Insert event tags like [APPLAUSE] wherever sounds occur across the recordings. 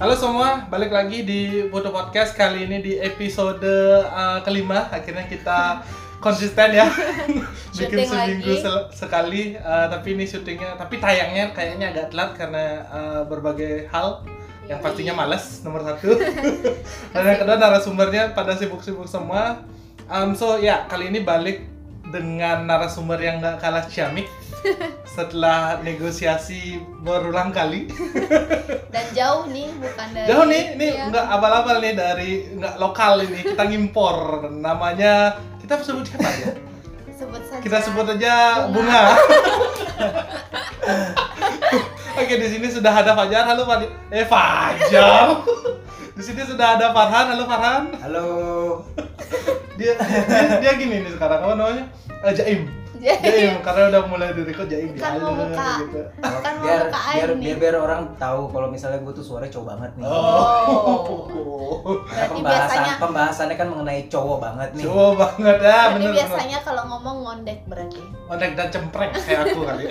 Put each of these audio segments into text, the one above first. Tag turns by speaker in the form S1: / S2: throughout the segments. S1: Halo semua, balik lagi di Foto Podcast kali ini di episode uh, kelima. Akhirnya
S2: [LAUGHS]
S1: kita konsisten ya, bikin
S2: Syuting
S1: seminggu
S2: lagi.
S1: sel- sekali. uh, tapi ini syutingnya, tapi tayangnya kayaknya agak telat karena uh, berbagai hal. Yang
S2: Yoi.
S1: pastinya males nomor
S2: [LAUGHS]
S1: satu. Dan yang kedua narasumbernya pada sibuk-sibuk semua. Um, so ya kali ini balik dengan narasumber yang gak kalah
S2: [LAUGHS]
S1: ciamik setelah negosiasi berulang kali.
S2: dan jauh nih bukan dari
S1: Jauh nih, ini
S2: Iya.
S1: nggak abal-abal nih dari nggak lokal ini kita ngimpor namanya kita sebut siapa ya?
S2: sebut saja
S1: Kita sebut aja bunga. [LAUGHS] Oke di sini sudah ada Fajar, halo Fajar. Eh Fajar. Di sini sudah ada Farhan, halo Farhan.
S3: Halo.
S1: Dia dia, dia gini nih sekarang apa namanya? Eh, Jaim. Jaim karena udah mulai direkod Jaim.
S2: Kan mau
S1: Halo,
S2: buka.
S1: gitu.
S2: Kan mau
S3: biar,
S2: buka air
S3: biar,
S2: nih.
S3: biar biar orang tahu kalau misalnya gue tuh suaranya cowok banget nih.
S1: Oh. [LAUGHS]
S3: Karena
S2: Berarti
S3: pembahasan
S2: biasanya-
S3: pembahasannya kan mengenai cowok banget nih.
S1: Coba banget ya,
S2: Berarti
S1: bener bener.
S2: biasanya kalau ngomong ngondek berarti
S1: Onek dan Oh, cempreng kayak aku kali.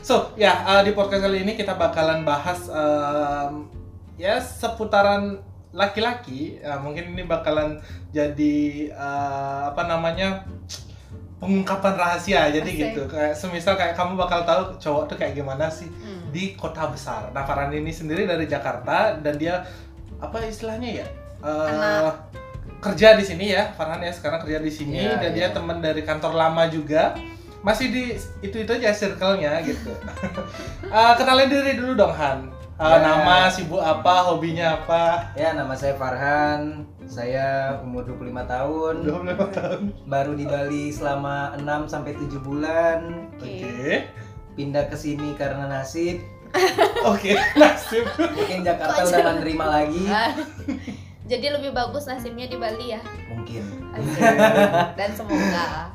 S1: So, ya uh, di podcast kali ini kita bakalan bahas um, ya seputaran laki-laki. Ya, mungkin ini bakalan jadi uh, apa namanya pengungkapan rahasia. Jadi
S2: Asik.
S1: gitu. Kayak semisal kayak kamu bakal tahu cowok tuh kayak gimana sih
S2: Hmm.
S1: [LAUGHS] di kota besar. Nah, Farhan ini sendiri dari Jakarta dan dia apa istilahnya ya? Eh,
S2: Anak.
S1: kerja di sini ya, Farhan ya sekarang kerja di sini
S3: Iya,
S1: dan
S3: iya.
S1: dia teman dari kantor lama juga. Masih di itu itu aja circle-nya
S3: [LAUGHS]
S1: gitu. Eh, kenalin diri dulu dong Han. Eh,
S3: Ya.
S1: Nama, sibuk apa, hobinya apa?
S3: Ya nama saya Farhan. Saya umur 25 tahun.
S1: Udah berapa tahun?
S3: Baru di Bali selama 6 sampai 7 bulan.
S1: Oke.
S3: Pindah ke sini karena nasib.
S1: Oke, [LAUGHS] nasib.
S3: Mungkin Jakarta
S2: Kok
S3: udah
S2: jauh?
S3: nggak nerima lagi.
S2: Ah. jadi lebih bagus nasibnya di Bali ya
S3: Mungkin.
S2: dan semoga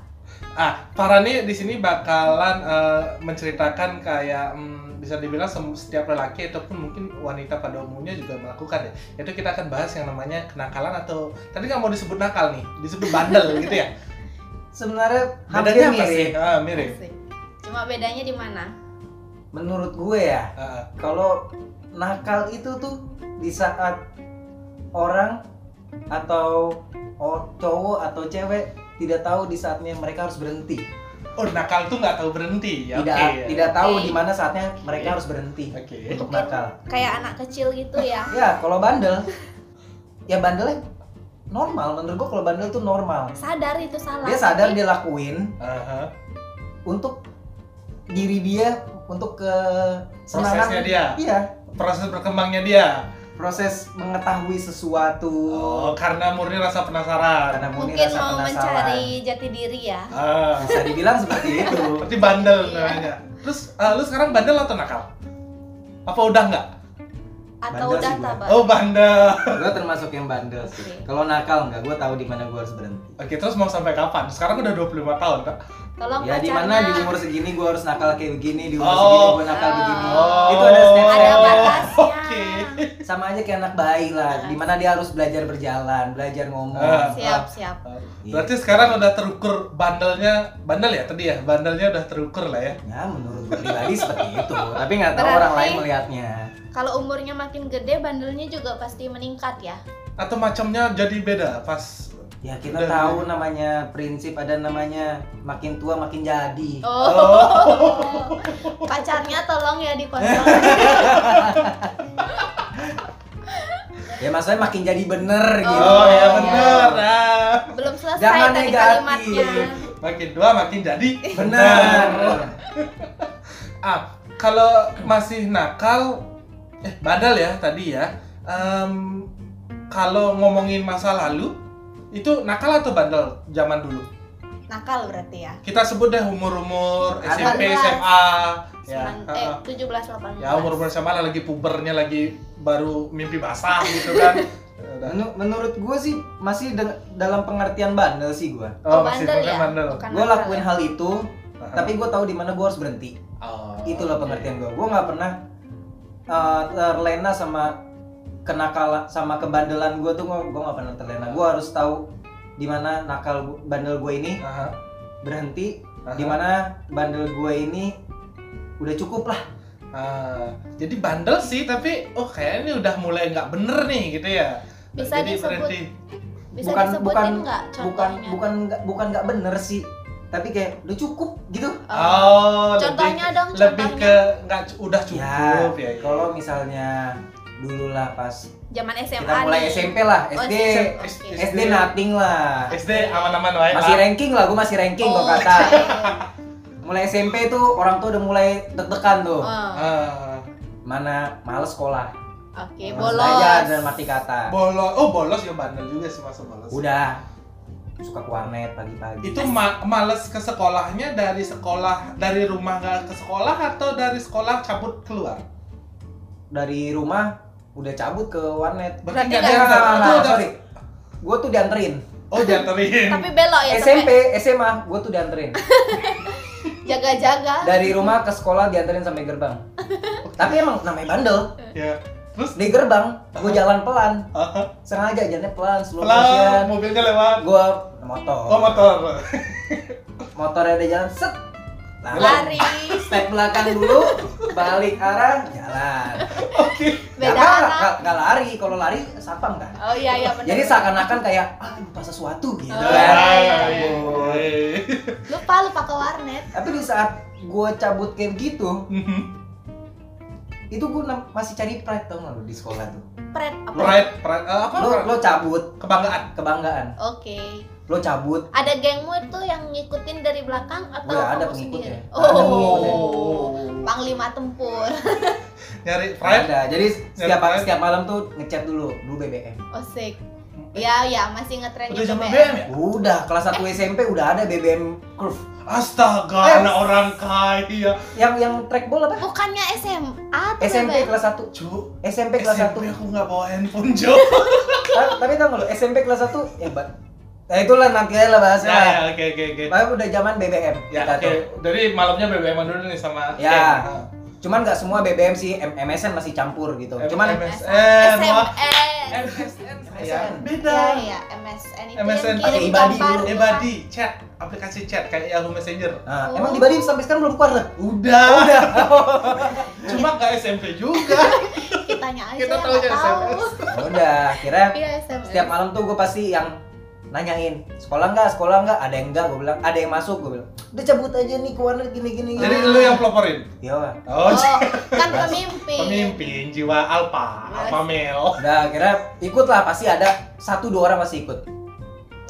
S1: Ah, Farani di sini bakalan eh, menceritakan kayak hmm, bisa dibilang sem- setiap lelaki ataupun mungkin wanita pada umumnya juga melakukan ya. Itu kita akan bahas yang namanya kenakalan atau tadi nggak mau disebut nakal nih, disebut bandel [LAUGHS] gitu ya.
S3: Sebenarnya hampir
S1: Bedanya apa sih?
S3: mirip.
S1: Ah, mirip.
S2: Asik. cuma bedanya di mana
S3: Menurut gue ya,
S1: Ah, ah.
S3: kalau nakal itu tuh di saat orang atau o- cowok atau cewek tidak tahu di saatnya mereka harus berhenti
S1: oh, nakal tuh nggak tahu berhenti ya.
S3: tidak
S1: oke.
S3: tidak tahu
S2: Oke.
S3: di mana saatnya mereka harus berhenti
S1: Oke.
S3: untuk
S2: Mungkin
S3: nakal
S2: kayak anak kecil gitu ya
S3: ya kalau bandel ya bandelnya normal menurut gua kalau bandel tuh normal
S2: sadar itu salah
S3: dia sadar
S2: tapi
S3: dia lakuin
S1: Aha.
S3: untuk diri dia untuk ke
S1: Prosesnya dia,
S3: iya
S1: proses berkembangnya dia.
S3: proses mengetahui sesuatu
S1: Oh, karena murni rasa penasaran.
S3: karena murni
S2: mungkin
S3: rasa
S2: mau
S3: penasaran
S2: mencari jati diri ya
S1: Ah,
S3: bisa dibilang
S1: [LAUGHS]
S3: seperti itu
S1: berarti bandel
S2: Iya.
S1: namanya. Terus, ah, lu sekarang bandel atau nakal? Apa udah nggak?
S2: atau
S3: Bandel
S2: udah
S3: sih gua.
S2: tabat
S1: Oh bandel.
S3: gue termasuk yang bandel sih
S2: Oke.
S3: kalau nakal nggak gue tahu di mana gue harus berhenti
S1: Oke terus mau sampai kapan? Sekarang udah 25 tahun tak?
S2: tolong
S3: ya di mana di umur segini gue harus nakal kayak begini di umur
S1: Oh.
S3: segini gue nakal
S2: Oh.
S3: begini itu ada
S2: ada
S3: step-step
S2: batasnya
S1: Oke.
S3: sama aja kayak anak bayi lah di mana dia harus belajar berjalan belajar ngomong
S1: Ah.
S2: siap siap
S3: Iya.
S1: Berarti sekarang udah terukur bandelnya, bandel ya tadi ya, bandelnya udah terukur lah ya.
S3: ya menurut gue pribadi seperti itu tapi nggak tahu
S2: Berarti-
S3: orang lain melihatnya
S2: Kalau umurnya makin gede, bandelnya juga pasti meningkat ya.
S1: Atau macamnya jadi beda
S2: [LAUGHS]
S1: pas.
S3: ya
S1: Udah,
S3: kita tahu namanya prinsip ada namanya makin tua makin jadi
S1: Oh.
S2: Oh, pacarnya tolong ya dikontrol.
S3: ya maksudnya makin jadi bener gitu
S1: Oh, ya
S2: iya.
S1: bener. Ah.
S2: Belum selesai
S3: Jangan
S2: tadi
S3: negatif.
S2: kalimatnya.
S1: Makin tua makin jadi
S3: bener
S1: Ah, kalau masih nakal, eh bandel ya tadi ya. Em, kalau ngomongin masa lalu, itu nakal atau bandel zaman dulu?
S2: Nakal berarti ya.
S1: kita sebut deh umur-umur
S3: Anak.
S1: SMP, SMA, ya,
S2: Sembilan-
S1: heeh.
S2: eh, 17 18.
S1: ya umur umur SMA lah lagi pubernya lagi baru mimpi basah gitu kan.
S2: [LAUGHS]
S1: Udah.
S3: Menu- menurut gue sih masih deng- dalam pengertian bandel sih gue.
S2: Oh,
S1: masih
S2: bandel
S1: bukan
S2: ya.
S1: bandel.
S2: Bukan
S3: Gue
S2: nakal.
S3: lakuin hal itu,
S1: Heeh.
S3: tapi gue tahu di mana gue harus berhenti.
S1: Oh,
S3: Itulah
S1: oke.
S3: pengertian gue. Gue nggak pernah uh, terlena sama kenakalan sama kebandelan gue tuh gue nggak pernah terlena. Gue harus tahu di mana nakal gu- bandel gue ini
S1: Aha,
S3: berhenti,
S1: aha.
S3: di mana bandel gue ini udah cukup lah.
S1: Ah, jadi bandel sih tapi oh kayaknya ini udah mulai nggak bener nih gitu ya
S2: Bisa
S1: jadi
S2: disebut-
S1: berhenti
S2: Bisa
S3: Bukan-
S2: disebutin
S3: bukan-
S2: nggak
S3: bukan
S2: contohnya?
S3: bukan nggak bukan nggak bener sih tapi kayak udah cukup gitu
S2: Oh,
S1: oh
S2: contohnya dong,
S1: lebih lebih
S2: contohnya.
S1: ke nggak cu- udah cukup ya, ya.
S3: kalau misalnya dulu lah pas
S2: Zaman SMA
S3: kita mulai
S2: nih.
S3: SMP lah
S2: Oh,
S3: SD
S2: SMP.
S1: SD.
S3: SD nothing lah
S1: SD aman-aman wae
S3: masih
S1: Pak.
S3: ranking lah gue masih ranking
S2: Oh,
S3: kok kata
S2: oke.
S3: mulai SMP tuh orang tuh udah mulai deg-degan tuh
S2: Oh,
S1: Ah,
S3: mana males sekolah
S2: Oke,
S3: Males
S2: Iya, bolos.
S3: belajar dan mati kata
S1: bolos oh bolos ya bandel juga sih masa bolos
S3: udah suka ke warnet pagi-pagi
S1: itu ma- males ke sekolahnya dari sekolah dari rumah nggak ke sekolah atau dari sekolah cabut keluar
S3: dari rumah udah cabut ke warnet
S1: berarti
S2: Berarti
S1: nggak ada
S2: nggak-
S3: Nah, nah,
S1: Iya, itu
S3: nah,
S1: udah-
S3: sorry gue tuh dianterin
S1: oh dianterin
S2: Tapi belok ya
S3: SMP
S2: sampai
S3: SMA gue tuh dianterin
S2: jaga-jaga.
S3: dari rumah ke sekolah dianterin sampai
S2: [LAUGHS]
S3: gerbang tapi emang namanya bandel
S1: ya terus
S3: di gerbang gue jalan pelan
S1: ah,
S3: sengaja jalannya pelan slow
S1: pelan
S3: motion
S1: mobilnya lewat
S3: gue motor
S1: oh motor [LAUGHS]
S3: motornya udah jalan set lalu
S2: Lari.
S3: step belakang dulu balik arah jalan
S1: oke
S2: Beda
S3: Gak, gak-
S2: arah.
S3: gak- gak lari kalau lari satpam kan
S2: Oh iya iya benar.
S3: jadi seakan-akan kayak ah lupa sesuatu gitu
S2: Oh,
S3: kan
S2: iya,
S3: iya.
S2: lupa lupa ke warnet.
S3: tapi di saat gue cabut kayak gitu
S1: Mhm.
S3: itu gue masih cari pride tau gak lu di sekolah tuh
S2: Pret apa?
S1: pride pride eh, apa
S3: lo
S1: pride?
S3: lo cabut
S1: kebanggaan
S3: kebanggaan
S2: Oke.
S3: lo cabut
S2: Ada gengmu tuh yang ngikutin dari belakang atau
S3: Gua ada
S2: kamu
S3: pengikutnya.
S2: sendiri?
S3: Ada
S2: Oh. Panglima tempur. [LAUGHS]
S1: nyari pride
S3: Ada. Jadi setiap
S1: Pride.
S3: setiap malam tuh ngechat dulu, dulu BBM.
S2: Osik. Ya ya masih ngetren
S1: udah
S2: gitu
S1: zaman
S2: BM.
S1: BM ya
S3: Udah kelas 1 SMP udah ada BBM curve.
S1: astaga
S3: Eh.
S1: anak orang kaya
S3: Yang yang trackball apa?
S2: Bukannya SMA tuh
S1: ya?
S3: SMP
S2: BBM?
S3: kelas 1.
S1: Cuk,
S3: SMP
S1: SMP
S3: kelas 1.
S1: aku nggak bawa handphone [LAUGHS] Jo
S3: Tapi tau gak lu SMP kelas 1 ya, Mbak. Nah itulah nanti aja lah bahasnya.
S1: ya ya, oke oke oke
S3: Tapi udah zaman BBM.
S1: ya
S3: kita
S1: oke
S3: tuh.
S1: dari malamnya BBM dulu nih sama
S3: Ya.
S1: Ken.
S3: Cuman nggak semua BBM sih, M- MSN masih campur gitu.
S1: M-
S3: Cuman
S1: MSN wah.
S2: SMN.
S1: MSN
S3: Ya,
S1: sayang beda
S2: Ya ya MSN itu
S1: MSN.
S2: yang kirim
S3: Pakai ibadi
S2: gambar
S3: dulu.
S2: doang.
S1: Ebadi chat aplikasi chat kayak Yahoo Messenger
S3: Nah, emang di Bali sampai sekarang belum keluar loh.
S1: udah udah [LAUGHS] cuma nggak SMP juga [LAUGHS]
S2: Kitanya aja
S1: Kita
S2: yang
S1: taunya
S2: nggak tahu.
S1: SMS.
S3: Nah, Udah, akhirnya
S2: [LAUGHS] Iya SMS.
S3: setiap malam tuh gue pasti yang nanyain sekolah nggak sekolah nggak ada yang nggak gue bilang ada yang masuk gue bilang udah cabut aja nih ke warnet gini gini
S1: jadi lu yang peloporin
S3: ya
S1: oh,
S2: Oh, kan pemimpin.
S1: pemimpin jiwa alpha alpha male
S3: udah akhirnya ikut lah pasti ada satu dua orang pasti ikut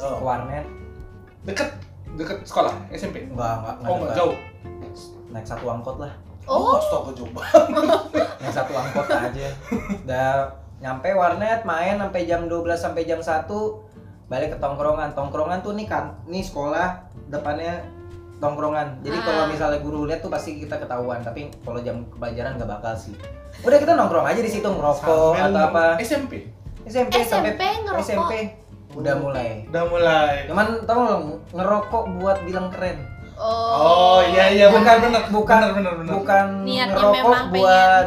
S3: ke
S1: Oh.
S3: warnet
S1: deket deket sekolah SMP
S3: nggak nggak nggak
S1: oh nggak
S3: ada.
S1: jauh
S3: naik satu angkot lah
S2: Oh,
S1: astaga jauh banget
S3: naik satu angkot aja udah nyampe warnet main sampai jam 12 sampai jam 1 balik ke tongkrongan tongkrongan tuh nih kan nih sekolah depannya tongkrongan jadi kalau
S2: Ah.
S3: misalnya guru lihat tuh pasti kita ketahuan tapi kalau jam pelajaran nggak bakal sih udah kita nongkrong aja di situ ngerokok
S1: Sambil
S3: atau apa
S1: SMP
S3: SMP sampai
S2: SMP Eh, ngerokok.
S3: SMP udah mulai
S1: udah mulai
S3: cuman tau nggak, ngerokok buat bilang keren
S1: oh iya iya bukan bener
S3: bukan-
S1: bener bener, bener.
S3: bukan
S2: Niatnya
S3: ngerokok
S2: memang pengen.
S3: buat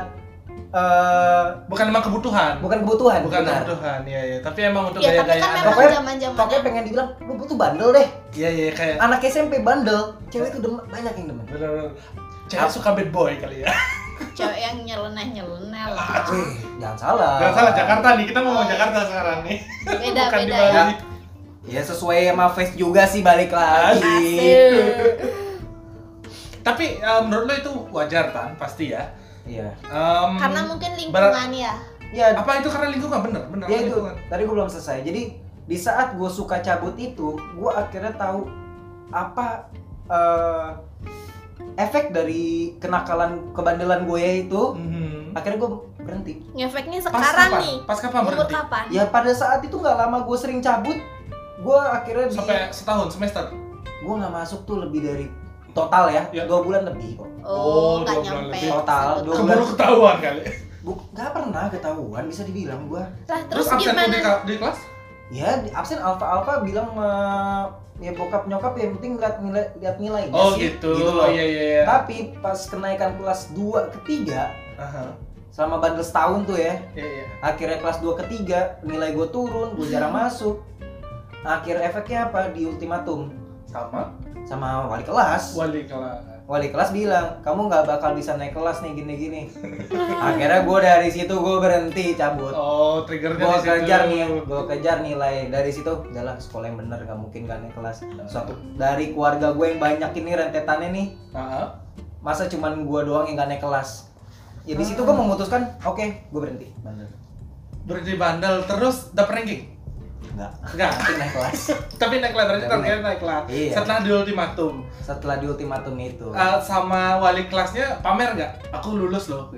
S3: eh,
S1: bukan emang kebutuhan
S3: bukan kebutuhan
S1: bukan
S3: benar.
S1: kebutuhan ya ya tapi emang untuk
S2: Ya, tapi kan
S1: gaya-gayaan
S2: memang
S3: Pokoknya-
S2: zaman-zaman
S3: Pokoknya pengen dibilang, lu tuh bandel deh.
S1: iya iya kayak
S3: Anak SMP bandel, cewek tuh demen, banyak yang demen.
S1: bener bener cewek suka bad boy kali ya
S2: cewek yang nyeleneh-nyeleneh lah.
S3: Wih, jangan salah.
S1: Gak Eh. salah Jakarta nih, kita ngomong Jakarta sekarang nih.
S2: Oh, iya. Beda
S1: Ah. Bukan
S2: beda
S1: di
S2: ya.
S1: Bali.
S3: Ya sesuai sama face juga sih balik lagi.
S2: Asik.
S1: Tapi eh, menurut lo itu wajar kan, pasti ya.
S3: Iya.
S1: Em,
S2: Karena mungkin
S1: Hmm.
S2: lingkungan ya.
S3: Ya,
S1: apa itu karena lingkungan bener, bener
S3: ya itu.
S1: lingkungan.
S3: Tadi gue belum selesai. Jadi di saat gue suka cabut itu, gue akhirnya tahu apa eh, efek dari kenakalan kebandelan gue itu.
S1: Mhm.
S3: Akhirnya gue berhenti.
S2: Ngefeknya
S1: Pas
S2: sekarang
S1: kapan?
S2: nih.
S1: Pas kapan Iya.
S2: Umur
S1: berhenti?
S2: kapan?
S3: Ya pada saat itu nggak lama gue sering cabut, gue akhirnya di-
S1: Sampai setahun, semester.
S3: gue nggak masuk tuh lebih dari total ya,
S1: Ya.
S3: dua bulan lebih kok.
S1: Oh,
S2: Oh, nggak
S1: dua bulan
S2: nyampe.
S1: lebih.
S3: Total,
S2: Satu
S3: dua
S2: tahun.
S1: Keburu ketahuan kali.
S3: Bu- nggak pernah ketahuan bisa dibilang gue.
S2: Lah, terus
S1: absen tuh
S2: gimana?
S1: di, ka- di kelas?
S3: Ya di- absen alfa alfa bilang sama ya bokap nyokap yang penting lihat nilai lihat nilainya
S1: Oh
S3: sih,
S1: gitu.
S3: loh.
S1: Iya iya iya.
S3: Tapi pas kenaikan kelas 2 ketiga
S1: Aha.
S3: selama bandel setahun tuh ya,
S1: Iya iya.
S3: akhirnya kelas 2 ketiga nilai gue turun, gue
S1: [LAUGHS]
S3: jarang masuk. Akhir efeknya apa? Di ultimatum
S1: Sama
S3: sama wali kelas.
S1: wali kelas.
S3: wali kelas bilang kamu nggak bakal bisa naik kelas nih gini-gini akhirnya gue dari situ gue berhenti cabut
S1: Oh, triggernya
S3: gue
S1: di situ.
S3: kejar nih gue kejar nilai dari situ udahlah sekolah yang bener gak mungkin gak naik kelas suatu dari keluarga gue yang banyak ini rentetannya nih
S1: Heeh.
S3: masa cuman gue doang yang gak naik kelas ya di situ gue memutuskan oke gue berhenti bandel
S1: Berhenti bandel terus dapat ranking.
S3: nggak
S1: Enggak.
S3: mungkin naik kelas
S1: [LAUGHS] Tapi naik kelas, berarti
S3: Tapi
S1: targetnya naik kelas.
S3: Iya.
S1: Setelah di ultimatum,
S3: setelah di ultimatum itu
S1: eh, sama wali kelasnya pamer nggak? Aku lulus loh.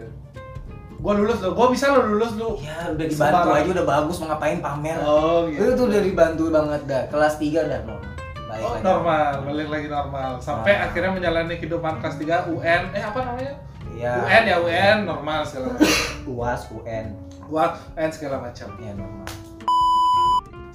S1: Gua lulus loh. Gua bisa lo lulus lu.
S3: ya udah dibantu
S1: Sembarang.
S3: aja udah bagus mau ngapain pamer
S1: Oh, gitu.
S3: itu udah dibantu banget dah kelas 3 dah normal Baik
S1: Oh,
S3: lagi.
S1: normal, balik lagi normal. Sampai
S3: Normal.
S1: akhirnya menjalani kehidupan kelas 3 UN. Eh, apa namanya?
S3: Iya.
S1: UN ya, UN normal segala macam.
S3: uas un
S1: Gua UN segala macam.
S3: ya normal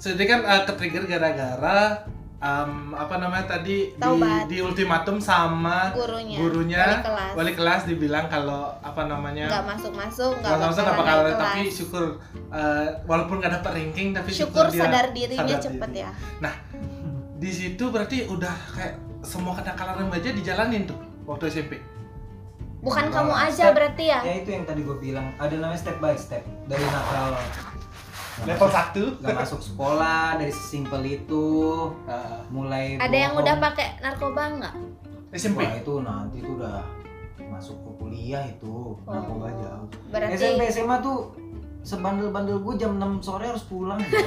S1: Jadi kan eh, ketrigger gara-gara em, apa namanya tadi di,
S2: Taubat.
S1: di ultimatum sama
S2: gurunya
S1: gurunya,
S2: wali kelas
S1: wali kelas dibilang kalau apa namanya
S2: nggak masuk masuk nggak
S1: nggak usah
S2: bakalan
S1: nggak bakal
S2: naik
S1: ada, tapi
S2: kelas.
S1: syukur eh, walaupun nggak dapat ranking tapi syukur,
S2: syukur
S1: dia
S2: sadar dirinya
S1: sadar
S2: cepet
S1: diri.
S2: ya
S1: di situ berarti udah kayak semua kenakalan remaja dijalanin tuh waktu SMP
S2: bukan
S3: Nah,
S2: kamu aja
S3: step-
S2: berarti ya
S3: ya itu yang tadi gue bilang ada namanya step by step dari nakal nggak
S1: level
S3: masuk-
S1: satu
S3: nggak masuk sekolah dari sesimpel itu
S1: eh,
S3: mulai
S2: ada yang
S3: bohong.
S2: udah pakai narkoba nggak
S1: SMP
S3: Wah, itu nanti tuh udah masuk ke kuliah itu narkoba jauh
S2: Oh. berarti
S3: SMP SMA tuh sebandel-bandel gue jam 6 sore harus pulang ya.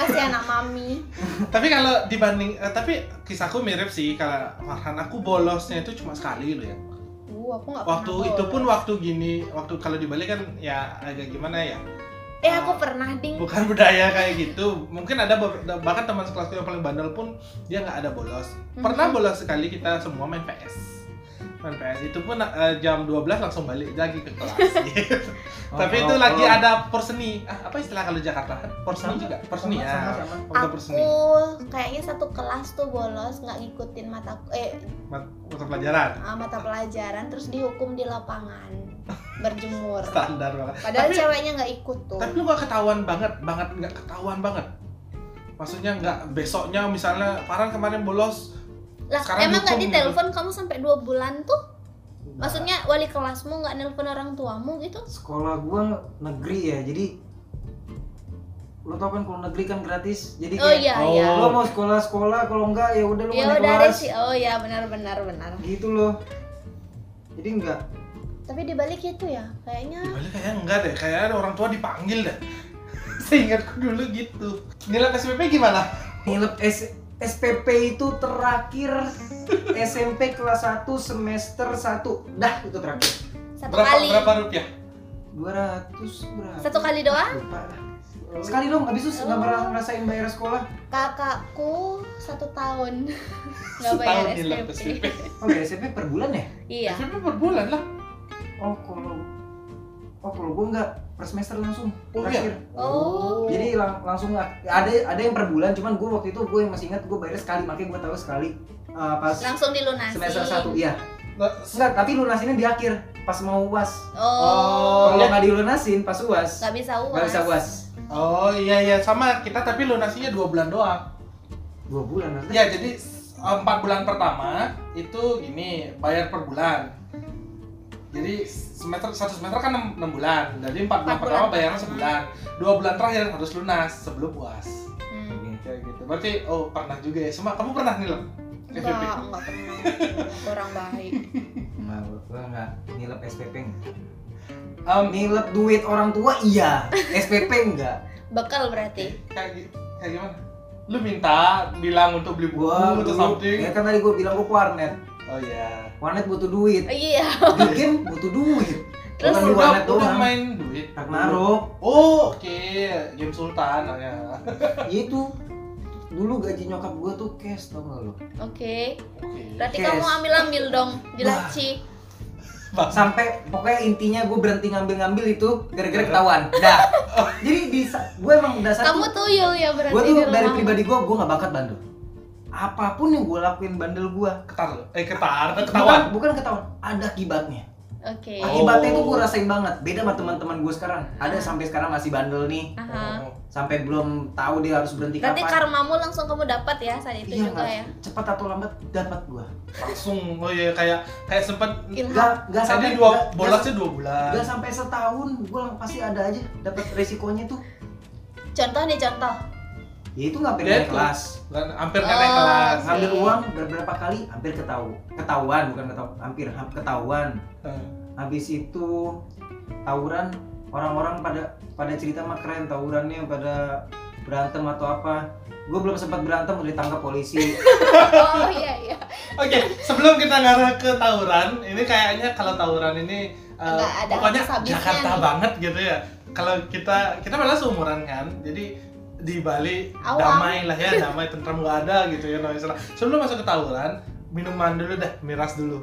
S2: masih anak mami
S1: tapi kalau dibanding eh, tapi kisahku mirip sih kalau Farhan aku bolosnya itu cuma sekali loh ya
S2: uh aku nggak pernah
S1: waktu itu pun
S2: bolos.
S1: waktu gini waktu kalau di Bali kan ya agak gimana ya
S2: eh aku pernah ding
S1: bukan [LAUGHS] budaya kayak gitu mungkin ada be- bahkan teman sekelasku yang paling bandel pun dia nggak ada bolos pernah
S2: Mhm.
S1: bolos sekali kita semua main PS main PS itu pun eh, jam 12 langsung balik lagi ke kelas gitu. [LAUGHS]
S3: Oh,
S1: tapi itu lagi ada porseni ah, apa istilah kalau di Jakarta porseni juga porseni ya waktu porseni
S2: aku kayaknya satu kelas tuh bolos nggak ngikutin mata eh
S1: Mat- mata pelajaran
S2: ah, mata pelajaran terus dihukum di lapangan berjemur
S1: standar banget
S2: padahal
S1: [LAUGHS] Tapi- kan
S2: ceweknya nggak ikut tuh
S1: tapi lu gak ketahuan banget banget nggak ketahuan banget maksudnya nggak besoknya misalnya Farhan kemarin bolos
S2: lah
S1: sekarang
S2: emang nggak
S1: dihukum gitu.
S2: ditelepon kamu sampai dua bulan tuh maksudnya wali kelasmu nggak nelpon orang tuamu gitu
S3: sekolah gue negeri ya jadi lo tau kan kalau negeri kan gratis jadi
S2: oh
S3: kayak
S2: iya
S1: Oh.
S2: iya
S3: lo mau sekolah sekolah kalau enggak ya udah lo
S2: ya
S3: naik
S2: udah ada
S3: kelas
S2: sih oh ya benar benar benar
S3: gitu loh jadi enggak
S2: tapi dibalik itu ya kayaknya
S1: di Bali kayaknya enggak deh kayaknya ada orang tua dipanggil deh [LAUGHS] seingatku dulu gitu nilai SPP gimana
S3: nilep S- SPP itu terakhir SMP kelas 1 semester 1 dah itu terakhir
S2: satu
S1: berapa
S2: kali
S1: berapa rupiah
S3: 200 berapa
S2: Satu kali Oh. doang?
S3: lupa lah. sekali dong abis itu nggak pernah ngerasain bayar sekolah
S2: kakakku satu tahun
S1: [LAUGHS]
S2: nggak
S1: Setahun
S2: bayar
S1: nilai
S2: SPP
S3: oh bayar SMP per bulan ya
S2: iya
S1: SPP per bulan lah
S3: oh kalau oh kalau gue enggak per semester langsung
S1: Oh,
S3: terakhir
S2: Oh.
S3: jadi lang- langsung lah. ada ada yang per bulan cuman gue waktu itu gue yang masih ingat gue bayar sekali makanya gue tahu sekali uh, pas
S2: langsung dilunasi
S3: semester 1 iya
S1: Nah,
S3: enggak tapi lunasinnya di akhir pas mau uas
S2: oh
S1: Oh,
S3: kalau
S1: iya.
S3: nggak dilunasin pas uas
S2: nggak bisa uas
S3: nggak bisa uas
S1: oh iya iya sama kita tapi lunasinya dua bulan doang
S3: dua bulan
S1: ya
S3: maksudnya
S1: jadi s- empat bulan pertama itu gini bayar per bulan jadi semester satu semester kan enam, enam bulan jadi empat bulan
S2: Empat bulan Hmm.
S1: pertama
S2: pertama.
S1: bayarnya sebulan dua bulan terakhir harus lunas sebelum puas
S2: Hmm.
S1: kayak gitu berarti oh pernah juga ya semua kamu pernah nih loh
S2: Enggak, enggak pernah.
S3: [LAUGHS]
S2: Kurang baik.
S3: nggak gue nggak nilep SPP nggak
S1: um,
S3: nilep duit orang tua iya SPP enggak
S2: Bekal berarti.
S1: kayak, gi- kayak gimana lu minta bilang untuk beli buku
S3: gua
S1: atau
S3: dulu-
S1: something
S3: ya kan tadi gue bilang gue ke warnet
S1: oh iya
S3: warnet butuh duit
S2: Iya.
S3: bikin butuh duit
S2: Terus
S3: Bukan di
S1: udah,
S3: warnet
S1: udah
S3: doang
S1: main duit
S3: Ragnarok
S1: oh oke game sultan ya
S3: ya itu dulu gaji nyokap gue tuh cash tau gak lo
S2: Oke.
S1: oke
S2: Berarti
S3: Yes.
S2: kamu ambil-ambil dong di
S3: Wah.
S2: laci.
S3: sampai pokoknya intinya gue berhenti ngambil-ngambil itu gara-gara ketahuan dah jadi di gue emang dasar
S2: Kamu tuyul ya berarti
S3: gue tuh
S2: di
S3: dari
S2: rumahmu.
S3: pribadi gue gue gak bakat bandel apapun yang gue lakuin bandel gue
S1: ketar lo eh ketar ketahuan
S3: bukan, bukan ketahuan ada akibatnya
S2: Oke.
S1: Oh.
S3: Akibatnya itu gue rasain banget. Beda sama teman-teman gue sekarang. Ada
S2: Hmm.
S3: sampai sekarang masih bandel nih.
S2: Aha.
S1: Oh.
S3: Sampai belum tahu dia harus berhenti
S2: Berarti
S3: kapan.
S2: karmamu langsung kamu dapat ya saat itu
S3: Iya,
S2: juga
S3: nggak-
S2: ya. Hmm.
S3: Cepat atau lambat dapat gue.
S1: langsung oh iya kayak kayak sempat
S2: Ilham.
S3: Gak gak
S1: tadi
S3: sampai
S1: dua
S3: nggak-
S1: bolosnya dua bulan
S3: nggak sampai setahun gue pasti ada aja dapat resikonya tuh.
S2: Contoh nih
S3: [LAUGHS]
S2: contoh.
S3: Ya itu nggak
S1: Dia
S3: pilih
S1: tuh.
S3: kelas.
S1: dan hampir
S2: Oh,
S1: nggak naik kelas
S2: sih.
S3: ngambil uang beberapa kali hampir ketau ketahuan bukan ketau hampir ha- ketahuan
S1: Hmm.
S3: habis itu tawuran orang-orang pada pada cerita mah keren tawurannya pada berantem atau apa gue belum sempat berantem udah
S1: [LAUGHS]
S3: ditangkap polisi
S2: Oh iya iya.
S1: Oke, sebelum kita ngarah ke tawuran, ini kayaknya kalau tawuran ini uh,
S2: Nggak ada
S1: pokoknya
S2: habis-habisnya
S1: Jakarta
S2: nih.
S1: banget gitu ya. Kalau kita kita malah seumuran kan, jadi di Bali
S2: Awam.
S1: damai lah ya, damai tentram nggak ada gitu ya. noise lah. Sebelum masuk ke tawuran, minuman dulu deh, miras dulu.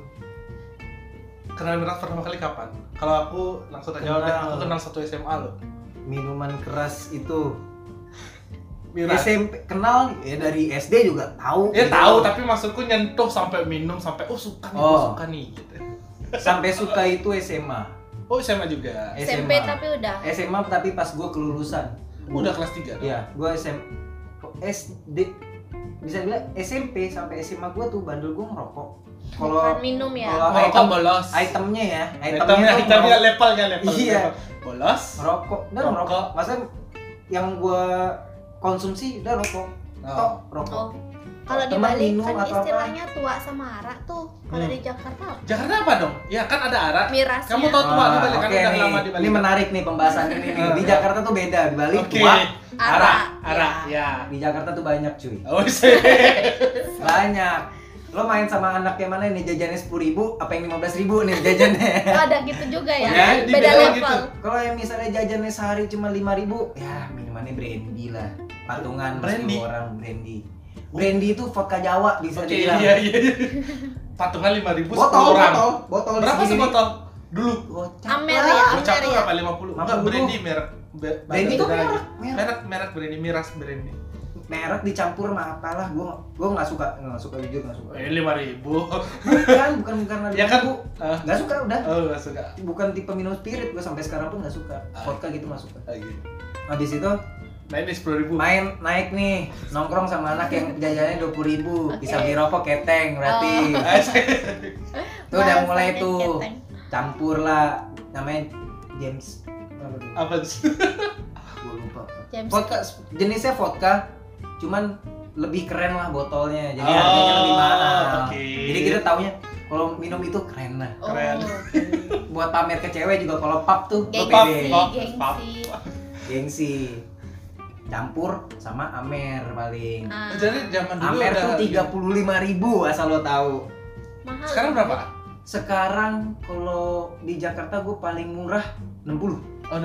S1: Kenal miras pertama kali kapan? Kalau aku langsung aja
S3: Kenal.
S1: udah aku kenal satu SMA loh.
S3: minuman keras itu
S1: Miras.
S3: SMP kenal ya dari SD juga tahu
S1: Ya tahu, tapi maksudku nyentuh sampai minum sampai oh suka nih, gua
S3: Oh.
S1: suka nih gitu.
S3: sampai suka itu SMA
S1: Oh SMA juga.
S3: SMA.
S2: SMP tapi udah.
S3: SMA tapi pas gue kelulusan
S1: Udah kelas 3 dong.
S3: Iya, gue SM SD bisa bilang SMP sampai SMA gue tuh bandel gue ngerokok. Kalau
S2: Bukan minum ya.
S3: kalau
S1: Ngerokok
S3: item,
S1: bolos.
S3: itemnya ya,
S1: Itemnya,
S3: tuh
S1: itemnya
S3: ngerokok-
S1: level ya level.
S3: Iya.
S1: level. Bolos.
S3: ngerokok, udah
S1: Rokok.
S3: ngerokok. Maksudnya yang gue konsumsi udah rokok, tok rokok.
S2: Oh. Kalau di
S3: Teman
S2: Bali
S3: minum
S2: kan
S3: atau apa?
S2: istilahnya tua sama arak tuh. Kalau
S1: Hmm.
S2: di Jakarta apa?
S1: Jakarta apa dong? Ya kan ada arah.
S2: mirasnya.
S1: Kamu tahu tua di Bali kan
S3: Ah, oke
S1: udah
S3: nih.
S1: lama di Bali.
S3: Ini menarik nih pembahasan ini.
S1: [LAUGHS]
S3: nih. Di Jakarta tuh beda, di Bali
S1: Oke.
S3: tua. Iya.
S1: Arah, arah,
S2: Arak.
S1: ya.
S3: Di Jakarta tuh banyak cuy,
S1: Oh sih.
S3: banyak. Lo main sama anak yang mana nih jajannya sepuluh ribu, apa yang lima belas ribu nih
S1: [LAUGHS]
S3: jajannya?
S2: Oh, ada gitu juga ya.
S3: Iya,
S1: Ya, di
S2: Beda
S1: Bali
S2: level.
S1: gitu.
S3: Kalau yang misalnya jajannya sehari cuma 5000 ya minumannya brandy lah. Patungan
S1: Brandy?
S3: brandy. orang brandy. Brandy itu vodka Jawa bisa
S1: Oke,
S3: dibilang.
S1: iya iya. iya. Patungan 5000 ribu
S3: Botol,
S1: orang.
S3: botol, botol di
S1: Berapa
S3: sini
S1: sih
S3: nih.
S1: botol? Dulu.
S3: Gocap
S2: Amer
S3: lah.
S2: ya,
S1: Bocah
S2: Amer
S1: tuh
S2: ya.
S1: berapa 50? Enggak,
S3: 50.
S1: Brandy merek. Be-
S3: Brandy
S1: beda
S3: itu
S1: lagi.
S3: merek, merek.
S1: Merek, merek Brandy, miras Brandy.
S3: Merek dicampur sama apalah, gua gua nggak suka, nggak suka jujur nggak suka.
S1: Eh, [LAUGHS] 5000.
S3: Bukan, bukan bukan
S1: Ya kan?
S3: Bu.
S1: Ah.
S3: Nggak suka udah.
S1: Oh, enggak suka.
S3: Bukan tipe minum spirit, gua sampai sekarang pun nggak suka.
S1: Ah.
S3: Vodka gitu nggak suka.
S1: Lagi.
S3: Habis itu
S1: Nah, ini 10000.
S3: main naik nih nongkrong sama anak yang jajannya dua puluh ribu bisa
S2: Oke.
S3: beli rokok keteng berarti
S1: Oh.
S3: tuh udah
S2: Bahasanya
S3: mulai tuh
S2: keteng.
S3: campur lah namanya James apa tuh?
S1: [LAUGHS] Apa sih?
S3: Ah, gua lupa
S2: James
S3: vodka jenisnya vodka cuman lebih keren lah botolnya jadi
S1: Oh,
S3: harganya lebih mahal
S1: oke.
S3: jadi kita taunya kalau minum itu keren lah
S2: Oh,
S1: keren.
S3: [LAUGHS] buat pamer ke cewek juga kalau pub tuh gua
S1: Pub,
S2: Gengsi,
S3: pede
S1: pub, pub.
S2: gengsi.
S3: gengsi campur sama amer paling
S2: Ah,
S1: Jadi zaman dulu
S3: Amer
S1: ada
S3: tuh tiga puluh ribu asal lo tahu.
S2: mahal.
S1: Sekarang berapa?
S3: Sekarang kalau di Jakarta gue paling murah 60
S1: Oh,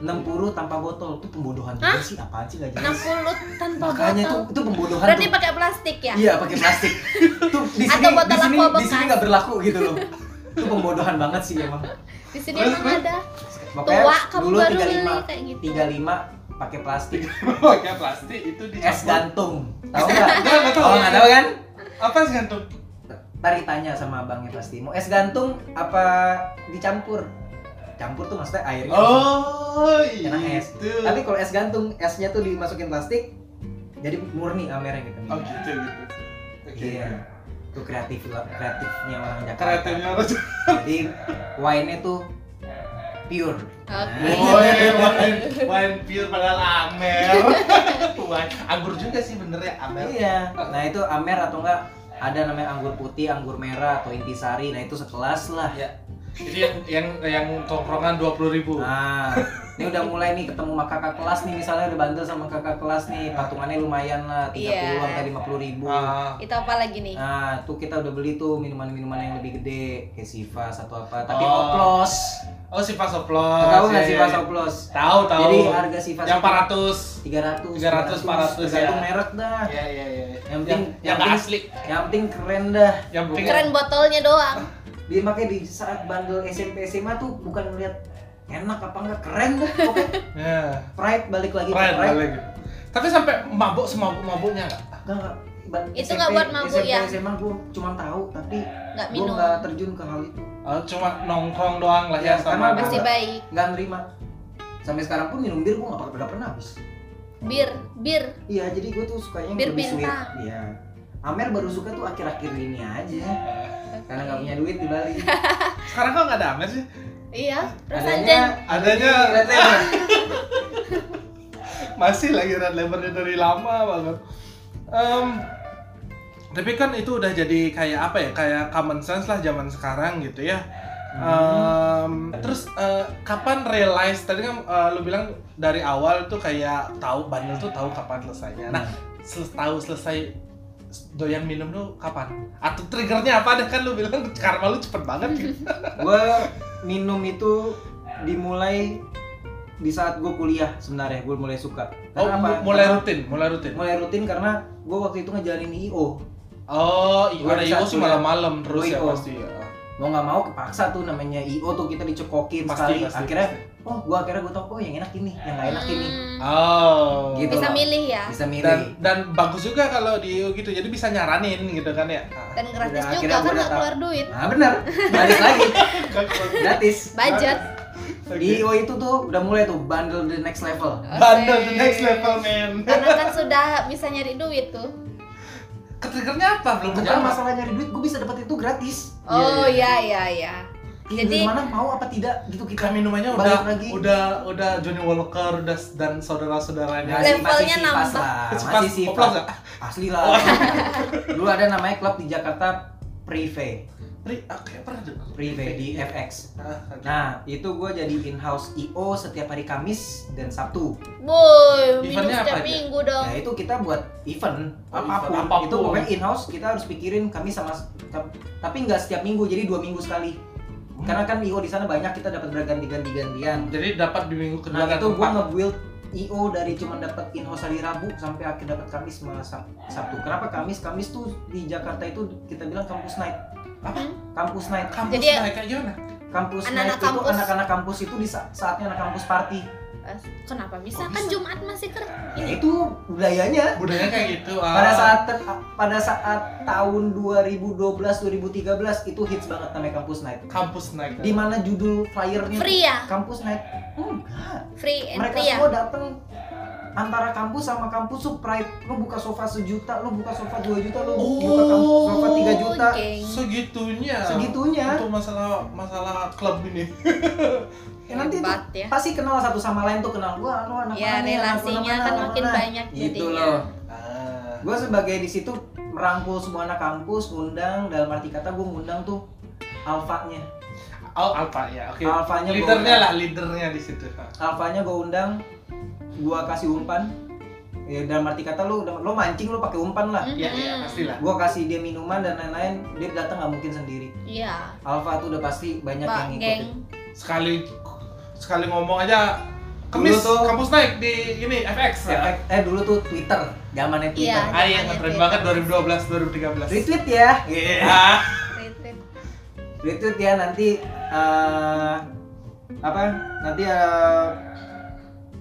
S1: 60.
S3: [LAUGHS] 60 tanpa botol itu pembodohan juga sih apaan sih gak jelas
S2: 60 tanpa
S3: makanya itu
S2: botol.
S3: itu pembodohan
S2: Berarti
S3: tuh
S2: pakai plastik ya?
S3: iya pakai plastik
S2: [LAUGHS]
S3: tuh di
S2: Atau
S3: sini di
S2: botol
S3: sini
S2: aqua
S3: di sini
S2: bekas.
S3: nggak berlaku gitu loh itu pembodohan banget sih emang
S2: Di sini
S1: Terus,
S2: emang
S1: terus?
S2: ada.
S3: makanya
S2: Tua kamu
S3: dulu
S2: baru
S3: 35
S2: beli kayak gitu.
S3: 35 pakai plastik
S1: Pakai Oh, iya, plastik itu
S3: es
S1: dicampur.
S3: gantung tahu
S2: [LAUGHS]
S3: nggak
S1: Enggak, enggak tahu.
S3: oh nggak tahu kan
S1: Apa es gantung?
S3: Tari tanya sama abangnya pasti mau es gantung apa dicampur campur tuh maksudnya airnya
S1: Oh,
S3: Enak gitu. es.
S1: itu.
S3: tapi kalau es gantung esnya tuh dimasukin plastik jadi murni amernya gitu
S1: Oh, gitu gitu. Oke.
S3: iya itu kreatif kreatifnya orang Jakarta
S1: Kreatifnya harus.
S3: [LAUGHS] jadi wine-nya tuh pure Nah,
S2: Oke.
S1: Woi, wine, wine pure padahal
S3: [LAUGHS]
S1: amer. Wine anggur juga sih benernya amer.
S3: iya nah itu amer atau enggak ada namanya anggur putih anggur merah atau intisari nah itu sekelas lah
S1: Jadi yang yang yang tongkrongan 20.000.
S3: Nah, ini udah mulai nih ketemu sama kakak kelas nih misalnya udah bandel sama kakak kelas nih patungannya lumayan lah 30
S2: Iya.
S3: sampai 50 ribu.
S1: Ah.
S2: Itu apa lagi nih?
S3: Nah, tuh kita udah beli tuh minuman-minuman yang lebih gede, kayak Sivas atau apa, tapi
S1: Oh.
S3: oplos.
S1: Oh, si Fasoplos.
S3: Tahu nggak
S1: Iya,
S3: Sivas
S1: iya.
S3: oplos?
S1: Tahu, tahu.
S3: Jadi harga Sivas
S1: yang
S3: itu
S1: 400. 300, 400,
S3: 300, tergantung
S1: ya.
S3: merek dah.
S1: Iya, iya, iya.
S3: Yang
S1: Yang yang
S3: penting yang,
S1: nggak
S3: penting,
S1: asli.
S3: yang penting keren dah.
S1: Yang penting
S2: Keren botolnya doang.
S3: Dia makanya di saat bandel SMP SMA tuh bukan melihat enak apa enggak keren dah.
S1: [LAUGHS]
S3: Oke,
S1: Ya.
S3: pride balik lagi ke
S1: Keren balik. Tapi sampai mabuk semabuk-mabuknya nggak?
S3: Enggak, enggak. Ba-
S2: Itu nggak buat mabuk
S3: SMP,
S2: ya?
S3: SMA gue cuma tahu tapi
S2: Nggak
S3: gue
S2: minum.
S3: nggak terjun ke hal itu.
S1: Eh, cuma nongkrong doang lah ya,
S3: Ya,
S1: sama
S3: karena
S2: masih baik
S3: nggak nerima sampai sekarang pun minum bir gue nggak pernah pernah habis
S2: bir bir
S3: iya jadi gue tuh sukanya yang
S2: Bir
S3: lebih sweet
S2: bintang.
S3: iya Amer baru suka tuh akhir-akhir ini aja karena nggak punya duit di
S2: [LAUGHS]
S3: Bali
S1: sekarang kok nggak ada amer sih
S2: iya perasaan
S3: adanya
S2: dan
S1: Adanya.
S3: red label.
S1: masih lagi red labelnya dari lama banget Em, tapi kan itu udah jadi kayak apa ya kayak common sense lah zaman sekarang gitu ya Em, terus eh, kapan realize tadi kan eh, lu bilang dari awal tuh kayak tahu bandel tuh tahu kapan selesainya nah sel- tahu selesai doyan minum lu kapan atau triggernya apa deh kan lu bilang karma lu cepet banget gitu
S3: gue minum itu dimulai di saat gue kuliah sebenarnya gue mulai suka
S1: oh
S3: karena apa
S1: mu- mulai
S3: Karena-
S1: rutin mulai rutin
S3: mulai rutin karena gue waktu itu ngejalanin IO
S1: oh iya
S3: Mulai
S1: ada
S3: saat
S1: IO sih
S3: kuliah.
S1: malam-malam terus ya
S3: IO.
S1: pasti ya.
S3: mau nggak mau kepaksa tuh namanya IO tuh kita dicekokin sekali akhirnya oh gue akhirnya gue tau oh yang enak ini yang nggak enak ini
S2: Hmm,
S1: Oh.
S3: Gitu.
S2: bisa
S3: loh.
S2: milih ya
S3: bisa milih
S1: Dan dan bagus juga kalau di gitu. Jadi bisa nyaranin gitu kan ya. [LAUGHS]
S2: dan gratis
S3: Udah,
S2: juga
S3: akhirnya
S2: kan
S3: gua
S2: nggak
S3: datang.
S2: keluar duit
S3: nah bener balik lagi gratis
S2: budget
S3: di IO itu tuh udah mulai tuh bundle the next level
S2: Ah.
S1: Bandel the
S2: Asik.
S1: next level Eh, man.
S2: karena kan sudah bisa nyari duit tuh
S1: Ketriggernya apa? Belum
S3: bukan
S1: kejawab.
S3: masalah nyari duit gue bisa dapat itu gratis
S2: oh iya iya iya Jadi-
S3: jadi mana mau apa tidak gitu kita
S1: Kita minumannya
S3: Balik
S1: udah
S3: lagi.
S1: udah udah Johnny Walker udah dan saudara-saudaranya.
S2: Nggak Levelnya
S3: sifas
S2: nambah.
S1: Cepat,
S3: lah, Ah, masih
S1: oplos ya?
S3: sifat.
S1: nggak?
S3: Asli lah.
S1: [LAUGHS]
S3: Dulu ada namanya klub di Jakarta Prive,
S1: Pri, ah, kayak pernah dengar.
S3: Prive di FX.
S1: Ah, ada.
S3: Nah, itu gue jadi in-house IO setiap hari Kamis dan Sabtu.
S2: boy minum
S1: Eventnya apa
S2: setiap
S1: aja?
S2: minggu dong
S3: Nah, itu kita buat event
S1: Oh,
S3: apapun.
S1: event apapun.
S3: Itu pokoknya in-house kita harus pikirin Kamis sama ta- tapi nggak setiap minggu, jadi dua minggu sekali.
S1: Hmm.
S3: Karena kan IO di sana banyak kita dapat berganti-ganti-gantian.
S1: Jadi dapat di minggu kedua kan
S3: Nah,
S1: dan
S3: itu gue
S1: keempat.
S3: nge-build IO dari cuma dapat in-house hari Rabu sampai akhir dapat Kamis sama Sab- Sabtu. Kenapa Kamis? Kamis tuh di Jakarta itu kita bilang kampus night. Apa?
S2: Hmm.
S3: Kampus night.
S1: kampus
S2: Jadi ya-
S1: naik kayak gimana?
S3: Kampus
S2: Anak-anak
S3: night
S2: kampus.
S3: itu anak-anak kampus itu di sa- saatnya anak kampus party.
S2: Eh, kenapa bisa
S1: Kok
S2: kan
S1: bisa?
S2: Jumat masih kerja
S3: Ya itu budayanya.
S1: Budayanya kayak gitu. Hmm. ah.
S3: Pada saat ter- pada saat tahun 2012 2013 itu hits banget namanya kampus night.
S1: kampus naik.
S3: Di mana judul flyernya
S2: free ya
S3: kampus night. Hmm. Enggak.
S2: free
S3: iya. mereka
S2: entry ya
S3: semua datang antara kampus sama kampus tuh pride lu buka sofa sejuta lu buka sofa dua juta lu
S1: Oh.
S3: buka kampus sofa tiga juta
S2: Oh, geng. Iya.
S1: segitunya.
S3: segitunya
S1: Untuk masalah masalah klub ini.
S3: ya nanti tuh
S2: Hebat ya
S3: pasti kenal satu sama lain tuh kenal gua lu anak
S2: ya
S3: mana, anak
S2: relasinya
S3: mana,
S2: kan
S3: anak
S2: makin
S3: mana.
S2: banyak
S3: gitu
S2: jadinya
S3: loh
S1: Ah.
S3: gua sebagai di situ merangkul semua anak kampus ngundang dalam arti kata gua ngundang tuh alfanya
S1: Oh, Alfa ya. Oke. ya.
S3: alfanya gua
S1: Leadernya
S3: undang.
S1: lah, leadernya di situ.
S3: alfanya gua undang gua kasih umpan ya dalam arti kata lu lu mancing lu pakai umpan lah
S2: Mm-mm.
S1: Iya, iya, pastilah.
S3: gue kasih dia minuman dan lain-lain dia datang nggak mungkin sendiri
S2: iya
S3: Alfa tuh udah pasti banyak
S2: pak
S3: yang ngikutin
S2: geng
S1: Sekali sekali ngomong aja kemis
S3: Dulu tuh-
S1: kampus naik di ini FX ya.
S3: Efek- eh dulu tuh Twitter zamannya
S2: Iya.
S3: Twitter
S1: Ah, yang ngetren banget 2012 2013.
S3: retweet ya
S1: Iya.
S2: Retreat.
S3: retweet ya nanti eh, apa nanti eh,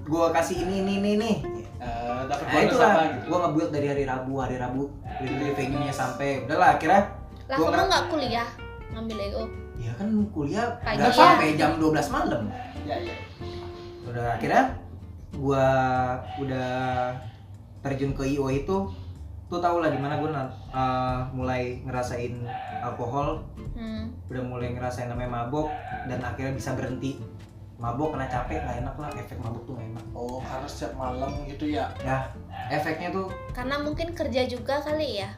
S3: gua kasih ini ini ini nih
S1: Eh, dapat
S3: nah
S1: bonus apa
S3: itulah
S1: gitu.
S3: gua ngebuild dari hari Rabu hari Rabu retweet venue-nya sampai udahlah akhirnya
S2: lah
S3: Gua
S2: kamu
S3: nggak-
S2: nggak kuliah ngambil E EO
S3: ya kan kuliah
S2: Pagi
S3: nggak
S2: ya.
S3: sampai jam 12 malam
S1: Iya, iya.
S3: udah akhirnya gua udah terjun ke IO itu tuh tau lah dimana gua na- uh, mulai ngerasain alkohol
S2: hmm.
S3: udah mulai ngerasain namanya mabok dan akhirnya bisa berhenti mabok karena capek nggak enak lah efek mabok tuh nggak enak
S1: Oh, harus setiap malam gitu ya.
S3: efeknya tuh
S2: karena mungkin kerja juga kali ya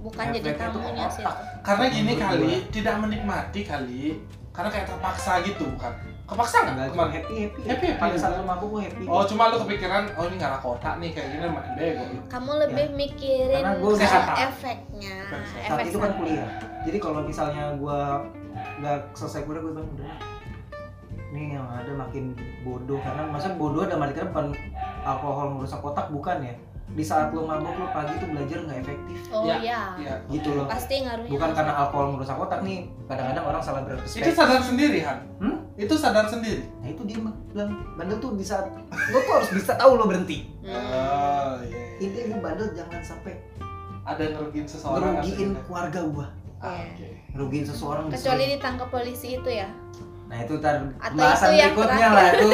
S2: bukan jadi
S3: Efeknya tuh
S2: tamunya
S3: otak.
S2: sih
S1: Karena gini
S3: Menurut
S1: kali, tidak menikmati kali. Karena kayak terpaksa gitu, bukan? Kepaksa
S3: nggak
S1: nggak
S3: cuma
S1: kemarin?
S3: happy happy
S1: Happy, happy.
S3: pada saat lu mabok gua happy
S1: Oh, cuma lu kepikiran, oh ini ngalah kotak nih kayak gini makin bego.
S2: kamu lebih mikirin
S3: Karena gua
S2: ke
S1: Ya. udah-
S2: efeknya
S3: saat
S2: efek
S3: itu kan kuliah jadi kalau misalnya gua nggak selesai kuliah gue bilang udah nih yang ada makin bodoh karena masa bodoh ada arti kata bukan alkohol merusak otak bukan ya di saat lo mabuk lo pagi tuh belajar nggak efektif
S2: oh
S1: Ya.
S2: ya,
S1: Iya.
S3: gitu loh
S2: pasti ngaruhnya
S3: bukan karena alkohol merusak otak nih kadang-kadang orang salah
S1: Itu
S3: berperspektif
S1: sadar sendiri, Han.
S3: Hmm?
S1: Itu sadar sendiri.
S3: nah itu dia mah bilang bandel tuh di saat lo tuh harus bisa tahu lo berhenti
S2: Hmm.
S1: Oh, iya. iya.
S3: intinya gue bandel jangan sampai
S1: Ada yang ngerugiin seseorang. atau
S3: ngerugiin
S1: gimana?
S3: keluarga gua
S1: Ah,
S2: Iya.
S1: Oke.
S3: rugiin seseorang
S2: Hmm. Kecuali
S3: disuruh.
S2: ditangkap polisi itu ya.
S3: nah itu tar
S2: Atau
S3: bahasan
S2: itu yang
S3: berikutnya lah itu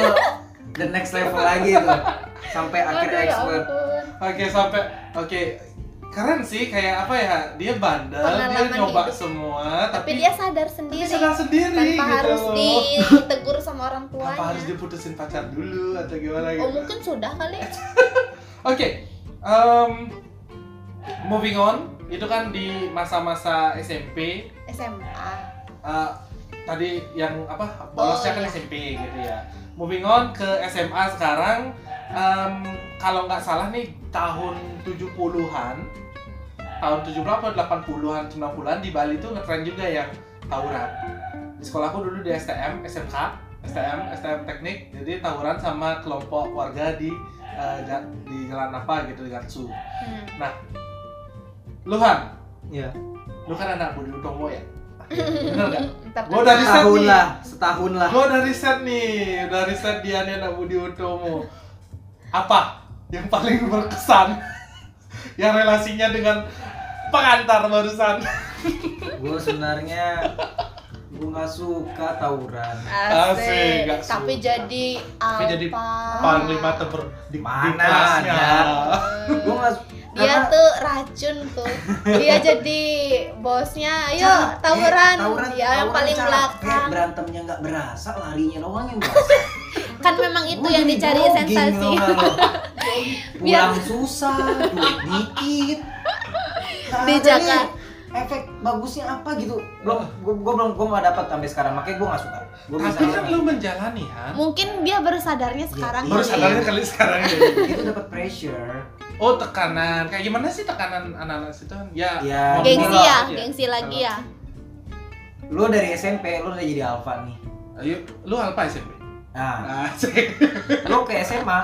S3: the next
S2: [LAUGHS]
S3: level lagi tuh sampai akhir
S2: Aduh, ya
S3: expert
S2: ampun.
S1: Oke sampai oke keren sih kayak apa ya dia bandel dia
S2: Pengalaman
S1: nyoba
S2: hidup.
S1: semua
S2: Tapi
S1: tapi,
S2: dia sadar sendiri.
S1: dia sadar sendiri
S2: tanpa
S1: gitu
S2: harus
S1: loh.
S2: ditegur sama orang
S1: Tanpa harus
S2: tuanya.
S1: diputusin pacar dulu atau gimana gitu.
S2: Oh mungkin sudah kali.
S1: Oke, em, moving on, itu kan di masa-masa SMP.
S2: SMA.
S1: eh, tadi yang apa bolosnya
S2: Oh,
S1: kan
S2: iya.
S1: SMP gitu ya. Moving on ke SMA sekarang, em, kalau nggak salah nih tahun 70-an, tahun 70 atau 80-an, 90-an di Bali tuh ngetren juga yang tawuran. Di sekolahku dulu di STM, SMK, STM, STM teknik, jadi tawuran sama kelompok warga di eh, ja- di jalan apa gitu di Gatsu.
S2: Hmm.
S1: Lu Han,
S3: ya
S1: lu kan anak Budi Utomo ya? Bener gak?
S2: Ntar
S1: Gua
S2: dulu.
S1: dari
S3: setahun
S1: Sydney.
S3: lah setahun lah
S1: Gua udah riset nih, udah riset dia nih anak Budi Utomo. Apa yang paling berkesan? [LAUGHS] yang relasinya dengan pengantar barusan.
S3: gue sebenarnya gue nggak suka tawuran
S2: Asik.
S1: Asik, gak
S2: Tapi
S1: suka.
S2: jadi apa?
S1: jadi
S3: Ah.
S1: Panglima ter di, di
S3: Mana
S1: kelasnya.
S3: ada?
S2: [LAUGHS]
S3: gue nggak
S2: Dia
S3: karena-
S2: tuh racun tuh.
S3: [LAUGHS]
S2: Dia jadi bosnya. Ayo
S3: Capek,
S2: tawuran.
S3: eh, iya, tawuran
S2: Dia yang
S3: tawuran Iya,
S2: paling
S3: capek,
S2: belakang.
S3: berantemnya nggak berasa larinya doang
S2: [LAUGHS]
S3: yang berasa
S2: Kan memang itu
S3: Gua
S2: yang
S3: jadi
S2: dicari
S3: jogging
S2: [LAUGHS] sensasi.
S3: loh, Bang.
S2: Biar-
S3: pulang susah duit dikit Nah,
S2: Di
S3: ada
S2: Jakarta.
S3: nih, efek bagusnya apa gitu belum gue belum gue nggak dapat sampai sekarang makanya gue nggak suka gue bisa
S1: Tapi kan lu menjalani Han.
S2: Mungkin dia baru sadarnya sekarang.
S3: iya.
S1: Baru
S2: kali. ya.
S1: sadarnya kali sekarang jadi.
S3: itu dapat pressure
S1: [LAUGHS] Oh tekanan, kayak gimana sih tekanan anak-anak situ? Han? Ya,
S3: Ya,
S1: ngomong
S2: Gengsi
S1: lah,
S2: ya,
S1: iya.
S2: gengsi lagi ya.
S3: lu dari SMP lu udah jadi alfa nih
S1: Ayo, lu alpa SMP?
S3: nah
S1: Nah, sih.
S3: ya. lu ke SMA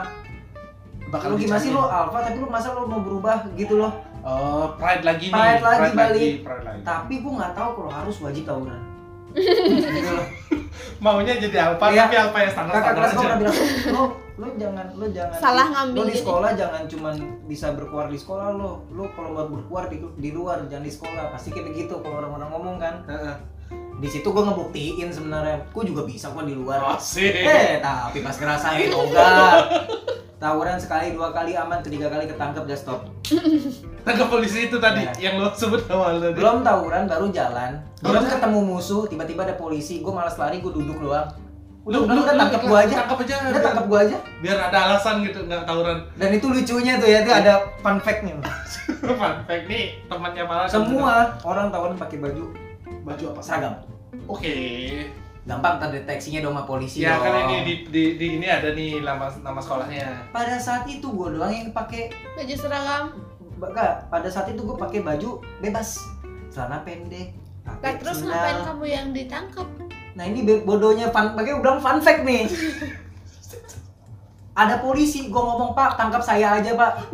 S1: Bakal
S3: lu gimana sih
S1: dicari.
S3: lu alfa tapi lu masa lu mau berubah gitu loh
S1: Oh, pride lagi nih.
S3: Pride lagi, balik.
S1: pride lagi.
S3: tapi gue nggak tahu kalau harus wajib tawuran gitu
S2: [LAUGHS]
S3: loh
S1: Maunya jadi alpa,
S3: Iya.
S1: tapi alpa yang standar
S3: kakak
S1: standar
S3: kelas gue
S1: aja.
S3: pernah
S1: [LAUGHS]
S3: bilang lo lo jangan lo jangan
S2: Salah
S3: lo
S2: ngambil
S3: di
S2: ini.
S3: sekolah jangan cuman bisa berkuar di sekolah lo lo kalau mau berkuar di, di luar jangan di sekolah pasti kayak gitu kalau orang-orang ngomong kan
S1: Heeh.
S3: di situ gue ngebuktiin sebenarnya gue juga bisa kok di luar
S1: Asik.
S3: eh tapi pas ngerasain oh enggak tawuran sekali dua kali aman ketiga kali ketangkep just stop
S1: Tangkap polisi itu tadi
S3: Iya.
S1: yang lo sebut awal tadi.
S3: belum tawuran baru jalan belum
S1: Iya.
S3: ketemu musuh tiba-tiba ada polisi gue malas lari gue duduk doang
S1: Lu
S3: udah udah tangkep gua aja
S1: Tangkap aja.
S3: udah
S1: biar-
S3: tangkep gue aja
S1: Biar ada alasan gitu nggak tawuran. [LAUGHS]
S3: dan itu lucunya tuh ya itu
S1: Iya.
S3: ada fun fact-nya
S1: Fun fact nih temannya kan malah
S3: semua orang tawuran pakai baju
S1: baju apa?
S3: seragam
S1: Oke.
S3: gampang terdeteksinya dong sama polisi
S1: Ya
S3: dong.
S1: kan ini di, di, di ini ada nih nama nama sekolahnya.
S3: pada saat itu gue doang yang pakai
S2: Baju seragam.
S3: enggak pada saat itu gue pakai baju bebas celana pendek
S2: Lah
S3: pakai
S2: terus
S3: sendal.
S2: ngapain kamu yang ditangkap?
S3: nah ini be- bodohnya fun makanya gue bilang fun fact nih ada polisi gue ngomong pak tangkap saya aja pak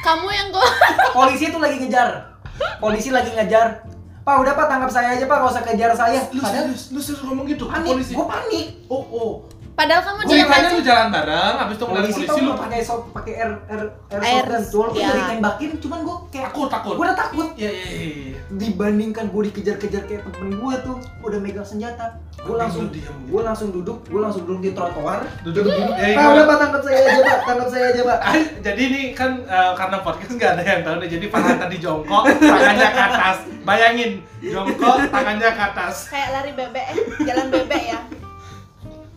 S2: Kamu yang gua
S3: polisi itu lagi ngejar polisi lagi ngejar pak udah pak tangkap saya aja pak gak usah kejar saya
S1: Lu
S3: padahal
S1: serius, lu serius ngomong gitu ke
S3: panik
S1: polisi.
S3: gue panik
S1: Oh, oh.
S2: Padahal kamu
S1: Gue
S2: diam
S1: tanya
S2: aja.
S1: lu jalan bareng, habis itu ngeliat
S3: polisi
S1: polisi,
S3: tau
S1: lu
S3: gue pakai so pakai air air air,
S2: Air,
S3: shotgun
S2: ya.
S3: walaupun udah ditembakin cuman gue kayak
S1: takut, takut.
S3: gue udah takut
S1: Iya, iya, iya, iya.
S3: dibandingkan gue dikejar-kejar kayak temen gue tuh udah megang senjata gue langsung
S1: diam gitu.
S3: gue langsung duduk gue langsung duduk di trotoar
S1: duduk duduk ya,
S3: Pak udah pak tangkap saya aja pak tangkap saya aja pak
S2: Iya,
S1: Ah, jadi ini kan eh, karena podcast nggak ada yang tahu nih jadi Farhan tadi jongkok tangannya ke atas bayangin jongkok tangannya ke atas
S2: Kayak lari bebek, eh, jalan bebek ya.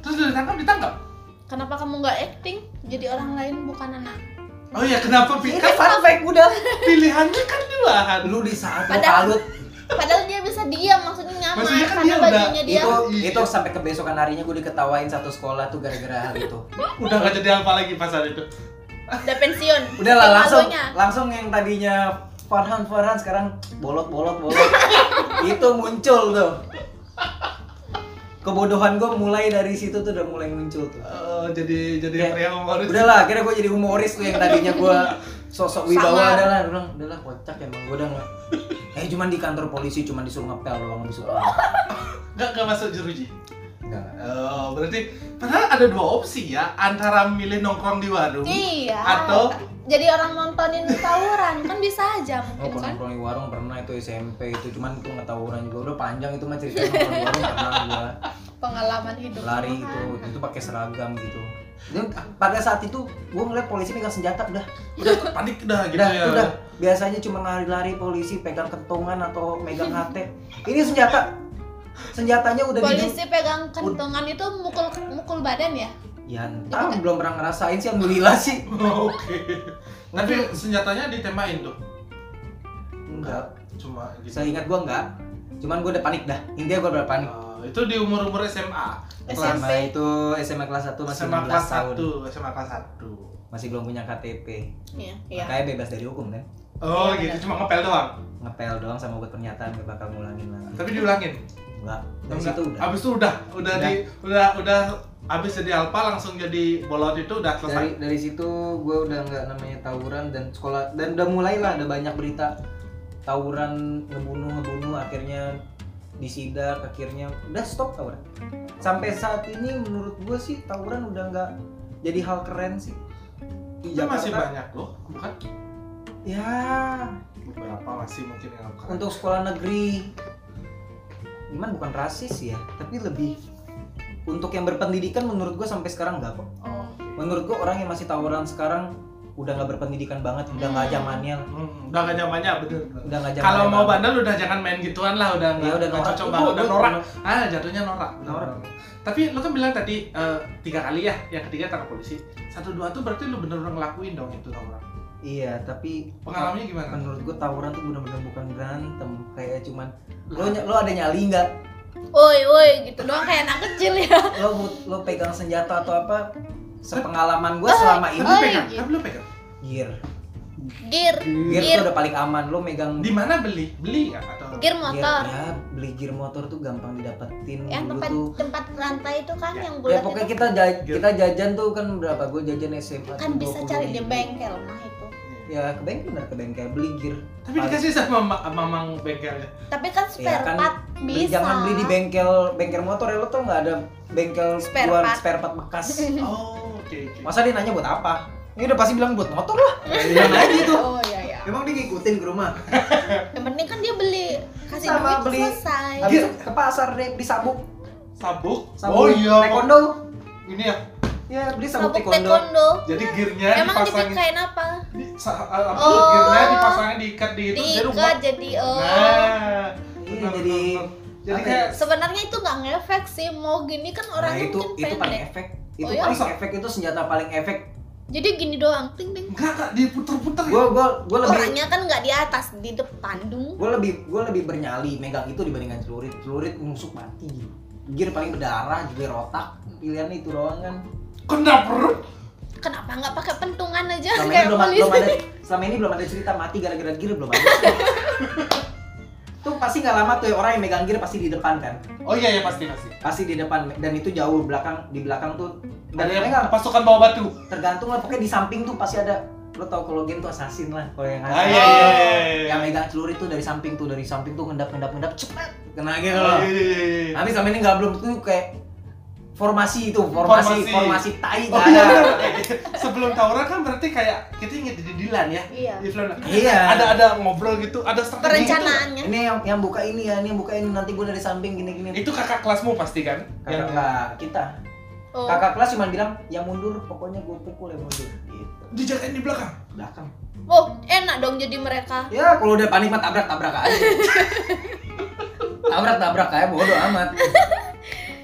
S1: terus udah ditangkap ditangkap
S2: Kenapa kamu nggak acting? Jadi orang lain bukan anak.
S1: oh iya kenapa pi-
S3: ini
S1: kan
S3: fun fact udah
S1: pilihannya kan dua Han.
S3: lu di saat lu
S2: Padahal
S3: kalut
S2: Padahal dia bisa diam, maksudnya nyaman
S1: Maksudnya kan
S2: karena
S1: dia udah-
S2: bajunya dia.
S3: itu
S1: Iya.
S3: itu sampai kebesokan harinya gue diketawain satu sekolah tuh gara-gara hal itu
S1: udah nggak jadi apa lagi pas hari itu
S2: Udah pensiun.
S3: udah lah
S2: Kayak
S3: langsung
S2: lagunya.
S3: langsung yang tadinya Farhan Farhan sekarang bolot bolot bolot itu muncul tuh kebodohan gue mulai dari situ tuh udah mulai muncul tuh
S1: Eh, jadi jadi
S3: Iya.
S1: pria humoris
S3: udahlah akhirnya gue jadi humoris tuh yang tadinya gue sosok wibawa
S2: Samar.
S3: adalah gue bilang udahlah kocak emang gue udah nggak eh cuman di kantor polisi cuman disuruh ngepel doang disuruh
S1: nggak nggak masuk jeruji
S3: Enggak, enggak.
S1: oh berarti padahal ada dua opsi ya antara milih nongkrong di warung
S2: Iya.
S1: atau
S2: jadi orang nontonin tawuran kan bisa aja
S3: Oh,
S2: mungkin
S3: pernah
S2: kan
S3: nongkrong di warung pernah itu SMP itu cuman itu ngetahuan juga udah panjang itu mah cerita nongkrong di warung pernah gua
S2: pengalaman hidup
S3: lari gitu itu pakai seragam gitu. Dan pada saat itu gua ngeliat polisi megang senjata udah
S1: udah panik dah gitu
S3: udah,
S1: ya
S3: udah. Biasanya cuma lari-lari polisi pegang kentongan atau megang HT. Ini senjata. Senjatanya udah di
S2: polisi pegang kentongan itu mukul mukul badan ya
S3: Ya, entah belum pernah ngerasain sih alhamdulillah sih.
S1: [LAUGHS] oke tapi senjatanya ditembak tuh
S3: Enggak.
S1: cuma gitu
S3: Saya ingat gua enggak. Cuman gua udah panik dah. Intinya gua udah panik.
S1: Eh, itu di umur umur SMA
S3: Eh,
S2: SMP.
S3: SMA itu SMA kelas 1 masih
S1: SMA
S3: 16
S1: kelas
S3: tahun.
S1: satu SMA kelas satu
S3: Masih belum punya KTP.
S2: iya
S3: Makanya bebas dari hukum kan.
S1: oh gitu
S2: Iya, benar.
S1: cuma ngepel doang
S3: Ngepel doang sama buat pernyataan gak bakal ngulangin lagi.
S1: tapi diulangin
S3: Enggak. Dari
S1: Enggak.
S3: situ Hmm. udah.
S1: abis itu udah udah di udah udah abis jadi alpa langsung jadi bolot itu udah selesai
S3: dari dari situ gue udah nggak namanya tawuran dan sekolah dan udah mulailah ada banyak berita tawuran ngebunuh ngebunuh akhirnya disidak akhirnya udah stop tawuran sampai saat ini menurut gue sih tawuran udah nggak jadi hal keren sih di
S1: itu masih
S3: Jakarta
S1: banyak loh bukan
S3: ya
S1: beberapa masih mungkin yang bukan.
S3: untuk sekolah negeri cuman bukan rasis ya tapi lebih untuk yang berpendidikan menurut gue sampai sekarang nggak kok
S1: oh.
S3: menurut gue orang yang masih tawuran sekarang udah nggak berpendidikan banget udah nggak
S2: Hmm.
S3: zamannya
S1: Hmm, udah gak zamannya bener
S3: udah nggak zamannya
S1: kalau mau
S3: banget.
S1: bandel udah jangan main gituan lah udah
S3: ya
S1: nggak
S3: udah
S1: nggak
S3: norak
S1: cocok
S3: Itu
S1: banget udah
S3: gua-
S1: norak ah jatuhnya norak
S3: Norak.
S1: tapi lu kan bilang tadi eh, tiga kali ya yang ketiga karena polisi satu dua tuh berarti lu bener-bener ngelakuin dong itu tawuran
S3: iya tapi
S1: pengalamannya gimana
S3: menurut gue tawuran tuh bener-bener bukan berantem kayak cuman lo ny- lo ada nyali nggak
S2: woi woi gitu doang kayak anak kecil ya
S3: lo bu- lo pegang senjata atau apa sepengalaman gue selama
S1: tapi
S3: ini
S1: lu
S2: Oh,
S1: pegang
S2: iya.
S1: tapi lu pegang
S3: gear
S2: gear
S3: gear
S2: Gear.
S3: tuh udah paling aman lo megang
S1: di mana beli beli nggak atau
S2: gear
S3: gear,
S2: motor
S3: ya beli gear motor tuh gampang didapetin
S2: yang
S3: dulu
S2: tempat
S3: tuh
S2: tempat rantai itu kan
S1: Ya.
S2: yang
S3: ya
S2: bulat
S3: pokoknya
S2: itu
S3: kita ja-
S1: Gear.
S3: kita jajan tuh kan berapa gue jajan SMA
S2: kan
S3: tuh
S2: bisa
S3: 20
S2: cari di
S3: ribu.
S2: bengkel mah itu
S3: ya ke bengkel bener ke bengkel beli gear
S1: Iya. tapi dikasih sama ma- mamang ya? bengkelnya
S2: tapi kan spare
S3: kan,
S2: part
S3: Beli-
S2: bisa
S3: jangan beli di bengkel bengkel motor ya lo tau nggak ada bengkel
S2: Spare
S3: buat
S2: part.
S3: spare part
S2: [LAUGHS]
S3: bekas
S2: Iya.
S1: oh oke oke Iya,
S3: masa dia nanya buat apa ini udah pasti bilang buat motor lah bilang aja itu
S2: oh iya iya
S3: emang dia ngikutin ke rumah
S2: yang penting kan dia beli kasih
S3: Sama
S2: duit
S3: beli-
S2: selesai
S3: habis itu ke pasar deh beli sabuk
S1: sabuk
S3: sabuk
S1: oh iya
S3: taekwondo
S1: ini ya
S3: ya beli sabuk,
S2: sabuk
S3: taekwondo
S2: taekwondo
S1: jadi gearnya
S3: Kan
S2: emang
S1: dipasangin
S2: dipikain apa
S1: di, sa- eh, apa,
S2: Oh.
S1: gearnya dipasangin diikat di itu di rumah
S2: diikat jadi oh
S1: nah
S3: iya
S1: benar,
S3: jadi
S1: benar, benar. jadi
S3: apa ya?
S1: kayak
S2: sebenarnya itu nggak ngefek sih mau gini kan
S3: nah,
S2: orangnya
S3: itu
S2: mungkin
S3: itu paling
S2: pendek
S3: efek
S2: Oh,
S3: itu
S2: iya?
S3: paling efek itu senjata paling efek
S2: jadi gini doang ting ting
S1: enggak enggak diputer-puter ya
S3: gue gue gue lebih
S2: orangnya kan nggak di atas di depan dung
S3: gue lebih gue lebih bernyali megang itu dibandingkan celurit celurit nusuk mati gear paling berdarah juga rotak pilihan itu doang kan
S1: kena perut
S2: kenapa nggak pakai pentungan aja
S3: selama ini
S2: kayak
S3: belum,
S2: polisi
S3: belum ada selama ini belum ada cerita mati gara-gara gear belum ada tuh pasti nggak lama tuh ya, orang yang megang gear pasti di depan kan
S1: oh iya ya pasti pasti
S3: pasti di depan dan itu jauh belakang di belakang tuh dan
S1: ada yang
S3: mereka
S1: pasukan bawa batu
S3: tergantung lah pokoknya di samping tuh pasti ada lo tau kalau game tuh assassin lah kalau yang
S1: ah iya
S3: assassin
S1: iya iya, iya
S3: Nah, oh. yang megang celurit tuh dari samping tuh dari samping tuh ngendap ngendap ngendap cepet kena gitu
S1: Oh, iya, iya, iya.
S3: Tapi sama ini nggak belum tuh kayak formasi itu, formasi
S1: Formasi.
S3: formasi, tai
S1: Oh
S3: nggak
S1: iya,
S3: ada.
S1: iya. sebelum tawuran kan berarti kayak kita inget di Dilan ya.
S2: iya
S1: Di Dilan.
S3: Iya.
S1: Ada ada ngobrol gitu, ada strategi gitu.
S2: perencanaannya
S3: Ini yang yang buka ini ya, ini yang buka ini nanti gue dari samping gini-gini.
S1: Itu kakak kelasmu pasti kan?
S3: Kakak kakak kita.
S2: oh.
S3: Kakak kelas cuma bilang ya mundur, pokoknya gue pukul ya mundur. Gitu.
S1: dijagain di belakang.
S3: Belakang.
S2: oh enak dong jadi mereka
S3: Ya kalau udah panik mah tabrak tabrak aja. tabrak tabrak aja bodoh amat.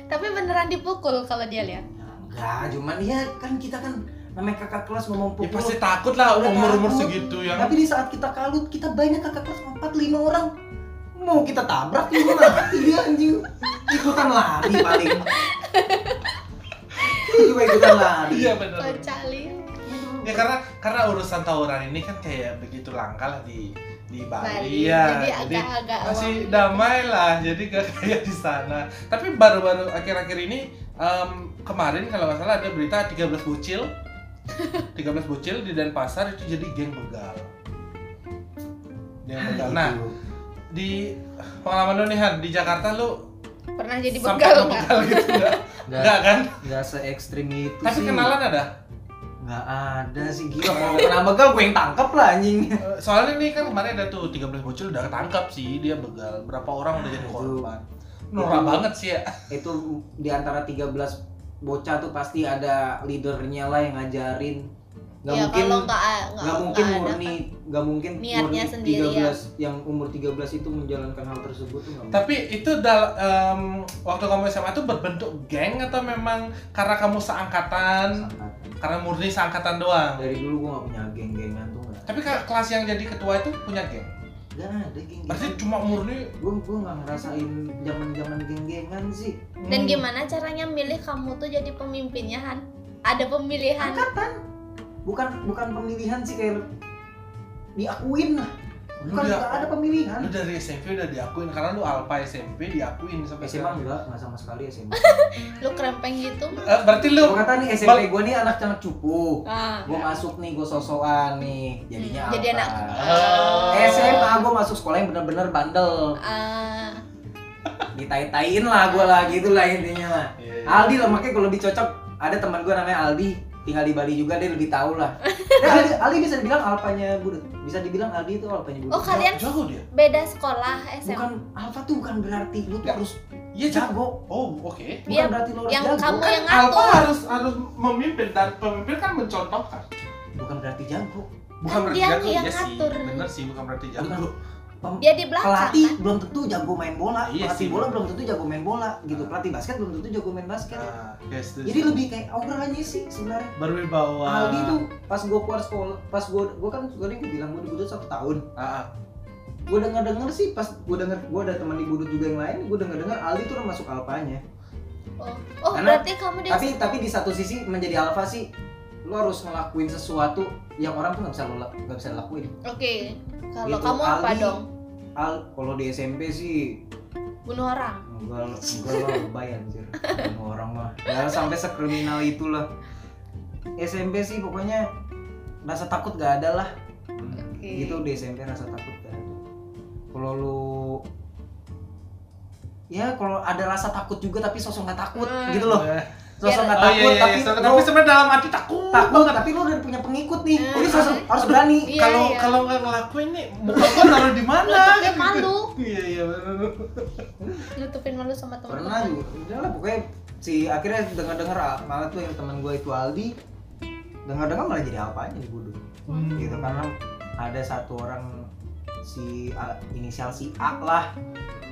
S2: tapi beneran dipukul kalau dia lihat
S3: Enggak, cuman ya kan kita kan namanya kakak kelas ngomong
S1: Ya
S3: pukul.
S1: pasti takut lah
S3: Udah
S1: umur umur
S3: takut.
S1: segitu yang
S3: Tapi di saat kita kalut, kita banyak kakak kelas 4 5 orang. Mau kita tabrak juga mati dia anjing. Ikutan lari paling. Dia juga ikutan lari.
S1: Iya benar.
S2: kocak Lin.
S1: Ya karena karena urusan tawuran ini kan kayak begitu langka lah di di
S3: Ah,
S1: Bali,
S2: Bali
S3: iya,
S1: ya.
S2: jadi agak-agak
S1: masih
S2: awam.
S1: damai lah, jadi gak kayak di sana. Tapi baru-baru akhir-akhir ini em, kemarin kalau nggak salah ada berita 13 bocil 13 bocil di Denpasar itu jadi geng begal. Geng begal. Nah, di pengalaman lu nih Han, di Jakarta lu
S2: pernah jadi
S1: sampai
S2: begal
S1: ke
S2: nggak
S1: begal gitu enggak?
S3: enggak
S1: Enggak kan?
S3: se ekstrim itu
S1: Tapi
S3: sih.
S1: kenalan ada?
S3: nggak ada sih gila kalau mau kena begal gue yang tangkep lah anjing
S1: Eh, Soalnya nih kan kemarin ada tuh 13 bocil udah ketangkap sih dia begal. Berapa orang udah jadi
S3: Aduh.
S1: korban. Norak
S3: Itu-
S1: banget sih ya.
S3: itu di antara 13 bocah tuh pasti ada leadernya lah yang ngajarin nggak
S2: ya
S3: mungkin
S2: kalau nggak kan.
S3: nggak mungkin murni nggak mungkin
S2: Niatnya
S3: murni
S2: sendiri ya.
S3: 13 yang umur 13 itu menjalankan hal tersebut tuh nggak mungkin.
S1: Tapi itu dal em, waktu kamu SMA itu berbentuk geng atau memang karena kamu seangkatan,
S3: Sangat.
S1: karena murni seangkatan doang.
S3: dari dulu gue nggak punya geng-gengan tuh nggak
S1: Tapi ke- kelas yang jadi ketua itu punya geng.
S3: nggak ada geng
S2: Iya.
S1: Berarti cuma murni
S3: gue gue nggak ngerasain zaman zaman geng-gengan sih
S2: Dan
S1: hmm,
S2: gimana caranya milih kamu tuh jadi pemimpinnya Han? Ada pemilihan
S3: angkatan kan? bukan bukan pemilihan sih kayak diakuin lah
S1: lu dia-
S3: bukan nggak ada pemilihan
S2: kan?
S1: lu dari SMP udah diakuin karena lu alpa SMP diakuin sampai
S3: SMA
S1: sekarang.
S3: enggak, enggak sama sekali [LAUGHS] SMA.
S2: lu krempeng gitu.
S1: Eh, berarti lu
S3: Gue kata nih SMP gue nih anak-anak cupu.
S2: Ah.
S3: Gue masuk nih, gue sosokan nih. Jadinya
S2: Hmm, jadi
S3: apa?
S2: anak
S3: [LAUGHS]
S1: Oh.
S3: SMA gue masuk sekolah yang bener-bener bandel.
S2: Ah,
S3: Ditai-taiin lah gue lah, gitu lah intinya lah.
S1: Iya.
S3: Aldi lah, makanya gue lebih cocok. Ada teman gue namanya Aldi, tinggal di Bali juga, dia lebih tahu [LAUGHS] lah. Nah, Aldi, Aldi bisa dibilang alpanya budut. Bisa dibilang Aldi itu alpanya budut.
S2: Oh, kalian
S1: jago dia.
S2: beda sekolah SMA.
S3: Bukan alpha tuh bukan berarti lu tuh
S1: Nggak.
S3: harus
S1: Iya jago.
S3: jago.
S1: Oh oke.
S3: Bukan
S2: Iya,
S3: berarti lu harus
S2: yang
S3: jago.
S2: kamu-
S1: Kan
S2: yang
S1: Alpha
S2: ngatur.
S1: harus harus memimpin dan pemimpin kan mencontohkan.
S3: Bukan berarti jago.
S1: Bukan berarti
S2: Yang-
S1: jago
S2: yang
S1: iya sih.
S2: ngatur.
S1: Bener sih bukan berarti jago.
S3: Bukan. Pem-
S2: Dia di belakang
S3: pelatih
S2: kan?
S3: belum tentu jago main bola,
S1: Iya sih.
S3: pelatih bola belum tentu jago main bola gitu, pelatih basket belum tentu jago main basket.
S1: Nah, yes, yes.
S3: Jadi lebih kayak obrolannya sih sebenarnya.
S1: berwibawa.
S3: Aldi tuh pas gue keluar sekolah, pas gue gue kan gue bilang gue di Budut satu tahun.
S1: Ah, ah.
S3: Gue denger denger sih pas gue denger gue ada teman di Budut juga yang lain, gue denger denger Aldi tuh udah masuk alfanya.
S2: Oh, oh
S3: Karena-
S2: berarti kamu di
S3: Tapi tapi di satu sisi menjadi alfa sih lo harus ngelakuin sesuatu yang orang tuh nggak bisa lo lak- nggak bisa lakuin.
S2: Oke. Kalau
S3: Gitu,
S2: kamu apa
S3: Ali.
S2: dong?
S3: Al kalau di SMP sih
S2: Bunuh orang.
S3: Enggak, enggak lah, lebay anjir Bunuh orang mah Ya sampai sekriminal itulah SMP sih pokoknya rasa takut gak ada lah
S1: Hmm.
S2: Oke.
S3: Gitu di SMP rasa takut gak ada Kalau lu Ya kalau ada rasa takut juga tapi sosok gak takut
S2: Hmm.
S3: gitu loh
S1: Eh,
S3: Sosok gak
S1: Oh, iya,
S3: takut
S1: iya,
S3: tapi
S1: iya. tapi,
S3: lu
S1: sebenarnya dalam hati takut.
S3: takut Iya, tapi lu udah punya pengikut nih
S2: Hmm.
S3: Jadi sosok harus berani
S2: Iya,
S1: Kalau
S2: iya.
S1: kalau nggak ngelakuin nih, muka gua taruh di mana?
S3: [LAUGHS]
S2: nutupin malu,
S1: Iya iya bener.
S2: nutupin malu sama
S3: pernah
S2: teman-teman.
S3: juga udah lah pokoknya si akhirnya dengar dengar malah tuh yang teman gue itu Aldi dengar dengar malah jadi apanya di Budut
S1: Hmm.
S3: gitu karena ada satu orang si A- inisial si A lah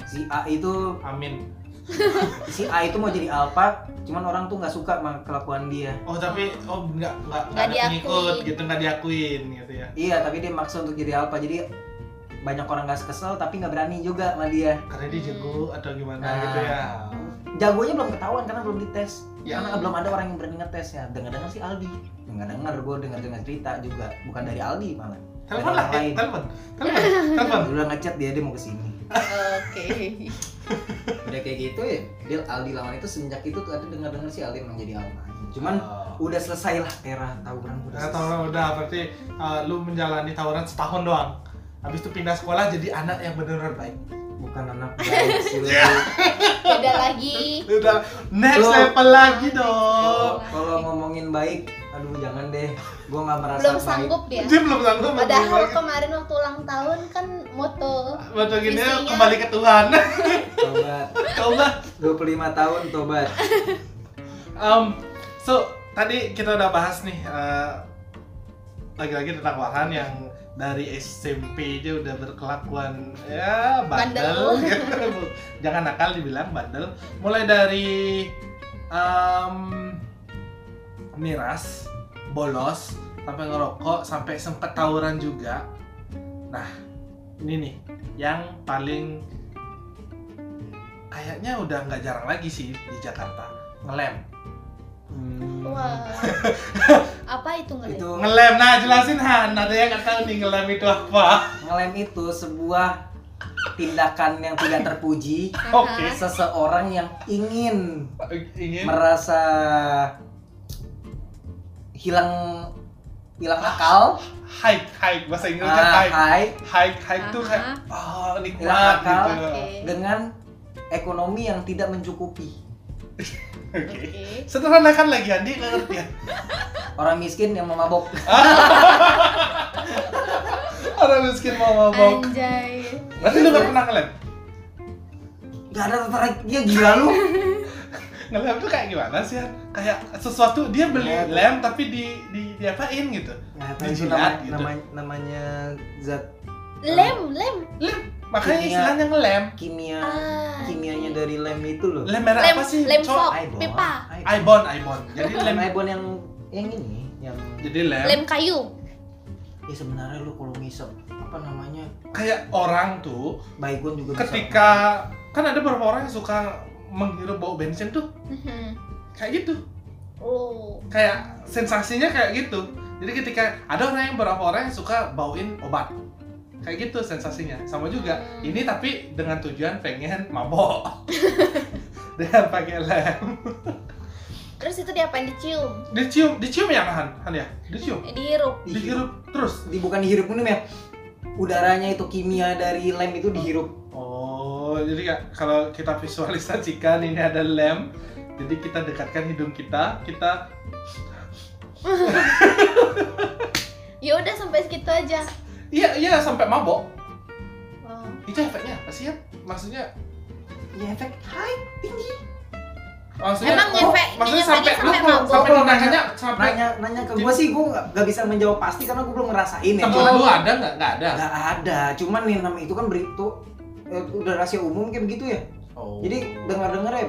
S3: si A itu
S1: Amin.
S3: si A itu mau jadi alpha cuman orang tuh nggak suka sama kelakuan dia
S1: Oh tapi oh nggak nggak
S2: Nggak
S1: nggak ada pengikut
S2: diakuin.
S1: gitu nggak diakuin gitu ya.
S3: iya tapi dia maksa untuk jadi alpha jadi banyak orang nggak kesel tapi nggak berani juga sama dia
S1: Karena dia jago atau gimana
S3: Nah.
S1: gitu ya.
S3: jagonya belum ketahuan karena belum dites
S1: Ya.
S3: karena belum ada orang yang berani ngetes ya dengar dengar si Aldi dengar dengar gue dengar dengar cerita juga bukan dari Aldi malah
S1: Telepon lah,
S3: Ada orang
S1: eh,
S3: lain.
S1: telepon, telepon,
S3: [LAUGHS]
S1: telepon.
S3: udah ngechat dia dia mau kesini
S2: Oke.
S3: udah kayak gitu ya dia Aldi lawan itu semenjak itu tuh ada dengar dengar si Aldi menjadi alma cuman
S1: Oh.
S3: udah selesai lah Tera tawuran udah
S1: Nah,
S3: selesai.
S1: tawuran udah berarti uh, lu menjalani tawuran setahun doang. Habis itu pindah sekolah jadi anak yang benar-benar baik.
S3: bukan [LAUGHS] anak baik sih lu.
S2: Beda lagi.
S1: Udah next
S3: Lu-
S1: level lagi dong.
S3: Kalau- kalau ngomongin baik aduh jangan deh gua nggak merasa
S2: Belum
S3: baik.
S2: sanggup ya.
S1: Dia belum sanggup
S2: Padahal
S1: ngomong.
S2: kemarin waktu ulang tahun kan moto
S1: Waktu gini
S2: Isinya-
S1: kembali ke Tuhan. [LAUGHS] Ya
S3: tobat
S1: Coba.
S3: 25 tahun tobat
S1: Um, so tadi kita udah bahas nih eh, lagi-lagi tentang Warhan yang dari SMP aja udah berkelakuan ya bandel,
S2: Bandel.
S1: gitu. [LAUGHS] jangan nakal dibilang bandel. Mulai dari um, miras, bolos, sampai ngerokok, sampai sempet tawuran juga. Nah, ini nih yang paling kayaknya udah nggak jarang lagi sih di Jakarta ngelem.
S3: Hmm.
S2: Wah. Apa itu ngelihat?
S3: itu
S1: Ngelem, nah jelasin Han, ada yang nggak tahu nih ngelem itu apa
S3: ngelem itu sebuah tindakan yang tidak terpuji
S1: Oke.
S3: seseorang yang ingin
S1: Ingin
S3: merasa hilang hilang akal
S1: hike, hike, bahasa Inggrisnya
S3: ah,
S1: hike
S3: high,
S1: Hike, hike tuh kayak,
S2: Aha.
S1: oh nikmat
S3: Hilang akal.
S1: gitu
S2: Oke.
S3: dengan ekonomi yang tidak mencukupi
S1: Oke
S2: Oke.
S1: Sederhanakan lagi Andi, nggak ngerti ya
S3: orang miskin yang mau mabok
S1: Orang miskin mau mabok.
S2: Anjay.
S1: Berarti lu gak pernah ngelab?
S3: nggak ada tertarik dia gila lu
S1: Ngelab tuh kayak gimana sih? Han? Kayak sesuatu dia beli
S3: Lab.
S1: lem tapi di di diapain gitu.
S3: Nggak tahu itu
S1: Dijilat
S3: nama-
S1: gitu.
S3: nama- namanya zat
S2: Lem, lem.
S1: Makanya
S3: Kimia.
S1: istilahnya ngelem.
S3: kimia
S2: Ah.
S3: kimianya dari lem itu loh
S1: Lem merah
S2: Lem,
S1: apa sih?
S2: lem
S1: Cok?
S2: fok,
S3: Aibon.
S2: pipa.
S3: Aibon.
S1: Aibon, Aibon. Jadi lem
S3: lem Aibon yang yang ini yang
S1: jadi lem.
S2: Ah. Lem kayu.
S3: ya sebenarnya lu kalau ngisep apa namanya
S1: Kayak orang tuh
S3: baygon juga bisa.
S1: ketika kan ada beberapa orang yang suka menghirup bau bensin tuh
S2: Mhm.
S1: kayak gitu.
S2: Oh.
S1: Kayak sensasinya kayak gitu. Jadi ketika ada orang yang beberapa orang yang suka bauin obat. Kayak gitu sensasinya. Sama juga
S2: Hmm.
S1: ini tapi dengan tujuan pengen
S2: [LAUGHS]
S1: mabok. dengan pakai lem.
S2: Terus itu diapain dicium?
S1: Dicium, dicium ya Han, Han ya? Dicium.
S2: Eh, Dihirup.
S3: Iya.
S1: Dihirup terus.
S3: di bukan dihirup minum ya udaranya itu kimia dari lem itu dihirup
S1: Oh, jadi kayak kalau kita visualisasikan ini ada lem, jadi kita dekatkan hidung kita, kita
S2: Ya udah sampai segitu aja.
S1: iya iya sampai mabok.
S2: Wow.
S1: Itu efeknya apa sih ya? Maksudnya
S3: ya efek hai tinggi
S1: maksudnya
S2: Emang
S1: oh,
S2: efek-
S1: maksudnya
S2: efeknya
S1: sampai lu
S2: sampai
S1: kalau-
S2: mabok?
S1: sampai
S3: Kalau
S1: nanya sampai
S3: nanya nanya ke gua sih gua nggak- nggak bisa menjawab pasti karena gua belum ngerasain ya
S1: temen
S3: cuman
S1: lu ada nggak? Nggak ada.
S3: nggak ada cuman nih nama itu kan berita eh, udah rahasia umum kayak begitu ya
S1: Oh.
S3: jadi dengar dengar ya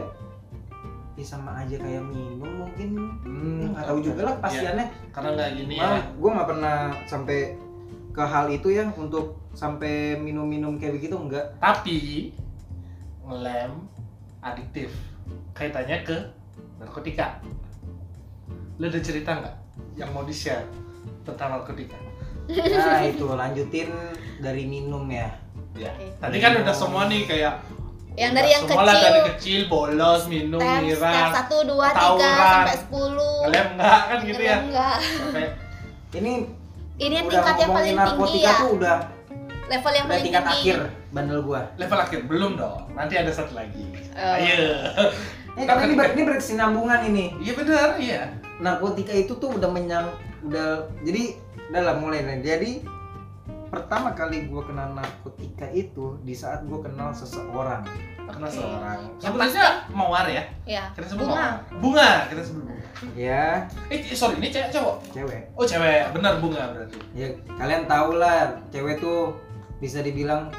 S3: ya sama aja kayak minum mungkin
S1: Hmm,
S3: nggak tahu juga lah pastiannya
S1: Iya, karena nggak gini ya.
S3: Malah gue nggak pernah sampai ke hal itu ya untuk sampai minum-minum kayak begitu
S1: [LAUGHS]
S3: enggak.
S1: Tapi lem adiktif kaitannya ke narkotika. Lu ada cerita nggak yang mau di-share tentang narkotika?
S3: Nah itu lanjutin dari minum ya.
S1: Ya. Tadi kan udah semua nih kayak
S2: Yang dari yang
S1: semua lah
S2: kecil.
S1: dari kecil bolos, minum,
S2: Tes, tes
S1: miras,
S2: satu, dua, tiga,
S1: tawuran.
S2: sampai sepuluh.
S1: lem enggak kan gitu ya.
S2: Kalian enggak.
S1: Sampai
S3: Ini
S2: Ini yang
S3: udah
S2: tingkat yang
S3: ngomongin
S2: paling tinggi
S3: narkotika
S2: ya.
S3: tuh udah
S2: Level yang
S3: udah
S2: paling
S3: tingkat
S2: tinggi.
S3: akhir bandel gua.
S1: level akhir belum dong. Nanti ada satu lagi.
S2: Oh.
S1: Ayo.
S3: Eh, karena ini, ber, ini berkesinambungan ini.
S1: Iya benar, iya.
S3: Narkotika itu tuh udah menyang udah jadi udah lah mulai nih. Jadi pertama kali gua kenal narkotika itu di saat gua kenal seseorang.
S1: Kenal
S2: Oke.
S1: seorang.
S2: Yang
S1: Sebenarnya mawar ya.
S2: Ya.
S1: Kita sebut
S2: Bunga.
S1: mawar. Bunga, kita sebut bunga.
S3: Ya,
S1: Eh, sorry, ini cewek cowok.
S3: cewek.
S1: Oh, cewek. Benar bunga berarti.
S3: ya kalian tahu lah cewek tuh bisa dibilang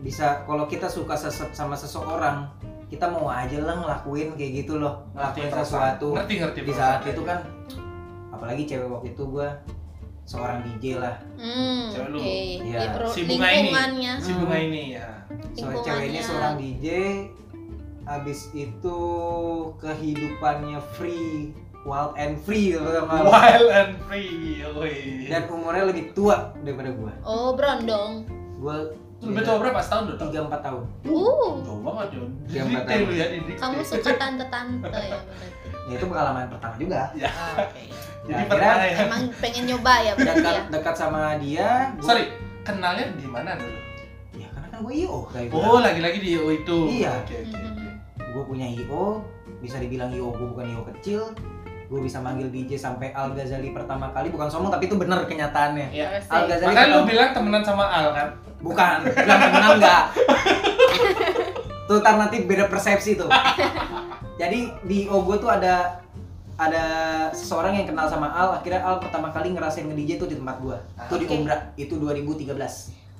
S3: bisa kalau kita suka sese- sama seseorang kita mau aja lah ngelakuin kayak gitu loh ngelakuin sesuatu
S1: Ngerti, ngerti.
S3: di saat itu kan apalagi cewek waktu itu gua seorang DJ lah
S2: Hmm.
S1: Cewek lu.
S2: Oke.
S3: Iya.
S2: Di pro-
S1: Si bunga ini.
S2: lingkungannya.
S1: si bunga ini ya.
S3: soalnya cewek ini
S2: Lingkungannya.
S3: seorang DJ habis itu kehidupannya free wild and free terutama.
S1: Wild and free. woi.
S3: dan umurnya lebih tua daripada gua
S2: Oh, brondong.
S3: gua
S1: Lebih tua berapa? Setahun dong?
S3: tiga empat tahun
S2: Uh.
S1: Jauh banget, Jon.
S3: Yang
S1: Detail
S3: pertama.
S1: ya, di detail.
S2: Kamu
S1: [LAUGHS]
S2: suka tante-tante ya berarti.
S3: ya, itu pengalaman pertama juga
S2: Ah, Oke.
S1: Jadi
S3: Nah,
S1: pertama ya.
S2: Emang pengen nyoba ya berarti ya.
S3: dekat dekat sama dia gua-
S1: Sorry, kenalnya di mana dulu?
S3: ya karena kan gue IO kayak
S1: Oh, lagi-lagi di IO itu.
S3: Iya.
S1: Oke, oke,
S2: Hmm.
S1: oke.
S3: gue punya IO bisa dibilang IO gue bukan IO kecil gue bisa manggil DJ sampai Al Ghazali pertama kali bukan sombong tapi itu bener kenyataannya
S1: Iya.
S3: Al
S2: Asik.
S3: Ghazali
S1: Makanya lu
S3: pertama-
S1: bilang temenan sama Al kan?
S3: bukan bukan kenal
S1: [LAUGHS]
S3: enggak tuh ntar nanti beda persepsi
S1: [LAUGHS]
S3: tuh jadi di IO gue tuh ada ada seseorang yang kenal sama Al akhirnya Al pertama kali ngerasain nge DJ tuh di tempat gue
S1: Ah,
S3: tuh di
S2: Oke.
S3: Umbra itu 2013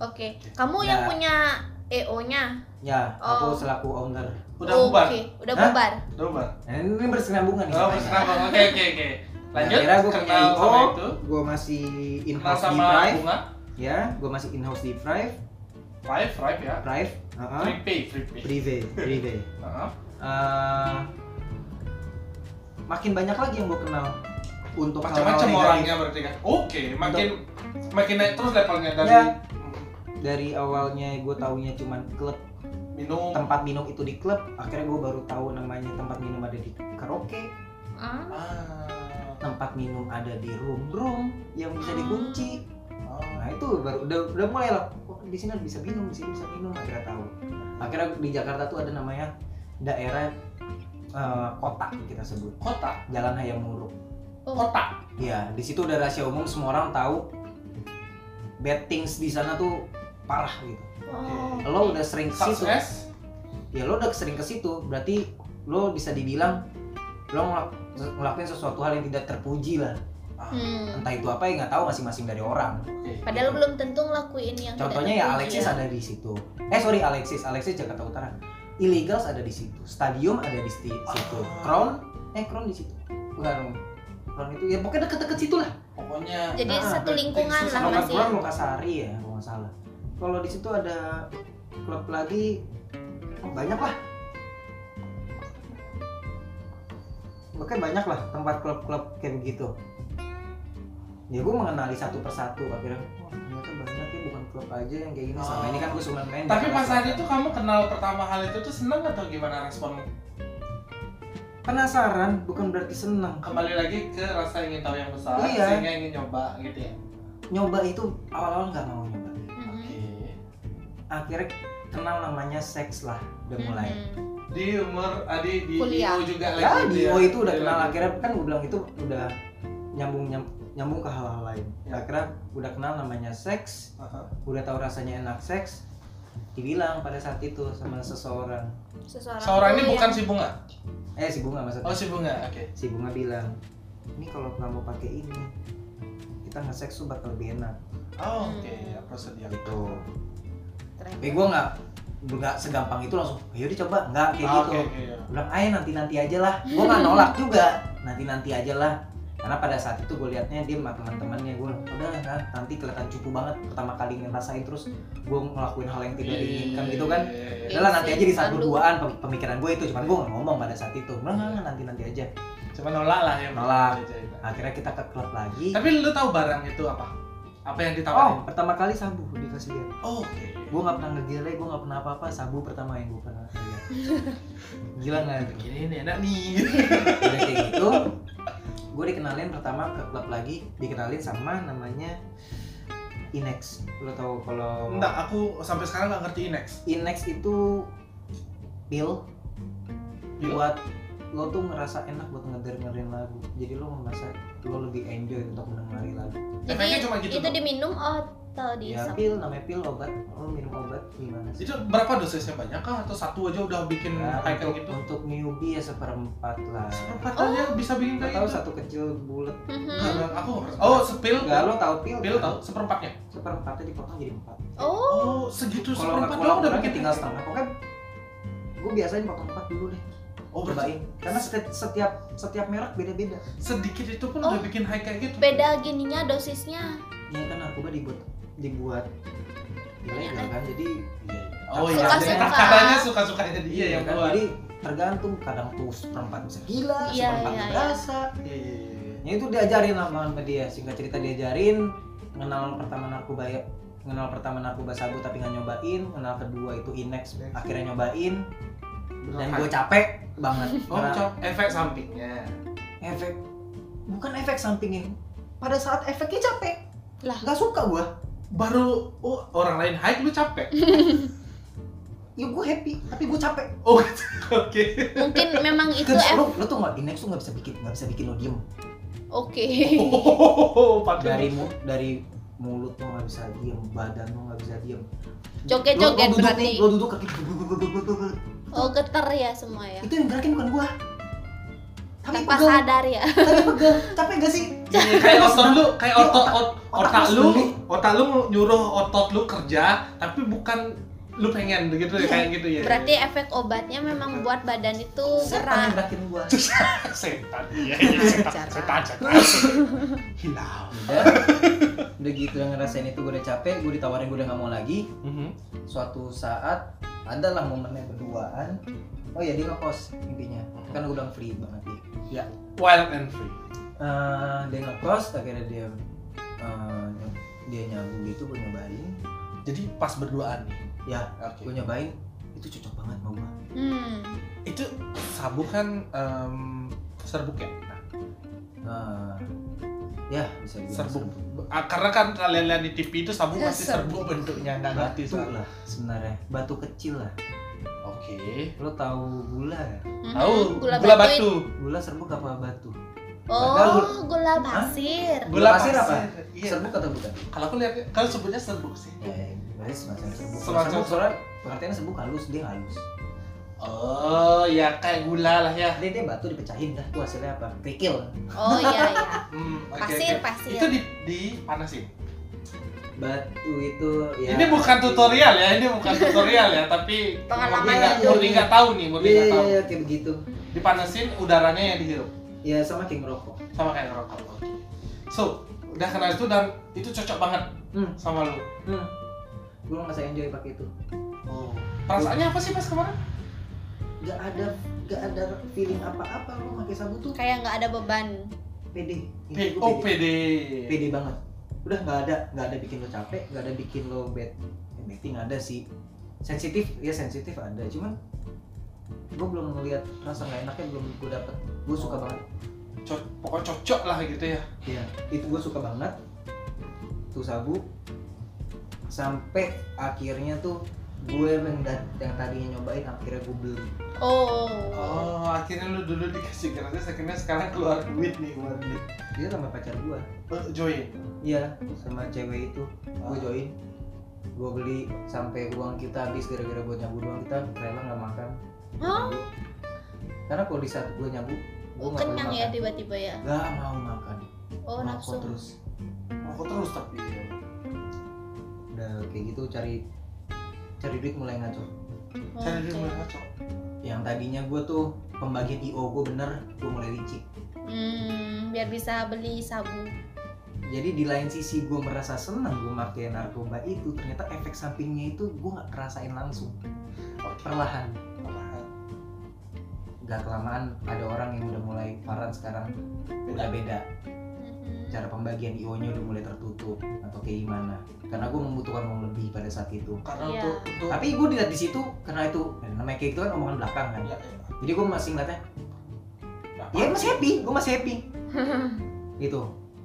S2: Oke. Kamu yang
S3: Nah.
S2: punya E EO-nya.
S3: ya
S2: Oh.
S3: aku selaku owner
S1: Udah bubar.
S2: Oke, udah
S3: Hah?
S2: bubar.
S1: Udah bubar.
S3: Nah, ini bersinambungan nih.
S1: Oh,
S3: sama
S1: terserah Bang. Oke, oke, oke. Lanjut.
S3: Akhirnya gua punya
S1: kenal sama
S3: IO.
S1: itu.
S3: Gue masih
S1: Kenal
S3: in-house di
S1: sama
S3: Drive.
S1: Bunga.
S3: Ya, gue masih in-house di Drive.
S1: Drive, drive ya.
S3: Drive. uh-uh.
S1: Free pay, free pay.
S3: Prive, Prive.
S1: Heeh.
S3: Eh, makin banyak lagi yang gue kenal untuk
S1: Macam-macam
S3: hal-hal
S1: orangnya berarti kan. Oke, makin makin naik terus levelnya dari
S3: Ya. dari awalnya gue taunya cuman klub
S1: minum
S3: tempat minum itu di klub akhirnya gue baru tahu namanya tempat minum ada di karaoke
S1: Ah.
S2: Ah.
S3: tempat minum ada di room room yang bisa dikunci
S1: Oh.
S3: Nah itu baru udah udah mulai lah. Oh, di sini bisa minum, di sini bisa minum. Akhirnya tahu. Akhirnya di Jakarta tuh ada namanya daerah eh, kotak kita sebut
S1: Kota.
S3: Jalan Hayam Muruk.
S1: kota.
S3: Iya, di situ udah rahasia umum semua orang tahu bad things di sana tuh parah gitu.
S2: Oh,
S3: Lo udah sering ke situ.
S1: Sukses.
S3: Ya lo udah sering ke situ, berarti lo bisa dibilang lo ngelak- ngelakuin sesuatu hal yang tidak terpuji lah. Ah,
S2: Hmm.
S3: Entah itu apa ya nggak tahu masing-masing dari orang.
S2: Padahal belum tentu ngelakuin yang tidak
S3: Contohnya ya
S2: terpuji
S3: Alexis
S2: ya.
S3: ada di situ. Eh sorry Alexis, Alexis Jakarta Utara. Illegals ada di situ. Stadium ada di sti- situ.
S2: Oh.
S1: Ah.
S3: Crown, eh Crown di situ. Bukan Crown itu ya pokoknya deket-deket situ lah.
S1: Pokoknya
S2: Jadi
S3: Ah,
S2: satu lingkungan lah
S3: Kalau nggak
S2: masih.
S3: kurang Lokasari ya, kalau nggak salah. Kalau di situ ada klub lagi oh, banyak lah. Makanya banyak lah tempat klub-klub kayak begitu. Ya gue mengenali satu persatu akhirnya. Oh, ternyata banyak ya bukan klub aja yang kayak gini. Sama
S1: Oh.
S3: ini kan gue cuma main. di
S1: Tapi
S3: Jakarta
S1: pas saat
S3: Selatan.
S1: itu kamu kenal pertama hal itu tuh seneng atau gimana respon?
S3: penasaran bukan berarti seneng.
S1: Kembali lagi ke rasa ingin tahu yang besar,
S3: Iya.
S1: sehingga ingin nyoba gitu ya.
S3: Nyoba itu awal-awal nggak mau nyoba.
S2: Mhm.
S3: Akhirnya kenal namanya seks lah udah mulai.
S2: Mhm.
S1: Di umur Adi di
S2: Kuliah.
S1: IO juga lagi.
S3: Ya,
S1: gitu
S3: di
S1: ya?
S3: oh itu udah
S1: Iya,
S3: kenal
S1: lagi.
S3: akhirnya kan gue bilang itu udah nyambung nyam- nyambung ke hal-hal lain.
S1: Ya.
S3: Akhirnya udah kenal namanya seks,
S1: Aha.
S3: udah tahu rasanya enak seks. Dibilang pada saat itu sama seseorang,
S2: Seseorang
S1: Seorang ini
S2: tuh
S1: bukan
S2: yang-
S1: si bunga.
S3: eh si bunga maksudnya.
S1: Oh si bunga, oke.
S3: Si bunga bilang, ini kalau kamu pakai ini kita nggak seks tuh bakal lebih enak.
S1: Oh,
S2: Hmm.
S1: oke, aku sedia.
S3: Gitu.
S2: Keren.
S3: Tapi gue nggak nggak segampang itu langsung. Ayo dicoba nggak kayak
S1: Ah,
S3: gitu.
S1: Oke, oke, iya.
S3: bilang ayo nanti nanti aja lah gue nggak nolak juga nanti nanti aja lah karena pada saat itu gue liatnya dia sama teman-temannya gue udah lah Kak, nanti kelihatan cupu banget pertama kali ngerasain terus gue ngelakuin hal yang tidak diinginkan gitu kan
S1: Iya, iya, iya.
S3: udah lah nanti aja di saat
S2: Lalu.
S3: berduaan pem- pemikiran gue itu cuman gue nggak ngomong pada saat itu bilang nggak nggak, nanti nanti aja
S1: Cuma nolak lah yang
S3: Nolak.
S1: berjalan.
S3: akhirnya kita ke klub lagi
S1: Tapi lu tahu barang itu apa? Apa yang
S3: oh
S1: ditawarin?
S3: pertama kali sabu dikasih dia
S1: Oh, oke.
S3: gue nggak pernah ngegele gue nggak pernah apa-apa sabu pertama yang gue pernah ngegele. gila nggak itu
S1: Gini ini enak nih.
S3: udah kayak gitu gue dikenalin pertama ke klub lagi dikenalin sama namanya Inex lo tau kalau
S1: Enggak, aku sampai sekarang nggak ngerti next.
S3: Inex itu pil
S1: Pil?
S3: buat lo tuh ngerasa enak buat ngedengerin lagu jadi lo merasa lo lebih enjoy untuk mendengari lagu
S1: Efeknya
S2: Jadi
S1: cuma gitu.
S2: itu
S1: doang.
S2: diminum atau
S3: ya
S1: Iya.
S2: dihisap?
S3: pil namanya pil obat lo minum obat gimana sih
S1: Itu berapa dosisnya banyak kah atau satu aja udah bikin
S3: Nah,
S1: kayak
S3: untuk, Oh,
S1: gitu?
S3: untuk newbie ya seperempat lah
S1: Seperempat aja bisa bikin kayak
S3: atau
S1: gitu.
S3: satu kecil bulat
S2: Mhm.
S1: Nggak, nggak, aku nggak pernah. Oh, sepil.
S3: enggak lo tau pil
S1: Pil
S3: kan?
S1: tau seperempatnya.
S3: seperempatnya dipotong jadi empat
S2: Oh,
S1: Oh, segitu
S3: kalau nggak ya.
S1: seperempat
S3: kalau
S1: doang udah bikin
S3: tinggal setengah pokoknya gue biasanya potong empat dulu deh
S1: Oh, berarti
S3: cobain karena setiap setiap setiap merek beda beda
S1: sedikit itu pun
S2: Oh.
S1: udah bikin high kayak gitu.
S2: beda gininya dosisnya.
S3: ya kan narkoba dibuat dibuat ilegal kan jadi iya.
S1: Oh iya,
S2: Suka-suka.
S1: jadi takarannya suka-sukanya dia
S3: iya
S1: yang
S3: kan
S1: keluar.
S3: jadi tergantung kadang tuh seperempat bisa gila
S2: Iya,
S3: seperempat
S2: iya,
S3: nggak
S2: iya.
S3: berasa
S1: Iya, iya, iya.
S3: ya itu diajarin sama sama dia singkat cerita diajarin kenal pertama narkoba ya kenal pertama narkoba sabu tapi nggak nyobain kenal kedua itu inex akhirnya nyobain dan gue capek banget
S1: Oh,
S3: Karena
S1: cok, efek sampingnya.
S3: efek bukan efek sampingnya pada saat efeknya capek
S2: Lah.
S3: nggak suka gua
S1: Baru oh, orang lain high lu [LAUGHS] capek.
S3: ya gua happy tapi gua capek
S1: Oh, oke.
S2: Mungkin memang itu
S3: Kan,
S2: ef-
S3: lu, lu tuh nggak di next tuh nggak bisa bikin nggak bisa bikin lo diem
S2: Oke. [LAUGHS]
S1: [LAUGHS] Oh, pakai.
S3: dari mu- dari mulut lo nggak bisa diem badan lo nggak bisa diem Lu-
S2: Joget-joget
S3: lu duduk
S2: berarti.
S3: nih, lo duduk kaki
S2: Oh, getar ya semua ya.
S3: itu yang gerakin bukan gua tapi
S2: Tanpa
S3: pegel
S2: sadar ya.
S3: tapi pegel capek gak sih
S1: Iya, kayak otot lu, kayak
S3: Iya,
S1: otot
S3: otak-
S1: ot-
S3: otak
S1: otak
S3: lu
S1: lu,
S3: sendiri.
S1: otak lu nyuruh otot lu kerja, tapi bukan lu pengen gitu ya kayak gitu ya.
S2: Berarti efek obatnya memang buat badan itu
S3: siapa
S2: gerak.
S3: yang gerakin gua
S1: setan, iya, iya, setan, setan, setan, hilang.
S3: udah udah gitu yang ngerasain itu gue udah capek gue ditawarin gue udah nggak mau lagi
S1: Mhm.
S3: suatu saat adalah momennya berduaan oh ya dia ngekos intinya kan udah free banget dia
S1: Wild and free.
S3: Eh, dia ngekos akhirnya dia eh, ny- dia nyabu gitu gue nyobain
S1: Jadi pas berduaan nih.
S3: Ya.
S1: Oke.
S3: gue nyobain itu cocok banget sama gue
S2: Hmm.
S1: Itu sabu kan em, serbuk ya.
S3: Eh, ya bisa dibilang
S1: Serbuk. Ah, Karena kan kalian lihat di TV itu sabu pasti serbuk bentuknya nggak
S3: batu
S1: ngerti soalnya.
S3: lah sebenarnya batu kecil lah
S1: Oke.
S3: lo tahu gula ya
S2: Mhm.
S1: Tahu gula,
S2: batu
S1: batu.
S3: gula serbuk apa batu Padahal
S2: Oh,
S3: gul-
S2: gula pasir.
S3: Gula pasir apa?
S1: Iya.
S3: Serbuk atau bukan?
S1: Kalau aku lihat kalau sebutnya serbuk sih.
S3: Ya, berarti semacam serbuk.
S1: Semacam
S3: Serbuk soalnya pengertiannya serbuk halus, dia halus.
S1: Oh, ya kayak gula lah ya.
S3: Dia dia batu dipecahin dah tuh hasilnya apa? Kerikil.
S2: Oh iya iya.
S1: Hmm, oke,
S2: Pasir,
S1: oke.
S2: pasir.
S1: Itu di dipanasin.
S3: Batu itu ya.
S1: Ini bukan tutorial ya, ini bukan tutorial ya, tapi
S2: Pengalaman
S1: murni nggak-
S2: hidup.
S1: murni nggak tahu nih, murni
S3: Iya,
S1: nggak
S3: iya,
S1: tahu.
S3: iya, kayak begitu.
S1: Dipanasin udaranya yang dihirup.
S3: Ya sama kayak ngerokok.
S1: sama kayak ngerokok oke so udah kenal itu dan itu cocok banget
S3: Hmm.
S1: sama lu
S3: Hmm. Gue ngerasa enjoy pakai itu.
S1: oh. perasaannya apa sih pas kemarin
S3: Gak ada gak ada feeling apa-apa lo pakai sabu tuh
S2: Kayak nggak ada beban.
S3: pede.
S1: P
S3: Ini gua
S1: oh PD
S3: pede banget udah nggak ada nggak ada bikin lo capek nggak ada bikin lo bad eh, betting ada sih sensitif ya sensitif ada cuman gue belum melihat rasa nggak enaknya belum gue dapet gue
S1: Oh.
S3: suka banget
S1: Co- pokoknya cocok lah gitu ya
S3: ya itu gue suka banget tuh sabu sampai akhirnya tuh gue yang, da- yang tadinya nyobain akhirnya gue beli
S2: Oh.
S1: oh akhirnya lu dulu dikasih gratis akhirnya sekarang keluar duit nih keluar duit
S3: dia sama pacar gue
S1: Eh, join
S3: iya sama cewek itu gue
S1: Ah.
S3: join gue beli sampai uang kita habis gara-gara buat nyabu doang kita rela nggak makan
S2: Oh,
S3: karena kalau di saat gue nyabu gue nggak boleh
S2: kenyang
S3: makan
S2: ya tiba-tiba ya.
S3: nggak mau makan
S2: Oh,
S3: Ngerokok
S2: nafsu.
S3: terus
S1: aku terus tapi ya.
S3: udah kayak gitu cari cari duit mulai ngaco
S2: Oh,
S1: cari duit
S2: oke.
S1: mulai cocok
S3: yang tadinya gue tuh pembagian io gue bener gue mulai licik
S2: Hmm, biar bisa beli sabu.
S3: jadi di lain sisi gue merasa seneng gue pakai narkoba itu ternyata efek sampingnya itu gue nggak ngerasain langsung
S1: oke
S3: perlahan nggak kelamaan ada orang yang udah mulai paran sekarang udah beda
S2: Mhm. [LAUGHS]
S3: cara pembagian io nya udah mulai tertutup atau kayak gimana karena gue membutuhkan uang lebih pada saat itu
S1: karena
S2: Iya.
S1: untuk untuk ya,
S3: tapi gue dilihat di situ karena itu eh, namanya kayak gitu kan omongan belakang kan
S1: ya,
S3: jadi gue masih ngeliatnya
S1: ya.
S3: ya masih happy gue masih happy gitu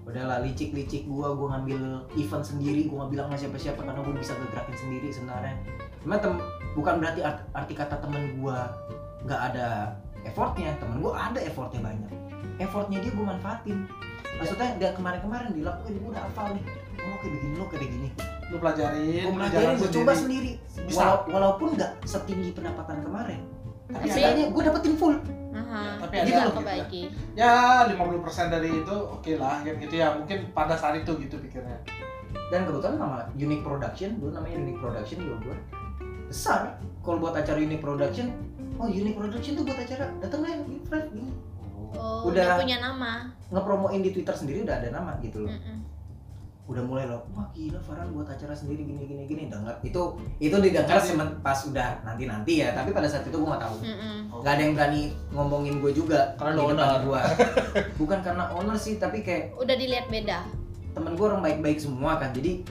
S3: udahlah licik licik gue gue ngambil event sendiri gue nggak bilang sama siapa siapa karena gue bisa ngegerakin sendiri sebenarnya cuma tem- bukan berarti art- arti kata temen gue nggak ada effortnya temen gue ada effortnya banyak effortnya dia gue manfaatin maksudnya dia kemarin-kemarin dilakuin gue udah hafal nih oh, lo kayak begini lo kayak begini
S1: lu pelajarin
S3: gue
S1: lu
S3: pelajarin
S1: jalan
S3: gue coba Iya, sendiri
S1: bisa
S3: Walau- walaupun nggak setinggi pendapatan kemarin tapi
S1: Tapi-
S3: setidaknya gue dapetin full
S2: Aha.
S1: Ya, tapi
S3: ada gitu
S2: Bisa
S3: loh,
S2: kebagi.
S1: ya 50% dari itu oke lah kan gitu ya mungkin pada saat itu gitu pikirnya
S3: dan kebetulan nama Unique Production dulu namanya Unique Production juga gue besar kalau buat acara Unique Production oh Unique Production tuh buat acara datang lah ini Fred, ini.
S2: Oh, udah
S3: Udah.
S2: punya nama.
S3: ngepromoin di Twitter sendiri udah ada nama gitu loh
S1: Hmm.
S2: Mhm.
S3: udah mulai loh wah gila Farhan buat acara sendiri gini gini gini dengar itu itu didengar semen- pas udah nanti nanti ya tapi pada saat itu gue nggak tahu
S2: Mhm.
S3: nggak ada yang berani ngomongin gue juga
S1: Karena
S3: di
S1: lo
S3: depan
S1: owner. [LAUGHS]
S3: gua. bukan karena owner sih tapi kayak
S2: Udah dilihat beda.
S3: temen gue orang baik-baik semua kan jadi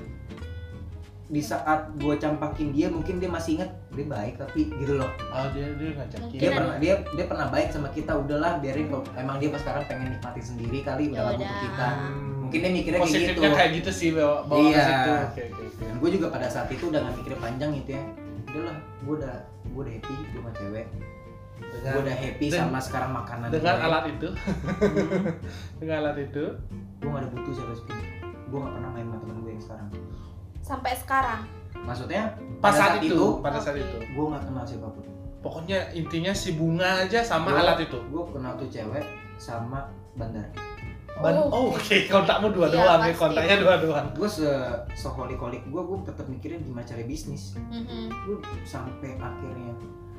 S3: di saat gue campakin dia mungkin dia masih inget dia baik tapi gitu loh
S1: oh dia dia ngajakin
S3: dia
S2: Kira-
S3: pernah dia dia pernah baik sama kita udahlah biarin kalau emang dia pas sekarang pengen nikmatin sendiri kali udah nggak butuh
S2: Yaudah.
S3: kita
S2: Hmm.
S3: mungkin dia mikirnya kayak gitu
S1: positifnya kayak gitu sih bawa, bawa
S3: Iya.
S1: ke situ oke oke oke
S3: dan gue juga pada saat itu udah nggak mikir panjang gitu ya udahlah gue udah gue udah happy gue sama cewek gue
S1: dengan,
S3: udah happy
S1: Den-
S3: sama sekarang makanan ya.
S1: dengan alat [LAUGHS] itu dengan alat itu
S3: gue gak ada butuh siapa pun gue gak pernah main sama temen gue yang sekarang
S2: Sampai sekarang.
S3: maksudnya
S1: pas
S3: Pada
S1: saat
S3: saat
S1: itu
S3: itu,
S1: pada saat
S2: oke.
S1: itu
S3: gue gak kenal siapapun
S1: pokoknya intinya si bunga aja sama
S3: Gua-
S1: alat itu
S3: gue kenal tuh cewek sama bandar
S1: Ban-
S2: Oh.
S1: oh, oke kontakmu dua
S2: Iya,
S1: doang nih
S2: pasti.
S1: kontaknya dua doang
S3: gue se seholik holik gue gue tetap mikirin gimana cari bisnis
S2: Mhm.
S3: gue sampai akhirnya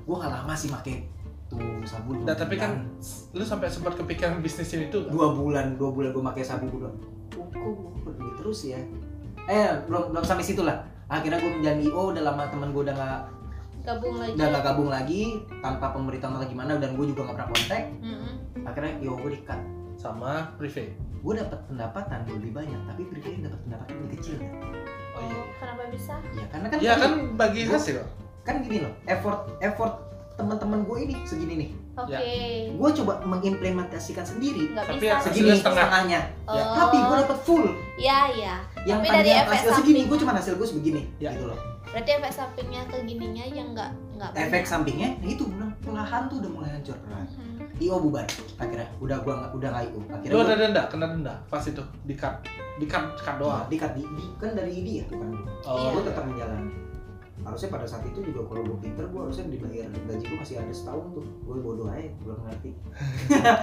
S3: gue gak lama sih make tuh sabu dua
S1: Nah, tapi
S3: bulan.
S1: kan lu sampai sempat kepikiran bisnisin itu nggak?
S3: dua bulan dua bulan gue make sabu gue bilang "Oh, kok gue pergi terus ya eh belum belum sampai situ lah akhirnya gue menjadi oh udah lama temen gue udah gak
S2: Gabung lagi.
S3: udah gak gabung lagi tanpa pemberitahuan atau gimana dan gue juga gak pernah kontak
S2: Mhm.
S3: akhirnya yo gue dikat
S1: sama privé
S3: gue dapat pendapatan lebih banyak tapi pribadi dapat pendapatan lebih kecil kan
S1: oh iya
S2: Kenapa bisa?
S3: ya karena kan
S1: iya kan bagi
S3: Gua-
S1: hasil
S3: kan gini loh effort effort teman-teman gue ini segini nih
S2: Oke.
S3: gue coba mengimplementasikan sendiri
S1: Tapi
S2: Nggak bisa. Iya,
S1: yang
S3: ya, segini
S1: Hasilnya setengah.
S3: setengahnya
S2: Oh.
S3: tapi gue dapet full
S2: Ya, ya.
S3: yang
S2: Tapi dari
S3: tadinya
S2: efek
S3: hasil segini
S2: samping.
S3: gue cuma hasil gue sebegini
S1: Ya.
S3: gitu loh
S2: berarti efek sampingnya ke gininya yang nggak nggak
S3: efek sampingnya nah itu udah perlahan tuh udah mulai hancur perlahan io bubar akhirnya udah gua nggak- udah nggak io akhirnya
S1: Lu
S3: gua-
S1: ada denda, kena denda pas itu di cut, di cut, cut doang.
S3: di, di, di- kan dari ID ya tuh kan
S1: Oh,
S3: gue
S1: iya.
S3: tetap menjalani harusnya pada saat itu juga kalau gue pinter gue harusnya dibayar gaji gue masih ada setahun tuh gue bodoh aja belum ngerti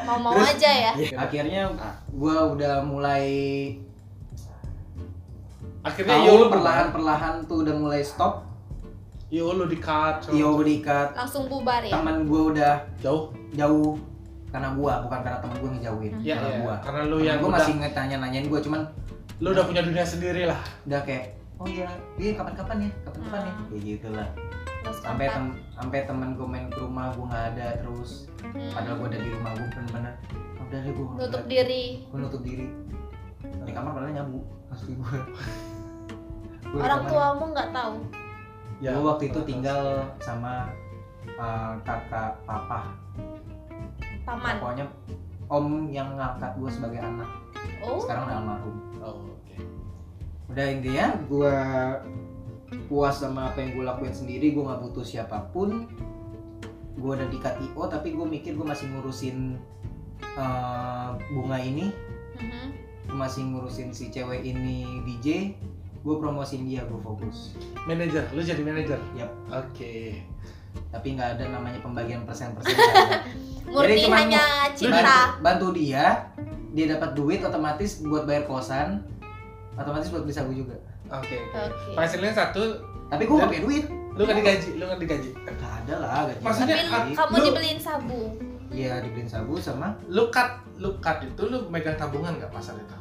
S2: mau mau aja ya
S1: Iya,
S3: akhirnya
S1: Ah.
S3: gue udah mulai
S1: Akhirnya yo
S3: tahu
S1: lu
S3: perlahan perlahan tuh udah mulai stop
S1: yo Iya, lu Iya, di cut. so-
S3: io dikat
S2: langsung bubar ya
S3: teman gue udah
S1: jauh.
S3: jauh karena gue bukan karena temen gue ngejauhin
S2: Hmm.
S1: Iya,
S3: karena
S1: iya.
S3: gue
S1: Karena lu
S3: gue
S1: yang udah,
S3: masih ngetanya nanyain gue cuman
S1: lu udah punya dunia sendiri lah.
S3: udah kayak oh iya dia kapan-kapan ya kapan-kapan ya
S2: Hmm.
S3: kayak gitu lah
S2: Terus
S3: sampai
S2: kontak.
S3: tem sampai temen gue main ke rumah gue nggak ada terus
S2: Hmm.
S3: padahal gue ada di rumah gue bener-bener "Ah, udah deh gue
S2: nutup diri
S3: gue nutup diri di kamar padahal nyabu asli
S1: [LAUGHS]
S3: gue
S2: orang tuamu nggak tahu
S1: Ya.
S3: gue waktu itu tinggal sama uh, kakak papa
S2: paman
S3: pokoknya om yang ngangkat gue sebagai anak
S2: oh
S3: sekarang udah almarhum
S1: Oh, oke.
S3: udah intinya gue puas sama apa yang gue lakuin sendiri gue nggak butuh siapapun gue udah di KTO tapi gue mikir gue masih ngurusin uh, bunga ini
S2: Mhm.
S3: Gua masih ngurusin si cewek ini DJ gue promosiin dia gue fokus
S1: Manager, lu jadi manager.
S3: Yap.
S1: Oke.
S3: tapi nggak ada namanya pembagian persen persen
S2: murni
S3: cuman
S2: hanya
S3: bantu,
S2: cinta
S3: bantu dia dia dapat duit otomatis buat bayar kosan otomatis buat bisa gue juga
S1: Oke. oke.
S2: Oke.
S1: Hasilnya satu,
S3: tapi gue nggak punya duit
S1: lu nggak digaji, lu nggak digaji.
S3: nggak ada lah gaji
S1: Maksudnya,
S2: tapi
S1: ah,
S2: lu- kamu
S1: lu-
S2: dibeliin sabu
S3: iya dibeliin sabu sama
S1: Lu cut, lu cut itu lu megang tabungan nggak pasal itu?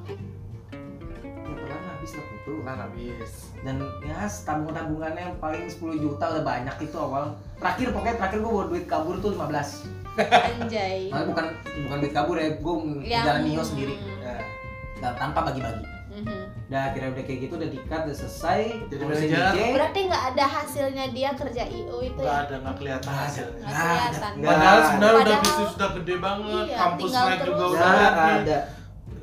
S3: ya pelan habis lah itu
S1: Lah habis.
S3: dan ya tabungan tabungannya yang paling 10 juta udah banyak itu awal terakhir pokoknya terakhir gue bawa duit kabur tuh 15
S2: anjay
S3: Maksudnya bukan bukan duit kabur ya gue
S2: Yang-
S3: jalan mio sendiri
S1: Ya.
S3: dan tanpa bagi-bagi
S2: Mhm.
S3: Nah, akhirnya udah kayak gitu, udah dikat, udah selesai.
S1: Jadi
S3: ngurusin
S1: manajer.
S3: DJ.
S2: berarti nggak ada hasilnya dia kerja IO itu
S1: Nggak
S2: ya
S1: ada nggak kelihatan
S3: Nggak ada.
S1: hasilnya.
S2: nggak
S3: Nggak ada.
S2: kelihatan
S3: Nggak
S1: Padahal
S3: ada.
S1: sebenarnya udah
S2: Padahal-
S1: bisnis udah gede banget,
S2: Iya,
S1: kampus
S2: tinggal
S1: naik juga
S2: terus.
S1: udah
S3: Nggak
S1: happy,
S3: ada,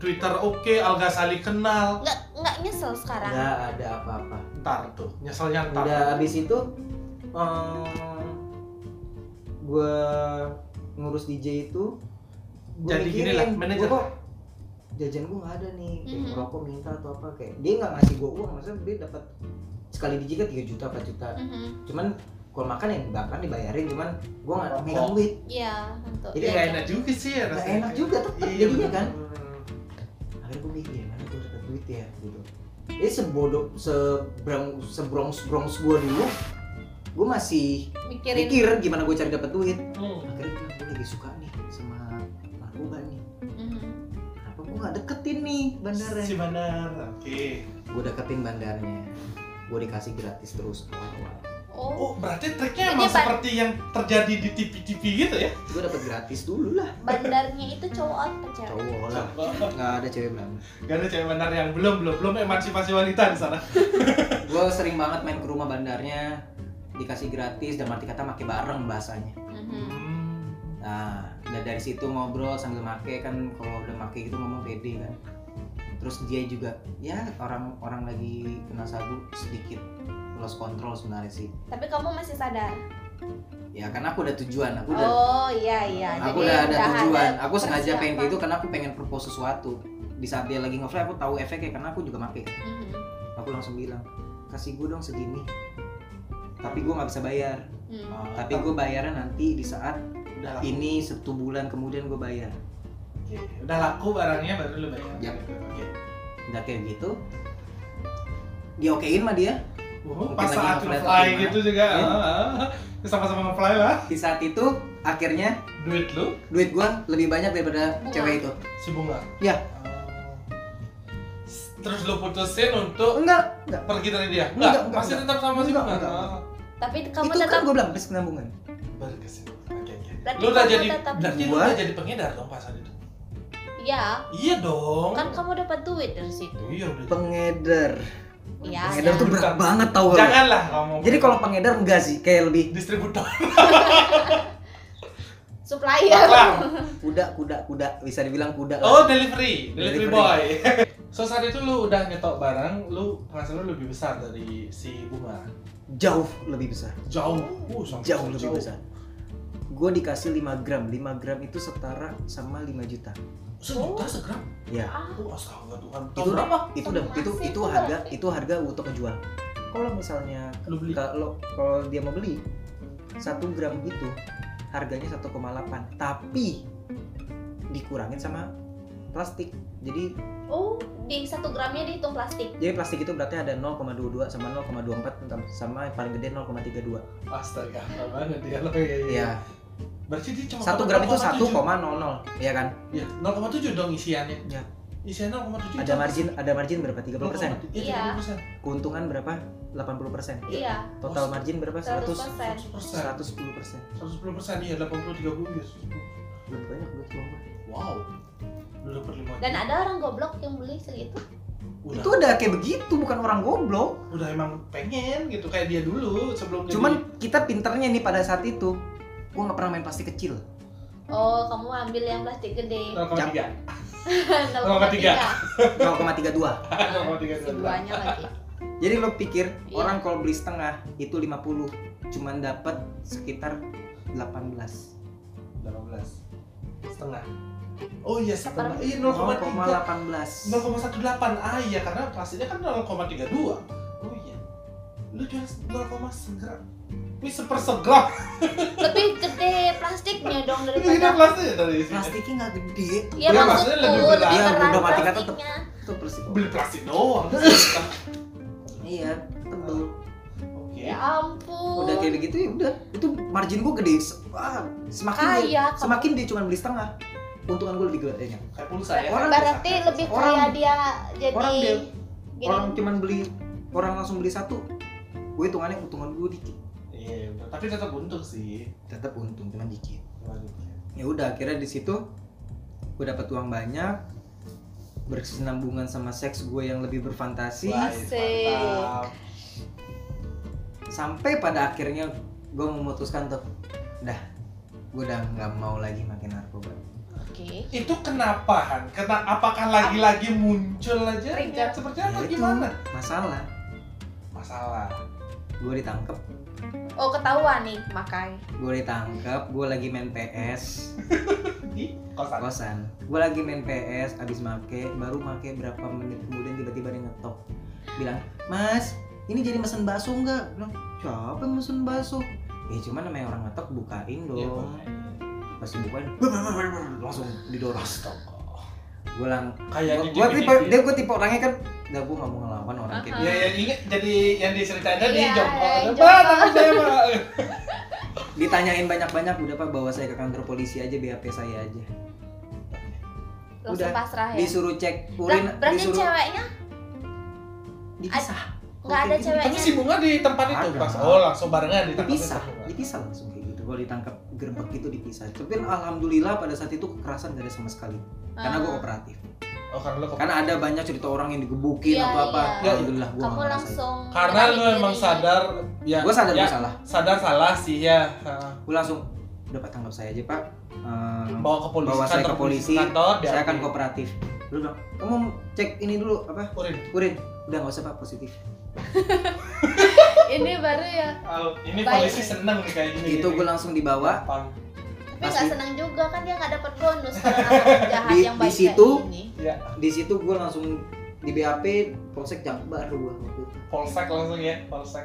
S1: Twitter oke, Alga Sali kenal.
S2: nggak nggak nyesel sekarang
S3: nggak ada apa-apa.
S1: Ntar tuh, nyeselnya ntar.
S3: Udah abis itu, em, gua ngurus DJ itu. gua
S1: Jadi gini lah,
S3: mikirin,
S1: manajer.
S3: gua kok jajan gua nggak ada nih, kayak
S2: Mhm.
S3: ngerokok minta atau apa kayak dia nggak ngasih gua uang, maksudnya dia dapat sekali DJ kan 3 juta 4 juta.
S2: Mhm.
S3: Cuman kalau makan yang bahkan dibayarin, cuman gua nggak
S1: Rokok.
S3: megang duit.
S2: iya untuk
S1: Jadi nggak enak juga sih ya
S3: Nggak
S1: rasanya.
S3: enak juga tetep
S1: Iya,
S3: jadinya kan.
S1: bener.
S3: akhirnya gue mikir gimana gue dapat duit ya gitu jadi sebodoh sebrang sebrongs brongs gue dulu gue masih
S2: mikirin
S3: mikir gimana gue cari dapat duit
S1: Hmm.
S3: akhirnya gue bilang, "Gua lagi suka nih sama narkoba nih
S2: Mhm.
S3: kenapa gue nggak deketin nih
S1: Si
S3: bandarnya
S1: bandar, oke.
S3: gue deketin bandarnya gue dikasih gratis terus awal-awal
S2: oh
S1: Oh, berarti triknya
S2: Jadi
S1: emang
S2: ban-
S1: seperti yang terjadi di TV-TV gitu ya?
S3: gue dapat gratis dulu lah
S2: bandarnya itu cowok apa cewek
S3: cowok lah
S1: Coba.
S3: nggak ada cewek belanda
S1: Gak ada cewek bandar yang belum belum belum emansipasi wanita di sana.
S3: gue sering banget main ke rumah bandarnya dikasih gratis dan arti kata make bareng bahasanya
S2: Mhm.
S1: Hmm.
S3: Nah, udah dari situ ngobrol sambil make kan kalau udah make gitu ngomong pede kan. Terus dia juga ya orang orang lagi kena sabu sedikit lost control sebenarnya sih.
S2: tapi kamu masih sadar
S3: Ya karena aku udah tujuan, aku udah
S2: oh iya iya
S3: aku
S2: Jadi
S3: udah ada tujuan. aku sengaja
S2: persiapan.
S3: pengen gitu karena aku pengen propose sesuatu. Di saat dia lagi ngefly aku tahu efeknya karena aku juga make.
S2: Mhm.
S3: Aku langsung bilang, "Kasih gue dong segini." Tapi gue nggak bisa bayar.
S2: Mhm.
S3: Tapi gue bayarnya nanti di saat
S1: udah laku.
S3: ini satu bulan kemudian gue bayar.
S1: Oke. Udah laku barangnya baru lu bayar.
S3: Yap.
S1: Gitu, Oke.
S3: udah kayak gitu dia okein mah dia
S1: Oh,
S3: Mungkin
S1: pas
S3: lagi
S1: saat
S3: ngefly atau
S1: fly
S3: gimana.
S1: gitu juga.
S3: Iya.
S1: ah, ah. Sama-sama nge-fly lah.
S3: di saat itu akhirnya
S1: Duit lu
S3: duit gua lebih banyak daripada
S2: Bunga.
S3: cewek itu
S1: si bunga.
S3: Iya.
S1: Oh. Terus lu putusin untuk
S3: enggak enggak
S1: pergi dari dia?
S3: Enggak,
S1: Enggak,
S3: enggak,
S1: masih
S3: enggak.
S1: tetap sama si
S3: Enggak,
S1: bunga.
S3: enggak, enggak.
S1: Ah.
S2: tapi kamu
S3: itu
S2: tetap
S3: kan gua bilang berkesinambungan
S1: Baru kesini. Oke, oke.
S2: Berarti
S1: Lu udah
S2: kamu
S1: jadi
S2: tetap-
S1: berarti lu
S3: Gua-
S1: udah jadi pengedar dong pas saat itu.
S2: ya
S1: Iya dong.
S2: kan kamu dapat duit dari situ
S3: Hmm.
S1: Iya udah.
S3: pengedar
S2: ya
S3: pengedar tuh
S2: ya.
S3: berat banget tau gak lu?
S1: Janganlah ngomong.
S3: jadi kalau pengedar enggak sih kayak lebih
S1: distributor
S3: Iya.
S2: supplier
S1: lah.
S3: kuda kuda kuda bisa dibilang kuda
S1: Oh,
S3: lah.
S1: delivery, delivery,
S3: Delivery.
S1: boy. [LAUGHS] so saat itu lu udah nyetok barang, lu penghasilan lu lebih besar dari si bunga.
S3: jauh lebih besar
S1: jauh uh, sampai
S3: jauh lebih besar gue dikasih 5 gram 5 gram itu setara sama 5 juta
S1: sejuta segram
S3: ya
S2: Ah,
S1: oh astaga Tuhan
S3: itu
S1: tahun berapa
S3: itu udah
S2: Masih
S3: itu itu
S2: itu
S3: harga
S2: berarti.
S3: itu harga untuk ngejual kalau misalnya
S1: lu beli
S3: kalau kalau dia mau beli satu gram itu harganya 1,8 tapi dikurangin sama plastik jadi
S2: Oh, di satu gramnya dihitung plastik.
S3: jadi plastik itu berarti ada 0,22 sama 0,24 tam- sama yang paling gede 0,32
S1: astaga mana dia lo ya,
S3: Iya
S1: berarti dia cuma
S3: satu gram itu 1,00 ya kan
S1: ya 0,7 dong isiannya
S3: Iya.
S1: isiannya 0,7
S3: ada margin ada margin berapa 30%
S2: Iya.
S1: iya 30%
S3: keuntungan berapa 80%
S2: Iya,
S3: total margin berapa 100
S2: 100%.
S1: 100%
S3: 110 persen
S1: 110% iya 80 30 ya
S3: belum banyak buat gua.
S1: wow lu dapat 5
S2: Dan ada orang goblok yang beli segitu.
S1: udah,
S3: itu udah kayak begitu bukan orang goblok
S1: udah emang pengen gitu kayak dia dulu sebelum jadi-
S3: Cuman kita pinternya nih pada saat itu, gua nggak pernah main plastik kecil.
S2: Oh, kamu ambil yang plastik
S3: Oh,
S2: [LAUGHS] gede.
S1: 0,3
S2: Nomor
S1: tiga.
S3: [LAUGHS] 0,32.
S1: 0,3
S2: Si duanya lagi.
S3: Jadi lo pikir
S2: Iya.
S3: orang kalau beli setengah itu 50, cuman dapat sekitar 18.
S1: 18 setengah oh iya setengah iya
S2: Seperempat.
S1: 0,3 0,18
S3: 0,18.
S1: ah iya karena plastiknya kan 0,32 oh iya lu jual 0,1 segram ini seper segram
S2: Lebih gede plastiknya dong
S1: itu kita
S2: daripada
S1: plastik dari isinya
S3: Plastiknya nggak gede.
S1: Iya,
S2: Iya maksudku
S1: maksudnya
S2: lebih
S1: lebih berat.
S3: Iya,
S2: berat
S3: udah mati kata tuh.
S2: plastiknya.
S3: Itu plastik.
S1: beli plastik [LAUGHS] doang
S3: Iya, tebel.
S1: oke
S2: Ya ampun.
S3: Udah kayak begitu ya udah. Itu margin gua gede. Se- ah, semakin dia,
S2: kaya. kamu.
S3: semakin dia cuma beli setengah. Untungan gua lebih gede. ya.
S1: kayak pulsa ya
S3: Orang-
S2: Berarti lebih
S3: orang-
S2: kaya dia jadi
S3: orang dia
S2: gini.
S3: Orang cuman beli orang langsung beli satu. Gue hitungannya untungan gue dikit.
S1: iya bener. tapi tetap untung sih
S3: tetap untung cuman dikit ya udah akhirnya di situ gue dapat uang banyak berkesinambungan sama seks gue yang lebih berfantasi
S1: Wah,
S2: Asik.
S1: mantap.
S3: sampai pada akhirnya gue memutuskan tuh dah gue udah nggak mau lagi makin narkoba
S2: Oke.
S1: itu kenapa Han? Kena, apakah lagi-lagi muncul aja
S2: Trigger.
S1: seperti
S3: Ya
S1: apa
S3: itu
S1: gimana?
S3: masalah
S1: Masalah.
S3: gue ditangkep
S2: Oh, ketahuan nih makai.
S3: gue ditangkep gue lagi main PS
S1: Di kosan.
S3: kosan gue lagi main PS abis make baru make berapa menit kemudian tiba-tiba dia ngetop bilang mas ini jadi mesen bakso nggak bilang siapa yang mesen bakso ya cuman namanya orang ngetop bukain dong
S1: Iya,
S3: pas dibukain langsung didorong
S1: Astaga.
S3: gue lang
S1: Kayak
S3: gue tipe
S1: dikit-dikit.
S3: dia gue tipe orangnya kan udah gue nggak mau ngelawan orang kayak
S1: Ya,
S3: gitu."
S1: ya ingat jadi yang diceritain tadi
S2: Iya,
S1: Joko.
S2: yang
S1: Coba
S2: Joko.
S1: tapi saya mah.
S2: [LAUGHS]
S3: ditanyain banyak-banyak udah pak bawa saya ke kantor polisi aja BAP saya aja
S2: Langsung
S3: Udah,
S2: pasrah ya.
S3: disuruh cek
S2: Ber-
S3: urin
S2: berarti
S3: disuruh
S2: ceweknya
S3: dipisah
S2: nggak ada
S3: Kayak gitu.
S1: Tapi
S2: ceweknya.
S1: si bunga di tempat itu
S3: Ada.
S1: pas. Oh langsung barengan di tempat
S3: dipisah
S1: itu.
S3: dipisah langsung kayak gitu kalau ditangkap gerbek itu dipisah tapi alhamdulillah pada saat itu kekerasan gak ada sama sekali karena gue
S2: Ah.
S3: kooperatif
S1: Oh karena lo
S3: karena ada banyak cerita orang yang digebukin
S2: Iya,
S3: atau apa
S1: iya.
S3: alhamdulillah gue
S2: kamu langsung
S1: karena lu
S2: menarik
S1: emang
S2: diri.
S1: sadar ya.
S3: gue sadar
S1: ya,
S3: gue salah
S1: sadar salah sih ya. Heeh.
S3: gue langsung udah pak tangkap saya aja pak Eh,
S1: Bawa ke polisi
S3: Bawa saya
S1: kantor
S3: ke polisi,
S1: kantor.
S3: saya akan
S1: diambil.
S3: kooperatif lu bilang kamu cek ini dulu apa
S1: Urin.
S3: urin udah nggak usah pak positif
S2: [LAUGHS] Ini baru ya.
S1: Oh, ini
S2: Baik.
S1: polisi seneng nih kayak gini.
S3: itu gue langsung dibawa
S1: Gampang.
S2: Tapi
S3: Pas
S2: nggak
S3: di-
S2: senang juga kan dia nggak dapat bonus kalau
S3: [LAUGHS]
S2: orang jahat
S3: Di-
S2: yang
S3: di
S2: baik
S3: situ,
S2: kayak gini.
S1: Ya,
S3: di situ gue langsung di BAP polsek Jakbar gue waktu itu
S1: polsek langsung ya, polsek.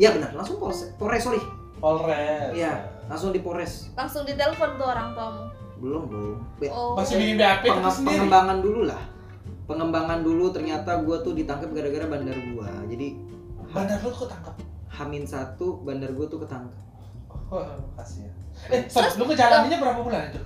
S3: iya benar langsung polsek Polres sorry
S1: Polres.
S3: Iya. langsung di Polres
S2: Langsung ditelepon tuh orang tuamu.
S3: belum belum
S2: Oh.
S1: Masih bikin BAP itu
S3: Penge-
S1: sendiri.
S3: pengembangan dulu lah pengembangan dulu ternyata gue tuh ditangkap gara-gara bandar gue jadi
S1: Bandar lu kok tangkap?
S3: Hamin satu bandar gue tuh ketangkep
S1: Oh, kasih ya. Eh, Sob, lu ngejalaninnya berapa bulan itu?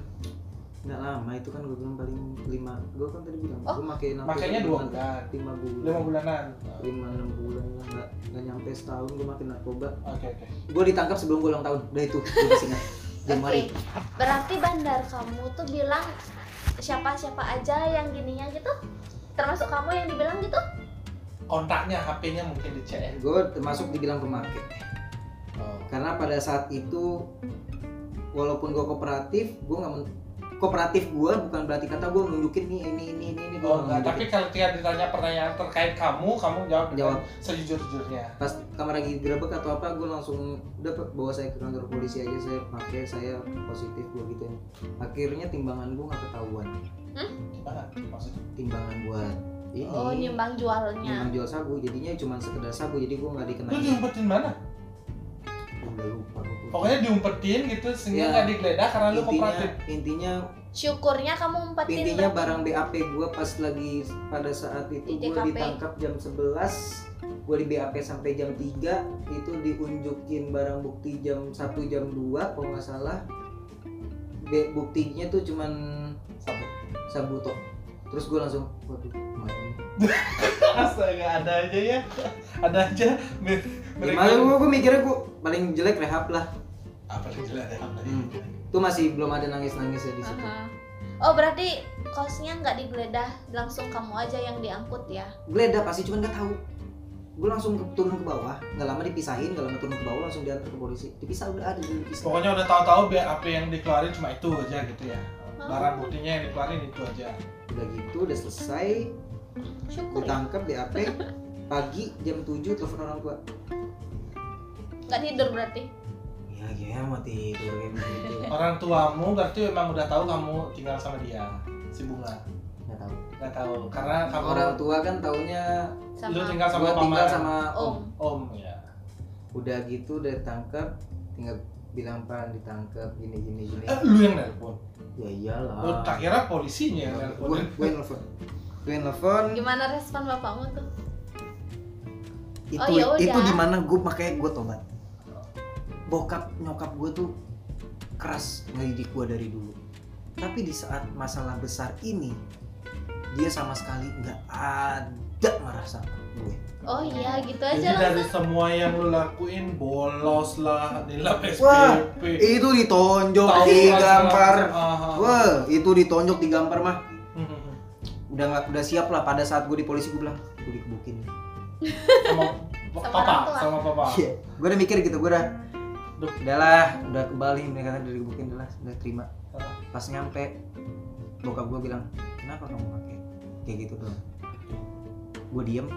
S3: nggak lama itu kan gue bilang paling lima gue kan tadi bilang
S2: Oh,
S3: gue makai narkoba
S1: Makanya dua
S3: lima-
S1: bulan.
S3: lima bulan
S1: Lima bulanan.
S3: lima enam bulan lah nggak nggak nyampe setahun gue makin narkoba
S1: Oke, oke.
S3: gue ditangkap sebelum gue ulang tahun udah itu gue masih
S2: [LAUGHS]
S3: ingat Januari
S2: Oke. Berarti bandar kamu tuh bilang siapa-siapa aja yang gininya gitu? Termasuk kamu yang dibilang gitu?
S1: Kontaknya, HP-nya mungkin dicek.
S3: gue termasuk dibilang pemakai
S1: Oh.
S3: karena pada saat itu walaupun gue kooperatif gue nggak men- kooperatif gue bukan berarti kata gue nunjukin nih ini ini ini ini gue
S1: Oh, enggak. Tapi kalau ketika ditanya pertanyaan terkait kamu, kamu jawab dengan
S3: Jawab.
S1: sejujur-jujurnya.
S3: pas kamar lagi digerebek atau apa gue langsung dapat bawa saya ke kantor polisi aja saya pakai saya positif gue gitu akhirnya timbangan gue nggak ketahuan
S1: Gimana?
S3: Nah,
S1: Maksudnya?
S3: timbangan buat ini
S2: Oh, nimbang
S3: nimbang
S2: jualnya.
S3: jual sabu jadinya cuma sekedar sabu jadi gue nggak
S1: Lu
S3: dikenain
S1: diumpetin mana?
S3: Gua udah lupa gua.
S1: Pokoknya diumpetin gitu, sehingga
S3: Ya.
S1: nggak digeledah karena lu
S3: intinya
S1: kooperatif.
S3: intinya
S2: Syukurnya kamu umpetin.
S3: intinya
S2: berarti.
S3: barang BAP gue pas lagi pada saat itu
S2: Di
S3: gue
S2: TKP.
S3: ditangkap jam 11 gue di BAP sampai jam 3 itu diunjukin barang bukti jam 1 jam 2 kalau nggak salah B- buktinya tuh cuman
S1: Sabu.
S3: sabu tok terus gue langsung waduh Ya, kemarin nih.
S1: Astaga, ada aja ya. [LAUGHS] Ada aja. Mer-
S3: gimana gue gue mikirnya gue paling jelek rehab lah
S1: Apa sih gila ada apa
S3: Hmm. tuh masih belum ada nangis nangisnya di situ
S2: Aha. Oh, berarti kosnya nggak digeledah, langsung kamu aja yang diangkut ya?
S3: geledah pasti cuman nggak tahu gue langsung ke- turun ke bawah nggak lama dipisahin nggak lama turun ke bawah langsung diantar ke polisi dipisah udah ada dipisah
S1: Pokoknya udah tahu-tahu biar apa yang dikeluarin cuma itu aja gitu ya.
S2: Oh.
S1: Barang buktinya yang dikeluarin itu aja.
S3: udah gitu udah selesai
S2: Syukur ya.
S3: ditangkap di AP pagi jam 7 telepon orang tua
S2: Nggak tidur berarti.
S3: ya ya mau tidur kayak gitu. begitu
S1: Orang tuamu berarti memang udah tahu kamu tinggal sama dia, si bunga.
S3: nggak tahu
S1: Nggak tahu karena kamu
S3: orang tua kan taunya
S1: lu
S2: Sama
S1: tinggal sama
S3: gua
S1: paman.
S3: tinggal sama om
S2: Om.
S1: Om ya.
S3: udah gitu udah ditangkap tinggal bilang pan ditangkap gini gini gini
S1: Eh, lu yang nelpon. Lu
S3: ya iyalah
S1: tak kira polisinya yang
S3: gue
S1: nelpon.
S3: gue nelfon gue nelfon
S2: Gimana respon bapakmu tuh?
S3: itu
S2: Oh, ya
S3: itu
S2: udah.
S3: dimana gue makanya gue tobat bokap nyokap gue tuh keras ngedidik gue dari dulu tapi di saat masalah besar ini dia sama sekali nggak ada marah sama gue
S2: Oh iya, gitu
S1: Jadi
S2: aja
S1: dari
S2: langsung.
S1: semua yang lu lakuin bolos lah, nilai
S3: Wah,
S1: SPP.
S3: itu ditonjok
S1: Tahu
S3: digampar
S1: lah, ah, ah.
S3: wah itu ditonjok digampar mah
S1: Hmm.
S3: udah nggak udah siap lah pada saat gue di polisi gue bilang gue dikebukin
S1: sama
S2: Sama
S1: papa,
S2: orang tua.
S1: sama papa.
S3: Iya. gue udah mikir gitu gue udah
S1: Duh.
S3: udahlah udah kembali mereka udah dikebukin udah lah, udah terima pas nyampe bokap gue bilang kenapa kamu pakai kayak gitu doang gue diem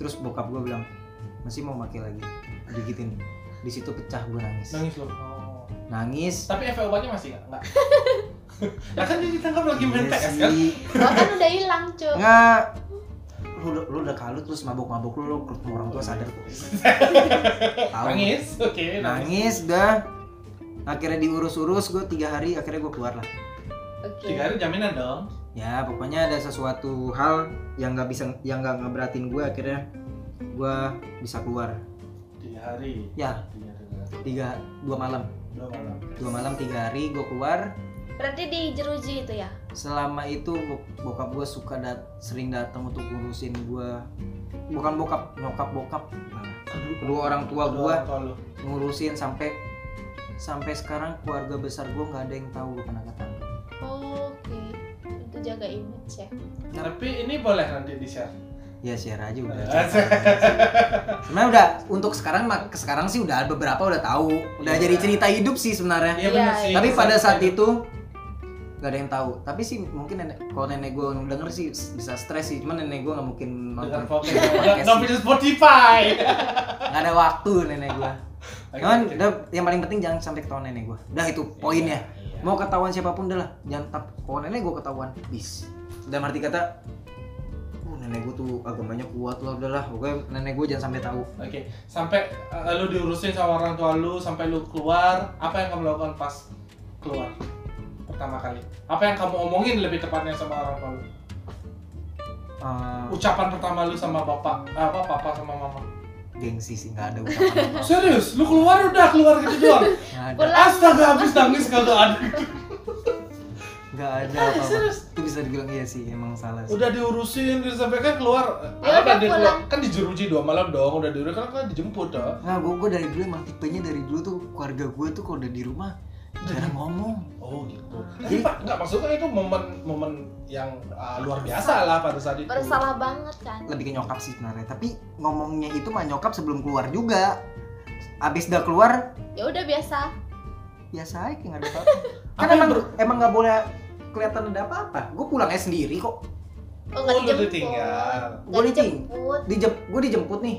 S3: terus bokap gue bilang masih mau pakai lagi digitin di situ pecah gue nangis
S1: Nangis lu. Oh.
S3: nangis
S1: Tapi efek obatnya masih
S3: [LAUGHS]
S1: nggak? Nggak. Lah kan dia ditangkap lagi main
S3: Iya
S1: PS kan?
S3: sih.
S2: Oh, kan udah hilang, Cuk.
S3: nggak lu, udah- lu udah kalut terus mabuk-mabuk lu lu ketemu orang tua sadar
S1: [LAUGHS]
S3: kok Tahu.
S1: Nangis, oke.
S3: nangis dah akhirnya diurus-urus gue tiga hari akhirnya gue keluar lah
S2: Oke.
S1: Tiga hari jaminan dong.
S3: ya pokoknya ada sesuatu hal yang nggak bisa yang nggak ngeberatin gue akhirnya gue bisa keluar
S1: Tiga hari.
S3: ya
S1: Tiga hari. benar.
S3: tiga dua malam
S1: Dua malam.
S3: dua malam tiga hari gue keluar
S2: Berarti di jeruji itu ya?
S3: selama itu bo- bokap gue suka dat- sering datang untuk ngurusin gue bukan bokap nyokap bokap malah. kedua orang tua
S1: Dua
S3: gue
S1: orang tua lu.
S3: ngurusin sampai sampai sekarang keluarga besar gue nggak ada yang tahu gue pernah ketangkep
S2: Oke. Itu jaga image ya.
S1: Tapi ini boleh nanti di share.
S3: ya share aja udah
S1: Ah,
S3: sebenarnya udah untuk sekarang mak- sekarang sih udah beberapa udah tahu udah
S1: Iya.
S3: jadi cerita hidup sih sebenarnya
S1: Iya benar
S2: Iya,
S1: sih.
S3: tapi pada saat itu nggak ada yang tahu tapi sih mungkin nenek kalau nenek gue denger sih bisa stres sih cuman nenek gue nggak mungkin
S1: dengan
S3: nonton [LAUGHS]
S1: fokus
S3: podcast
S1: nggak
S3: sih.
S1: punya Spotify.
S3: nggak ada waktu nenek gue cuman udah yang paling penting jangan sampai ketahuan nenek gue udah
S1: Iya.
S3: itu poinnya mau ketahuan siapapun udah lah jangan tap kalau nenek gue ketahuan bis dalam arti kata uh, nenek gue tuh agamanya kuat lah udahlah pokoknya nenek gue jangan sampai tahu
S1: Oke, sampai uh, lu diurusin sama orang tua lu, sampai lu keluar, apa yang kamu lakukan pas keluar pertama kali? Apa yang kamu omongin lebih tepatnya sama orang tua lu?
S3: Eh,
S1: Ucapan pertama lu sama bapak, eh, apa papa sama mama?
S3: gengsi sih nggak ada ucapan [LAUGHS] apa-apa.
S1: Serius, lu keluar udah keluar gitu doang.
S3: nggak
S2: [LAUGHS]
S3: ada
S2: Pulang.
S1: Astaga, habis nangis kalau ada. [LAUGHS]
S3: nggak ada apa-apa
S1: Serius,
S3: itu bisa dibilang iya sih emang salah sih.
S1: udah diurusin, gitu, sampai kan keluar.
S2: Ya udah,
S1: dia
S2: pulang.
S1: Kan dijeruji dua malam dong, udah diurusin kan, kan dijemput dong.
S3: Nah, gue gue dari dulu emang tipenya dari dulu tuh keluarga gue tuh kalau udah di rumah jarang ngomong.
S1: Oh gitu. Tapi
S3: Jadi-
S1: Pak, nggak maksudnya itu momen-momen yang uh, luar biasa lah pada saat itu.
S2: Bersalah banget kan?
S3: Lebih ke nyokap sih sebenarnya, tapi ngomongnya itu mah nyokap sebelum keluar juga. Abis udah keluar,
S2: Ya udah biasa.
S3: biasa aja kayak nggak ada apa-apa kan
S1: Apa yang
S3: emang
S1: ber-
S3: emang nggak boleh kelihatan ada apa-apa gue pulangnya sendiri kok
S1: Oh,
S2: Oh, nggak
S1: lu
S2: dijemput.
S1: ditinggal.
S2: Nggak
S3: Gua diting-
S2: dijemput.
S3: Dijem, gue dijemput nih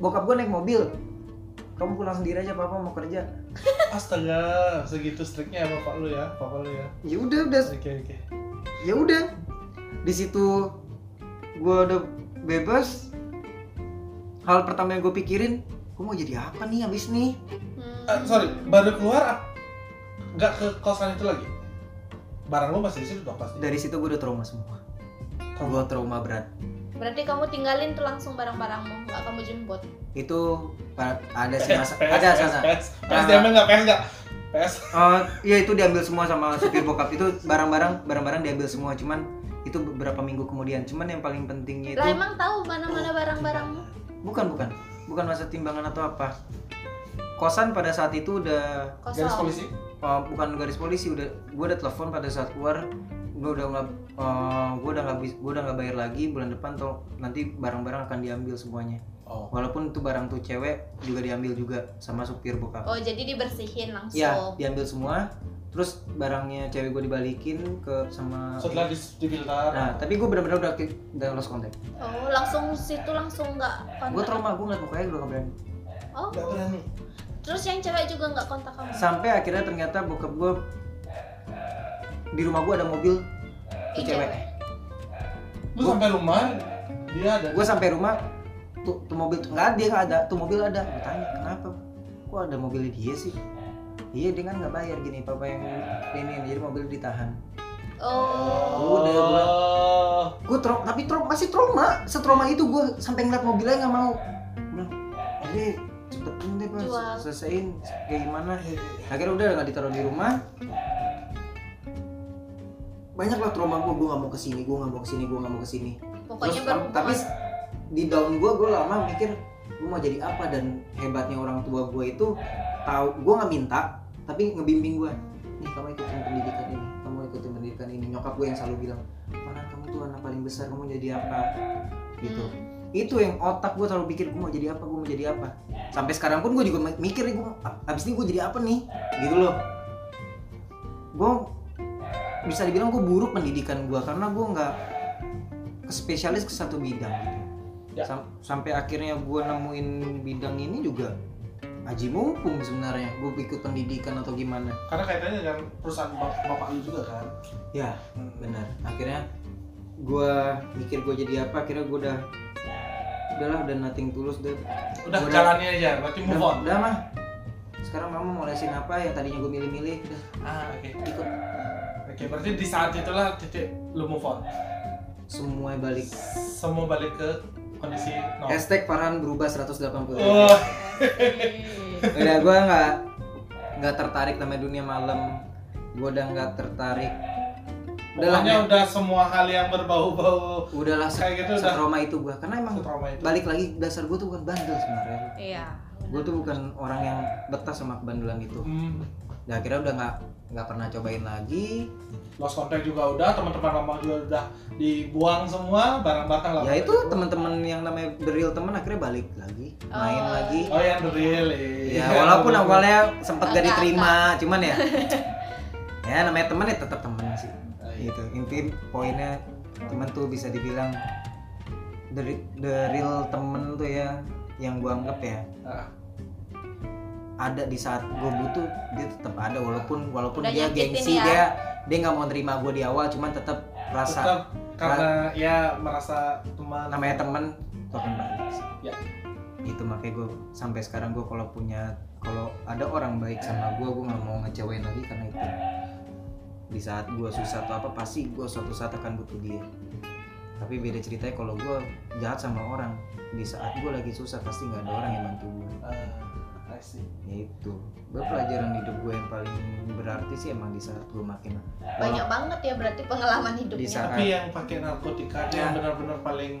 S3: bokap gue naik mobil kamu pulang sendiri aja papa mau kerja
S1: Astaga, segitu striknya ya bapak lu ya, papa lu ya.
S3: ya udah udah
S1: Oke oke.
S3: ya udah di situ gue udah bebas hal pertama yang gue pikirin gue mau jadi apa nih abis nih
S2: Hmm.
S1: Eh, sorry, baru keluar ah, nggak ke kosan itu lagi. Barang lu masih di situ dong pasti.
S3: dari situ gue udah trauma semua gue trauma berat
S2: Berarti kamu tinggalin tuh langsung barang-barangmu, nggak kamu jemput.
S3: itu pa- ada sih masa
S1: PS,
S3: ada
S1: PS,
S3: sana
S1: PS, PS
S3: Nah.
S1: diambil nggak? PS nggak? PS.
S3: Eh, ya itu diambil semua sama supir bokap itu barang-barang barang-barang diambil semua cuman itu beberapa minggu kemudian cuman yang paling pentingnya itu
S2: Lah emang tahu mana-mana barang-barangmu?
S3: bukan bukan bukan masa timbangan atau apa kosan pada saat itu udah
S1: Garis
S2: Kosong.
S1: polisi.
S3: eh, bukan garis polisi udah gue udah telepon pada saat keluar gue udah nggak gue udah nggak bis- gua udah nggak bayar lagi bulan depan tol nanti barang-barang akan diambil semuanya
S1: Oh.
S3: walaupun itu barang tuh cewek juga diambil juga sama supir bokap
S2: Oh, jadi dibersihin langsung.
S3: Iya, diambil semua. Terus barangnya cewek gue dibalikin ke sama.
S1: Setelah di, di filter.
S3: Nah, tapi gue bener-bener udah udah lost contact.
S1: Iya.
S2: Oh, langsung situ langsung nggak kontak.
S3: Gue trauma, gue ngeliat mukanya gue gak berani.
S2: Oh,
S1: Nggak berani.
S2: terus yang cewek juga nggak kontak kamu?
S3: Sampai akhirnya ternyata bokap gue di rumah gue ada mobil tuh
S2: Ih,
S3: cewek.
S1: Lu sampai rumah dia ada.
S3: Gue sampai rumah tuh, tuh mobil tuh nggak ada, nggak ada. Tuh mobil ada. Gue tanya kenapa? Kok ada mobilnya dia sih? Iya, dia kan nggak bayar gini. Papa yang ini, jadi mobil ditahan.
S2: Oh.
S3: Udah, gua.
S1: Oh.
S3: gue trauma tapi trauma masih trauma setrauma itu gue sampai ngeliat mobilnya nggak mau Gua bilang deh cepetin deh pas
S2: Jual.
S3: selesaiin kayak gimana akhirnya udah nggak ditaruh di rumah banyak lah trauma gue gue nggak mau kesini gue nggak mau kesini gue nggak mau kesini
S2: Pokoknya
S3: Terus,
S2: berhubungan.
S3: tapi di down gue gue lama mikir gue mau jadi apa dan hebatnya orang tua gue itu tahu gue nggak minta tapi ngebimbing gue nih kamu ikutin pendidikan ini kamu ikutin pendidikan ini nyokap gue yang selalu bilang mana kamu tuh anak paling besar kamu jadi apa gitu
S2: Hmm.
S3: itu yang otak gue selalu pikir gue mau jadi apa gue mau jadi apa sampai sekarang pun gue juga mi- mikir nih gue abis ini gue jadi apa nih gitu loh gue bisa dibilang gue buruk pendidikan gue karena gue nggak ke spesialis ke satu bidang gitu.
S1: Ya.
S3: Sam- sampai akhirnya gue nemuin bidang ini juga aji mumpung sebenarnya gue ikut pendidikan atau gimana
S1: Karena kaitannya dengan perusahaan bap- bapak lu juga kan.
S3: ya
S1: Hmm.
S3: benar akhirnya gue mikir gue jadi apa akhirnya gue udah udahlah udah nothing tulus deh
S1: Udah
S3: Udah.
S1: jalannya aja, berarti move on.
S3: udah, udah mah sekarang mama mau lesin apa yang tadinya gue milih-milih udah
S1: Ah, oke.
S3: ikut
S1: Oke, berarti di saat itulah titik lu move on.
S3: semua balik
S1: Semua balik ke kondisi normal.
S3: hashtag Farhan berubah 180
S1: Oh,
S2: Hmm.
S1: [LAUGHS]
S3: udah gue nggak nggak tertarik sama dunia malam gue udah nggak tertarik udahlah
S1: pokoknya udah semua hal yang berbau-bau
S3: udahlah se-
S1: kayak gitu udah
S3: setrauma itu gue karena emang
S1: trauma itu.
S3: balik lagi dasar gue tuh bukan bandel sebenarnya
S2: Iya.
S3: gue tuh bukan orang yang betah sama kebandelan itu
S1: Hmm,
S3: nah akhirnya udah nggak nggak pernah cobain lagi
S1: lost contact juga udah, teman-teman lama juga udah dibuang semua, barang-barang lama.
S3: ya itu teman-teman yang namanya beril teman akhirnya balik lagi main
S2: Oh.
S3: lagi
S1: Oh yang the real.
S3: Ya,
S1: iya.
S3: walaupun awalnya sempat gak
S2: Agak-agak.
S3: diterima, cuman
S2: [LAUGHS]
S3: ya ya namanya teman ya tetap teman sih.
S1: Iya.
S3: Gitu. Inti poinnya teman tuh bisa dibilang the, re- the real temen tuh ya yang gua anggap ya
S1: Ah.
S3: ada di saat gue butuh dia tetap ada walaupun walaupun
S2: Udah
S3: dia
S2: nyakitin
S3: gengsi
S2: ya.
S3: dia dia nggak mau nerima gue di awal cuman tetap rasa
S1: tetap karena ya merasa teman
S3: namanya temen tuh akan balik sih.
S1: Ya.
S3: itu makanya gue sampai sekarang gue kalau punya kalau ada orang baik sama gue gue nggak mau ngecewain lagi karena itu di saat gue susah atau apa pasti gue suatu saat akan butuh dia tapi beda ceritanya kalau gue jahat sama orang di saat gue lagi susah pasti nggak ada orang yang bantu gue
S1: Ah, I see.
S3: ya itu gue pelajaran hidup gue yang paling berarti sih emang di saat gue makin
S2: Banyak banget ya berarti pengalaman
S3: Nah. di
S2: hidupnya.
S3: saat
S1: tapi yang pakai narkotika dia
S3: Ya.
S1: yang benar-benar paling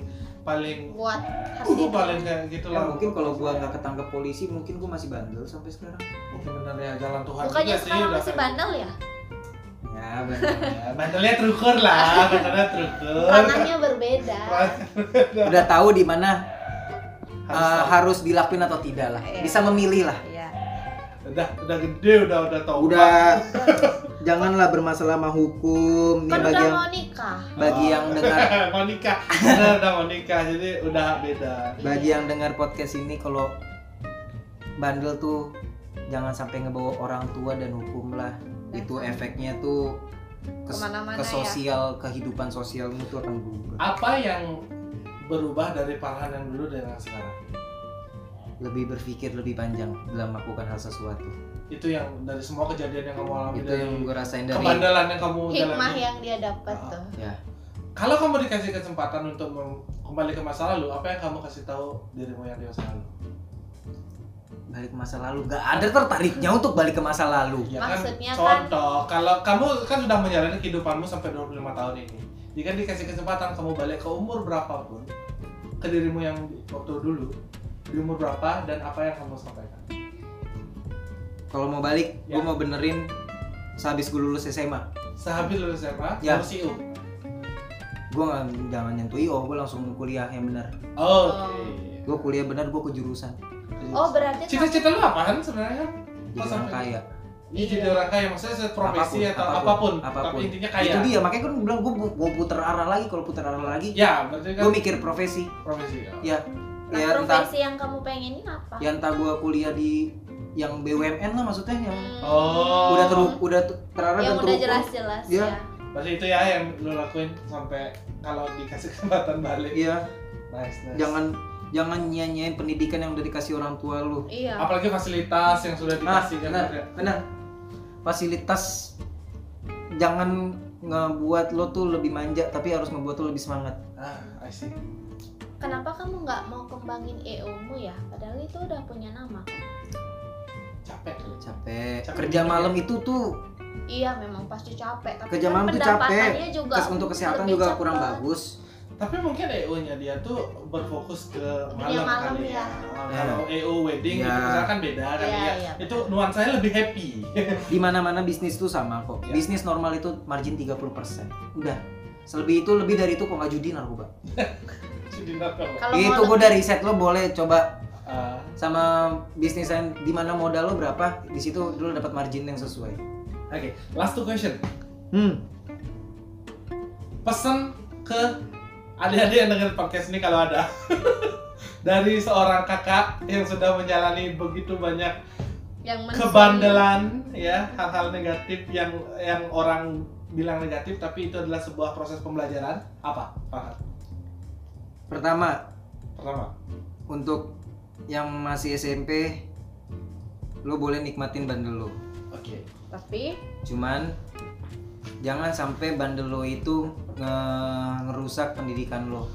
S1: paling
S2: Buat hati.
S1: uh, paling kayak gitu
S3: Ya,
S1: lah
S3: mungkin kalau gue nggak ketangkep polisi mungkin gue masih bandel sampai sekarang
S1: mungkin benar ya jalan Tuhan
S2: Bukannya
S1: juga sih
S2: sekarang
S1: udah kayak-
S2: masih
S1: gitu.
S2: bandel
S3: Iya.
S2: ya?
S3: ya bandel
S1: Ya, bandelnya terukur
S2: [LAUGHS]
S1: lah bandelnya terukur
S2: Ranahnya berbeda.
S3: udah tahu di mana
S1: Harus
S3: uh,
S1: tahu.
S3: harus dilakuin atau tidak lah
S2: Iya.
S3: bisa memilih lah
S2: Iya.
S1: Dan udah udah gede udah udah tau
S2: [LAUGHS]
S3: udah janganlah bermasalah sama hukum ini
S2: kan
S3: bagi
S2: udah
S3: yang
S2: mau nikah
S3: bagi yang dengar
S1: Eh, mau nikah udah udah mau nikah jadi udah beda
S3: [LAUGHS] bagi yang dengar podcast ini kalau bandel tuh jangan sampai ngebawa orang tua dan hukum lah
S2: Iya.
S3: itu efeknya tuh ke,
S2: Kemana-mana
S3: ke
S2: ya.
S3: sosial kehidupan sosialmu tuh akan berubah
S1: apa yang berubah dari Farhan yang dulu dan yang sekarang
S3: lebih berpikir lebih panjang dalam melakukan hal sesuatu
S1: itu yang dari semua kejadian yang kamu alami
S3: itu
S1: dari
S3: yang gue rasain dari
S1: kebandalan yang kamu
S2: hikmah
S1: jalani
S2: yang dia dapat tuh
S3: ya
S1: kalau kamu dikasih kesempatan untuk mem- kembali ke masa lalu apa yang kamu kasih tahu dirimu yang di masa lalu
S3: balik ke masa lalu gak ada tertariknya untuk balik ke masa lalu
S1: ya
S2: Maksudnya
S1: kan
S2: kan-
S1: contoh kalau kamu kan sudah menjalani kehidupanmu sampai 25 tahun ini jika dikasih kesempatan kamu balik ke umur berapapun ke dirimu yang di- waktu dulu di umur berapa dan apa yang kamu sampaikan
S3: kalau mau balik
S1: Ya.
S3: gue mau benerin sehabis gue lulus SMA
S1: sehabis lulus SMA
S3: Ya.
S1: baru CEO
S3: gue jangan nyentuh IO gue langsung kuliah yang bener
S1: oke
S3: gue kuliah bener gue ke jurusan
S2: oh berarti kamu-
S1: cita-cita lu apaan sebenarnya
S3: jadi
S1: Kok
S3: orang
S1: sampai-
S3: kaya
S1: Iya jadi orang kaya maksudnya profesi
S3: Apapun,
S1: atau apapun,
S3: apapun,
S1: tapi
S3: apapun.
S1: intinya kaya.
S3: itu dia makanya gue bilang gue gue puter arah lagi kalau puter arah lagi
S1: Ya, berarti kan
S3: gue mikir profesi
S1: profesi. Ya.
S3: ya
S2: nah,
S3: ya entah
S2: profesi yang kamu pengenin apa
S3: ya entah gue kuliah di yang BUMN lah maksudnya yang
S2: Hmm.
S1: Oh.
S3: udah teru udah tu- terarah
S2: yang
S3: dan
S2: udah
S3: terukur
S2: jelas-jelas
S3: Ya.
S2: ya
S1: Berarti itu ya yang lo lakuin sampai kalau dikasih [LAUGHS] kesempatan balik.
S3: Iya,
S1: Nice, nice.
S3: jangan jangan nyanyain pendidikan yang udah dikasih orang tua lu
S2: iya
S1: apalagi fasilitas yang sudah
S3: Nah,
S1: dikasih kan
S3: benar,
S1: udah.
S3: benar. Fasilitas jangan ngebuat lo tuh lebih manja, tapi harus ngebuat lo lebih semangat.
S1: Ah, I see.
S2: kenapa kamu nggak mau kembangin EO-mu ya padahal itu udah punya nama
S1: Capek.
S3: Capek.
S1: Capek
S3: Kerja
S1: dikit.
S3: malam itu tuh
S2: iya memang pasti capek tapi
S3: Kerja
S2: kan
S3: malam tuh
S2: pendapatannya juga
S3: kes- untuk kesehatan
S2: lebih
S3: juga
S2: cepet.
S3: kurang bagus.
S1: Tapi mungkin EO-nya dia tuh berfokus ke malam,
S2: Dunia malam
S1: kali
S2: ya.
S1: Ah, Kalau EO wedding
S3: Nah. Iya.
S1: itu misalkan beda kan
S2: Iya,
S1: ya.
S2: iya,
S1: Itu nuansanya lebih happy. [LAUGHS]
S3: Di mana-mana bisnis tuh sama kok.
S1: Ya.
S3: Bisnis normal itu margin 30%. Udah. Selebih itu lebih dari itu kok nggak judi narkoba.
S1: Jadi nakal.
S2: kalau
S3: itu
S2: mau
S3: gue dari set lo boleh coba
S1: Ah,
S3: sama bisnis yang di mana modal lo berapa, di situ lo dapat margin yang sesuai.
S1: Oke, last two question.
S3: Hmm.
S1: pesan ke adik-adik yang dengerin podcast ini kalau ada [LAUGHS] dari seorang kakak yang sudah menjalani begitu banyak
S2: yang men-
S1: kebandelan ya hal-hal negatif yang yang orang bilang negatif tapi itu adalah sebuah proses pembelajaran apa Farhan?
S3: Pertama,
S1: pertama
S3: untuk yang masih SMP lo boleh nikmatin bandel lo
S1: oke
S2: tapi
S3: cuman jangan sampai bandel lo itu nge- ngerusak pendidikan lo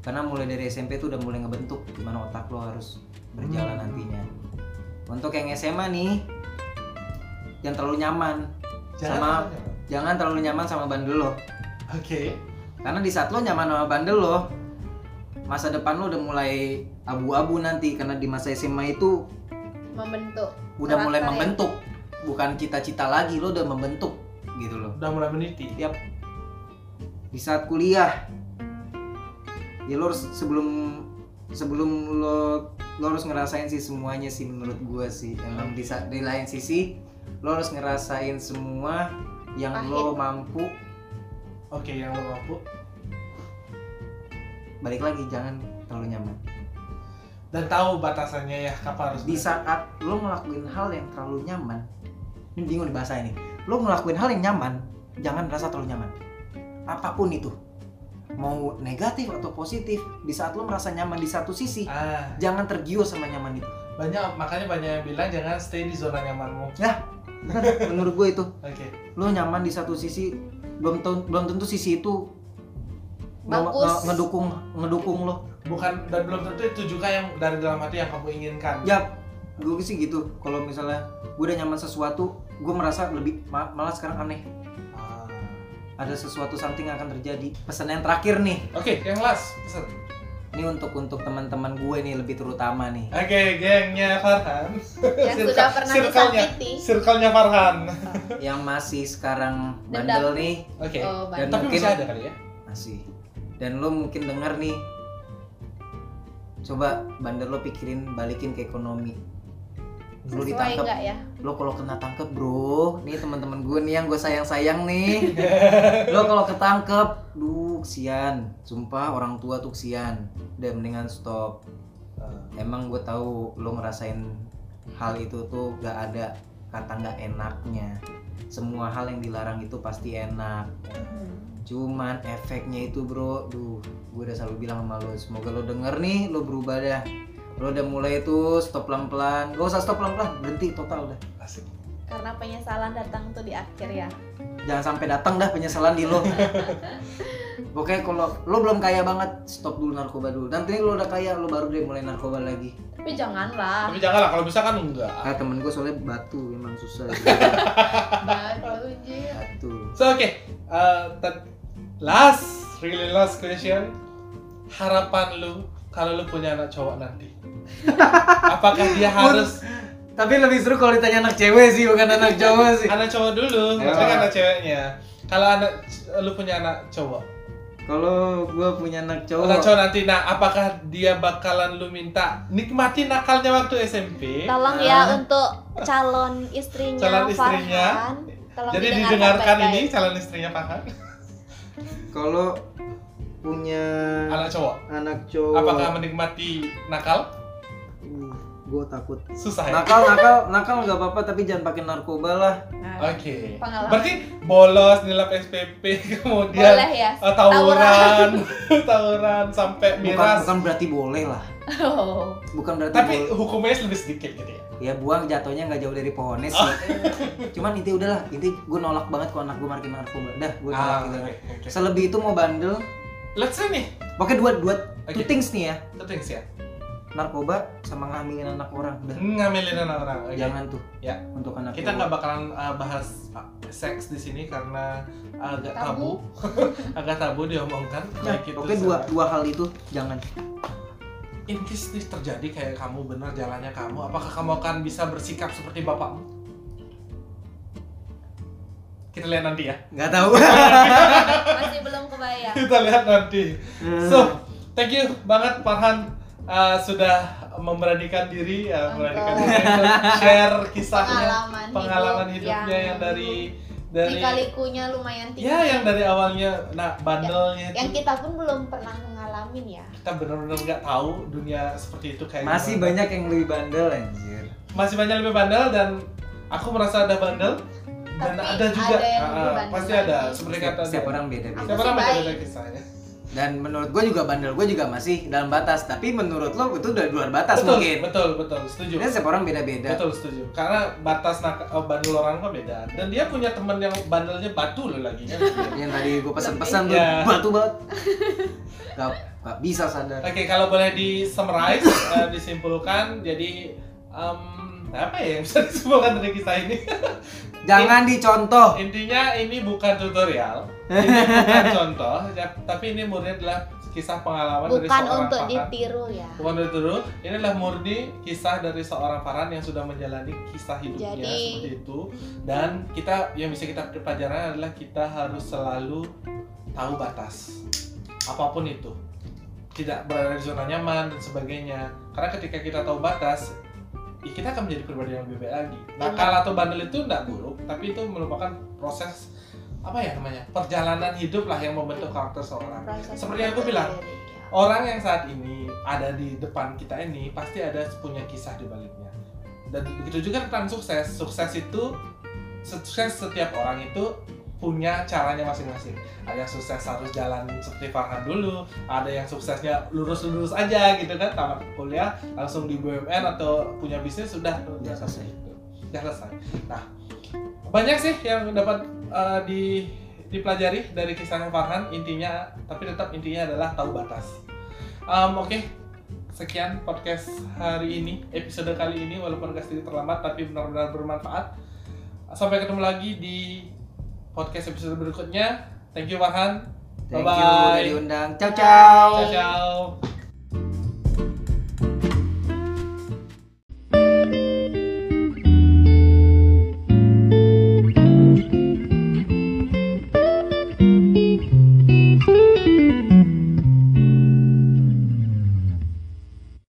S3: karena mulai dari SMP tuh udah mulai ngebentuk gimana otak lo harus berjalan
S1: Hmm.
S3: nantinya untuk yang SMA nih jangan terlalu nyaman Sama.
S1: Jangan tanya.
S3: jangan terlalu nyaman sama bandel lo
S1: oke
S3: karena di saat lo nyaman sama bandel lo masa depan lo udah mulai abu-abu nanti karena di masa SMA itu
S2: membentuk
S3: udah
S2: Karakter
S3: mulai
S2: ya.
S3: membentuk bukan cita-cita lagi lo udah membentuk gitu loh
S1: udah mulai meniti
S3: di saat kuliah ya lo harus sebelum sebelum lo lo harus ngerasain sih semuanya sih menurut gua sih emang di, sa- di lain sisi lo harus ngerasain semua yang lo mampu
S1: oke yang lo mampu
S3: balik lagi jangan terlalu nyaman
S1: dan tahu batasannya ya kapan harus
S3: di saat lo ngelakuin hal yang terlalu nyaman ini bingung di bahasa ini lo ngelakuin hal yang nyaman jangan merasa terlalu nyaman apapun itu mau negatif atau positif di saat lo merasa nyaman di satu sisi
S1: ah
S3: jangan tergiur sama nyaman itu
S1: banyak makanya banyak yang bilang jangan stay di zona nyamanmu oke
S3: Bener, menurut gue itu lo nyaman di satu sisi belum tentu, belum tentu sisi itu nge-
S2: Bagus.
S3: nge- ngedukung ngedukung lo
S1: bukan dan belum tentu itu juga yang dari dalam hati yang kamu inginkan
S3: ya gue sih gitu kalau misalnya gue udah nyaman sesuatu gue merasa lebih ma- malah sekarang aneh
S1: Ah.
S3: ada sesuatu something yang akan terjadi pesan yang terakhir nih
S1: Oke, yang last pesan.
S3: ini untuk untuk teman-teman gue nih lebih terutama
S2: [LAUGHS]
S3: nih
S1: Oke, gengnya Farhan.
S2: yang
S1: Circle-
S2: sudah pernah
S1: circle-nya.
S2: disakiti
S1: Circle-nya Farhan.
S3: yang masih sekarang
S2: Dendam.
S3: bandel nih
S1: Oke.
S2: oh
S3: Dan-
S2: baik
S1: Tapi
S3: mungkin-
S1: masih ada kali ya.
S3: masih dan lo mungkin denger nih coba bandel lo pikirin balikin ke ekonomi lo
S2: sesuai
S3: ditangkap
S2: nggak ya
S3: lo kalau kena tangkep bro nih teman-teman gue nih yang gue sayang-sayang
S2: [LAUGHS]
S3: nih lo kalau ketangkep duh kesian sumpah orang tua tuh kesian udah mendingan stop emang gue tahu lo ngerasain hal itu tuh gak ada kata nggak enaknya semua hal yang dilarang itu pasti enak cuman efeknya itu bro duh gue udah selalu bilang sama lo semoga lo denger nih lo berubah dah lo udah mulai tuh stop pelan-pelan gak usah stop pelan-pelan berhenti total dah
S1: asik
S4: Karena penyesalan datang tuh di akhir ya.
S3: jangan sampai datang dah penyesalan di lo oke kalau lo belum kaya banget stop dulu narkoba dulu nanti lo udah kaya lo baru deh mulai narkoba lagi
S4: Tapi janganlah.
S1: tapi janganlah kalau bisa kan enggak
S3: ah temen gue soalnya batu emang susah
S4: Baru Ji.
S3: batu
S1: so oke uh, tet- last really last question harapan lu kalau lu punya anak cowok
S3: [LAUGHS]
S1: nanti apakah dia harus
S3: tapi lebih seru kalau ditanya anak cewek sih bukan anak cowok sih
S1: anak cowok dulu
S3: Ya.
S1: maksudnya anak ceweknya kalau anak lu punya anak cowok
S3: kalau gue punya anak cowok
S1: anak cowok nanti nah apakah dia bakalan lu minta nikmati nakalnya waktu SMP
S2: Tolong
S3: Eh.
S2: ya untuk calon istrinya
S1: Calon istrinya.
S2: Farhan. Tolong
S1: jadi
S2: didengarkan
S1: didengarkan ini
S2: baik-baik.
S1: calon istrinya Farhan
S3: kalau punya
S1: anak cowok
S3: anak cowok
S1: apakah menikmati nakal
S3: gue takut
S1: susah ya oke
S3: nakal nakal nakal nggak apa-apa tapi jangan pakai narkoba lah
S4: Nah, Pengalaman.
S1: berarti bolos nilai SPP [LAUGHS] kemudian
S4: Boleh
S2: [LAUGHS]
S4: ya.
S1: eh, tawuran [LAUGHS] tawuran sampai
S3: bukan
S1: miras
S3: bukan berarti boleh lah
S4: Oh.
S1: [LAUGHS]
S3: bukan berarti
S1: tapi
S3: boleh.
S1: hukumnya lebih sedikit gitu ya
S3: ya buang jatuhnya nggak jauh dari pohonnya
S1: Oh.
S3: sih cuman inti udahlah inti gue nolak banget kalau anak gue makin narkoba dah gue nolak
S1: ah,
S3: gitu
S1: oke, oke.
S3: selebih itu mau bandel
S1: let's say nih
S3: pokoknya dua dua
S1: Oke.
S3: two things nih ya
S1: two things ya
S3: narkoba sama ngambilin anak orang udah
S1: ngambilin anak orang oke.
S3: jangan tuh
S1: Ya.
S3: untuk anak
S1: kita
S3: cowok.
S1: nggak bakalan uh, bahas uh, seks di sini karena agak tabu, [LAUGHS] agak tabu diomongkan
S3: Nah,
S1: Kayak gitu,
S3: pokoknya
S1: so.
S3: dua dua hal itu jangan
S1: in case this terjadi kayak kamu bener jalannya kamu apakah kamu akan bisa bersikap seperti bapakmu kita lihat nanti ya
S3: nggak [LAUGHS] tahu
S4: Masih belum kebayang.
S1: [LAUGHS] kita lihat nanti so thank you banget Farhan uh, sudah memberanikan diri ya memberanikan
S4: Untuk
S1: diri untuk share kisahnya
S4: Pengalaman,
S1: pengalaman
S4: hidup Ya.
S1: hidupnya yang, dari dari
S4: likalikunya lumayan tinggi.
S1: ya yang dari awalnya nah bandelnya
S4: Ya. Yang
S1: itu
S4: kita pun belum pernah ngalamin ya.
S1: kita benar-benar nggak tahu dunia seperti itu kayak
S3: masih
S1: gimana.
S3: banyak yang lebih bandel anjir
S1: masih banyak lebih bandel dan aku merasa ada bandel dan
S4: Tapi
S1: ada juga
S4: ada yang lebih
S1: Ah,
S4: bandel
S1: pasti
S4: lagi.
S1: ada seperti
S3: setiap,
S1: kata
S3: setiap
S1: dia.
S3: orang beda beda
S1: setiap orang
S4: Aku sih
S1: beda-beda
S4: baik.
S1: kisahnya
S3: dan menurut gue juga bandel gue juga masih dalam batas tapi menurut lo itu udah di luar batas
S1: betul
S3: mungkin
S1: betul betul setuju
S3: Ini setiap orang beda beda
S1: betul setuju karena batas nak- eh, bandel orang kan beda dan dia punya teman yang bandelnya batu loh lagi
S3: [LAUGHS]
S1: kan? oke
S3: yang tadi gue pesan pesan tuh
S1: Iya.
S3: batu banget gak, gak bisa sadar
S1: kalau boleh di summarize eh, disimpulkan jadi em, apa ya yang bisa [LAUGHS] disimpulkan dari kisah ini
S3: jangan dicontoh
S1: Intinya ini bukan tutorial, ini bukan contoh, ya, tapi ini murni adalah kisah pengalaman dari
S2: Bukan
S1: seorang
S2: untuk
S1: Farhan.
S2: ditiru ya.
S1: Bukan untuk ditiru, ini adalah murni kisah dari seorang Farhan yang sudah menjalani kisah hidupnya
S2: Jadi-
S1: seperti itu. Dan kita yang bisa kita ambil pelajaran adalah kita harus selalu tahu batas apapun itu tidak berada di zona nyaman dan sebagainya karena ketika kita tahu batas ya kita akan menjadi pribadi yang lebih baik lagi nakal atau bandel itu tidak buruk tapi itu merupakan proses apa ya namanya perjalanan hidup lah yang membentuk karakter seorang
S4: Proses
S1: Seperti yang aku bilang.
S4: sendiri, ya.
S1: orang yang saat ini ada di depan kita ini pasti ada punya kisah di baliknya dan begitu juga tentang sukses sukses itu sukses setiap orang itu punya caranya masing-masing ada yang sukses harus jalan seperti Farhan dulu ada yang suksesnya lurus-lurus aja gitu kan tamat kuliah langsung di BUMN atau punya bisnis sudah
S3: Udah selesai.
S1: gitu. Udah selesai nah banyak sih yang dapat eh, di dipelajari dari kisahnya Farhan intinya tapi tetap intinya adalah tahu batas Em, oke sekian podcast hari ini episode kali ini walaupun gak sedikit terlambat tapi benar-benar bermanfaat sampai ketemu lagi di podcast episode berikutnya thank you Farhan
S3: thank you
S1: Bye-bye.
S3: udah diundang ciao ciao
S1: ciao ciao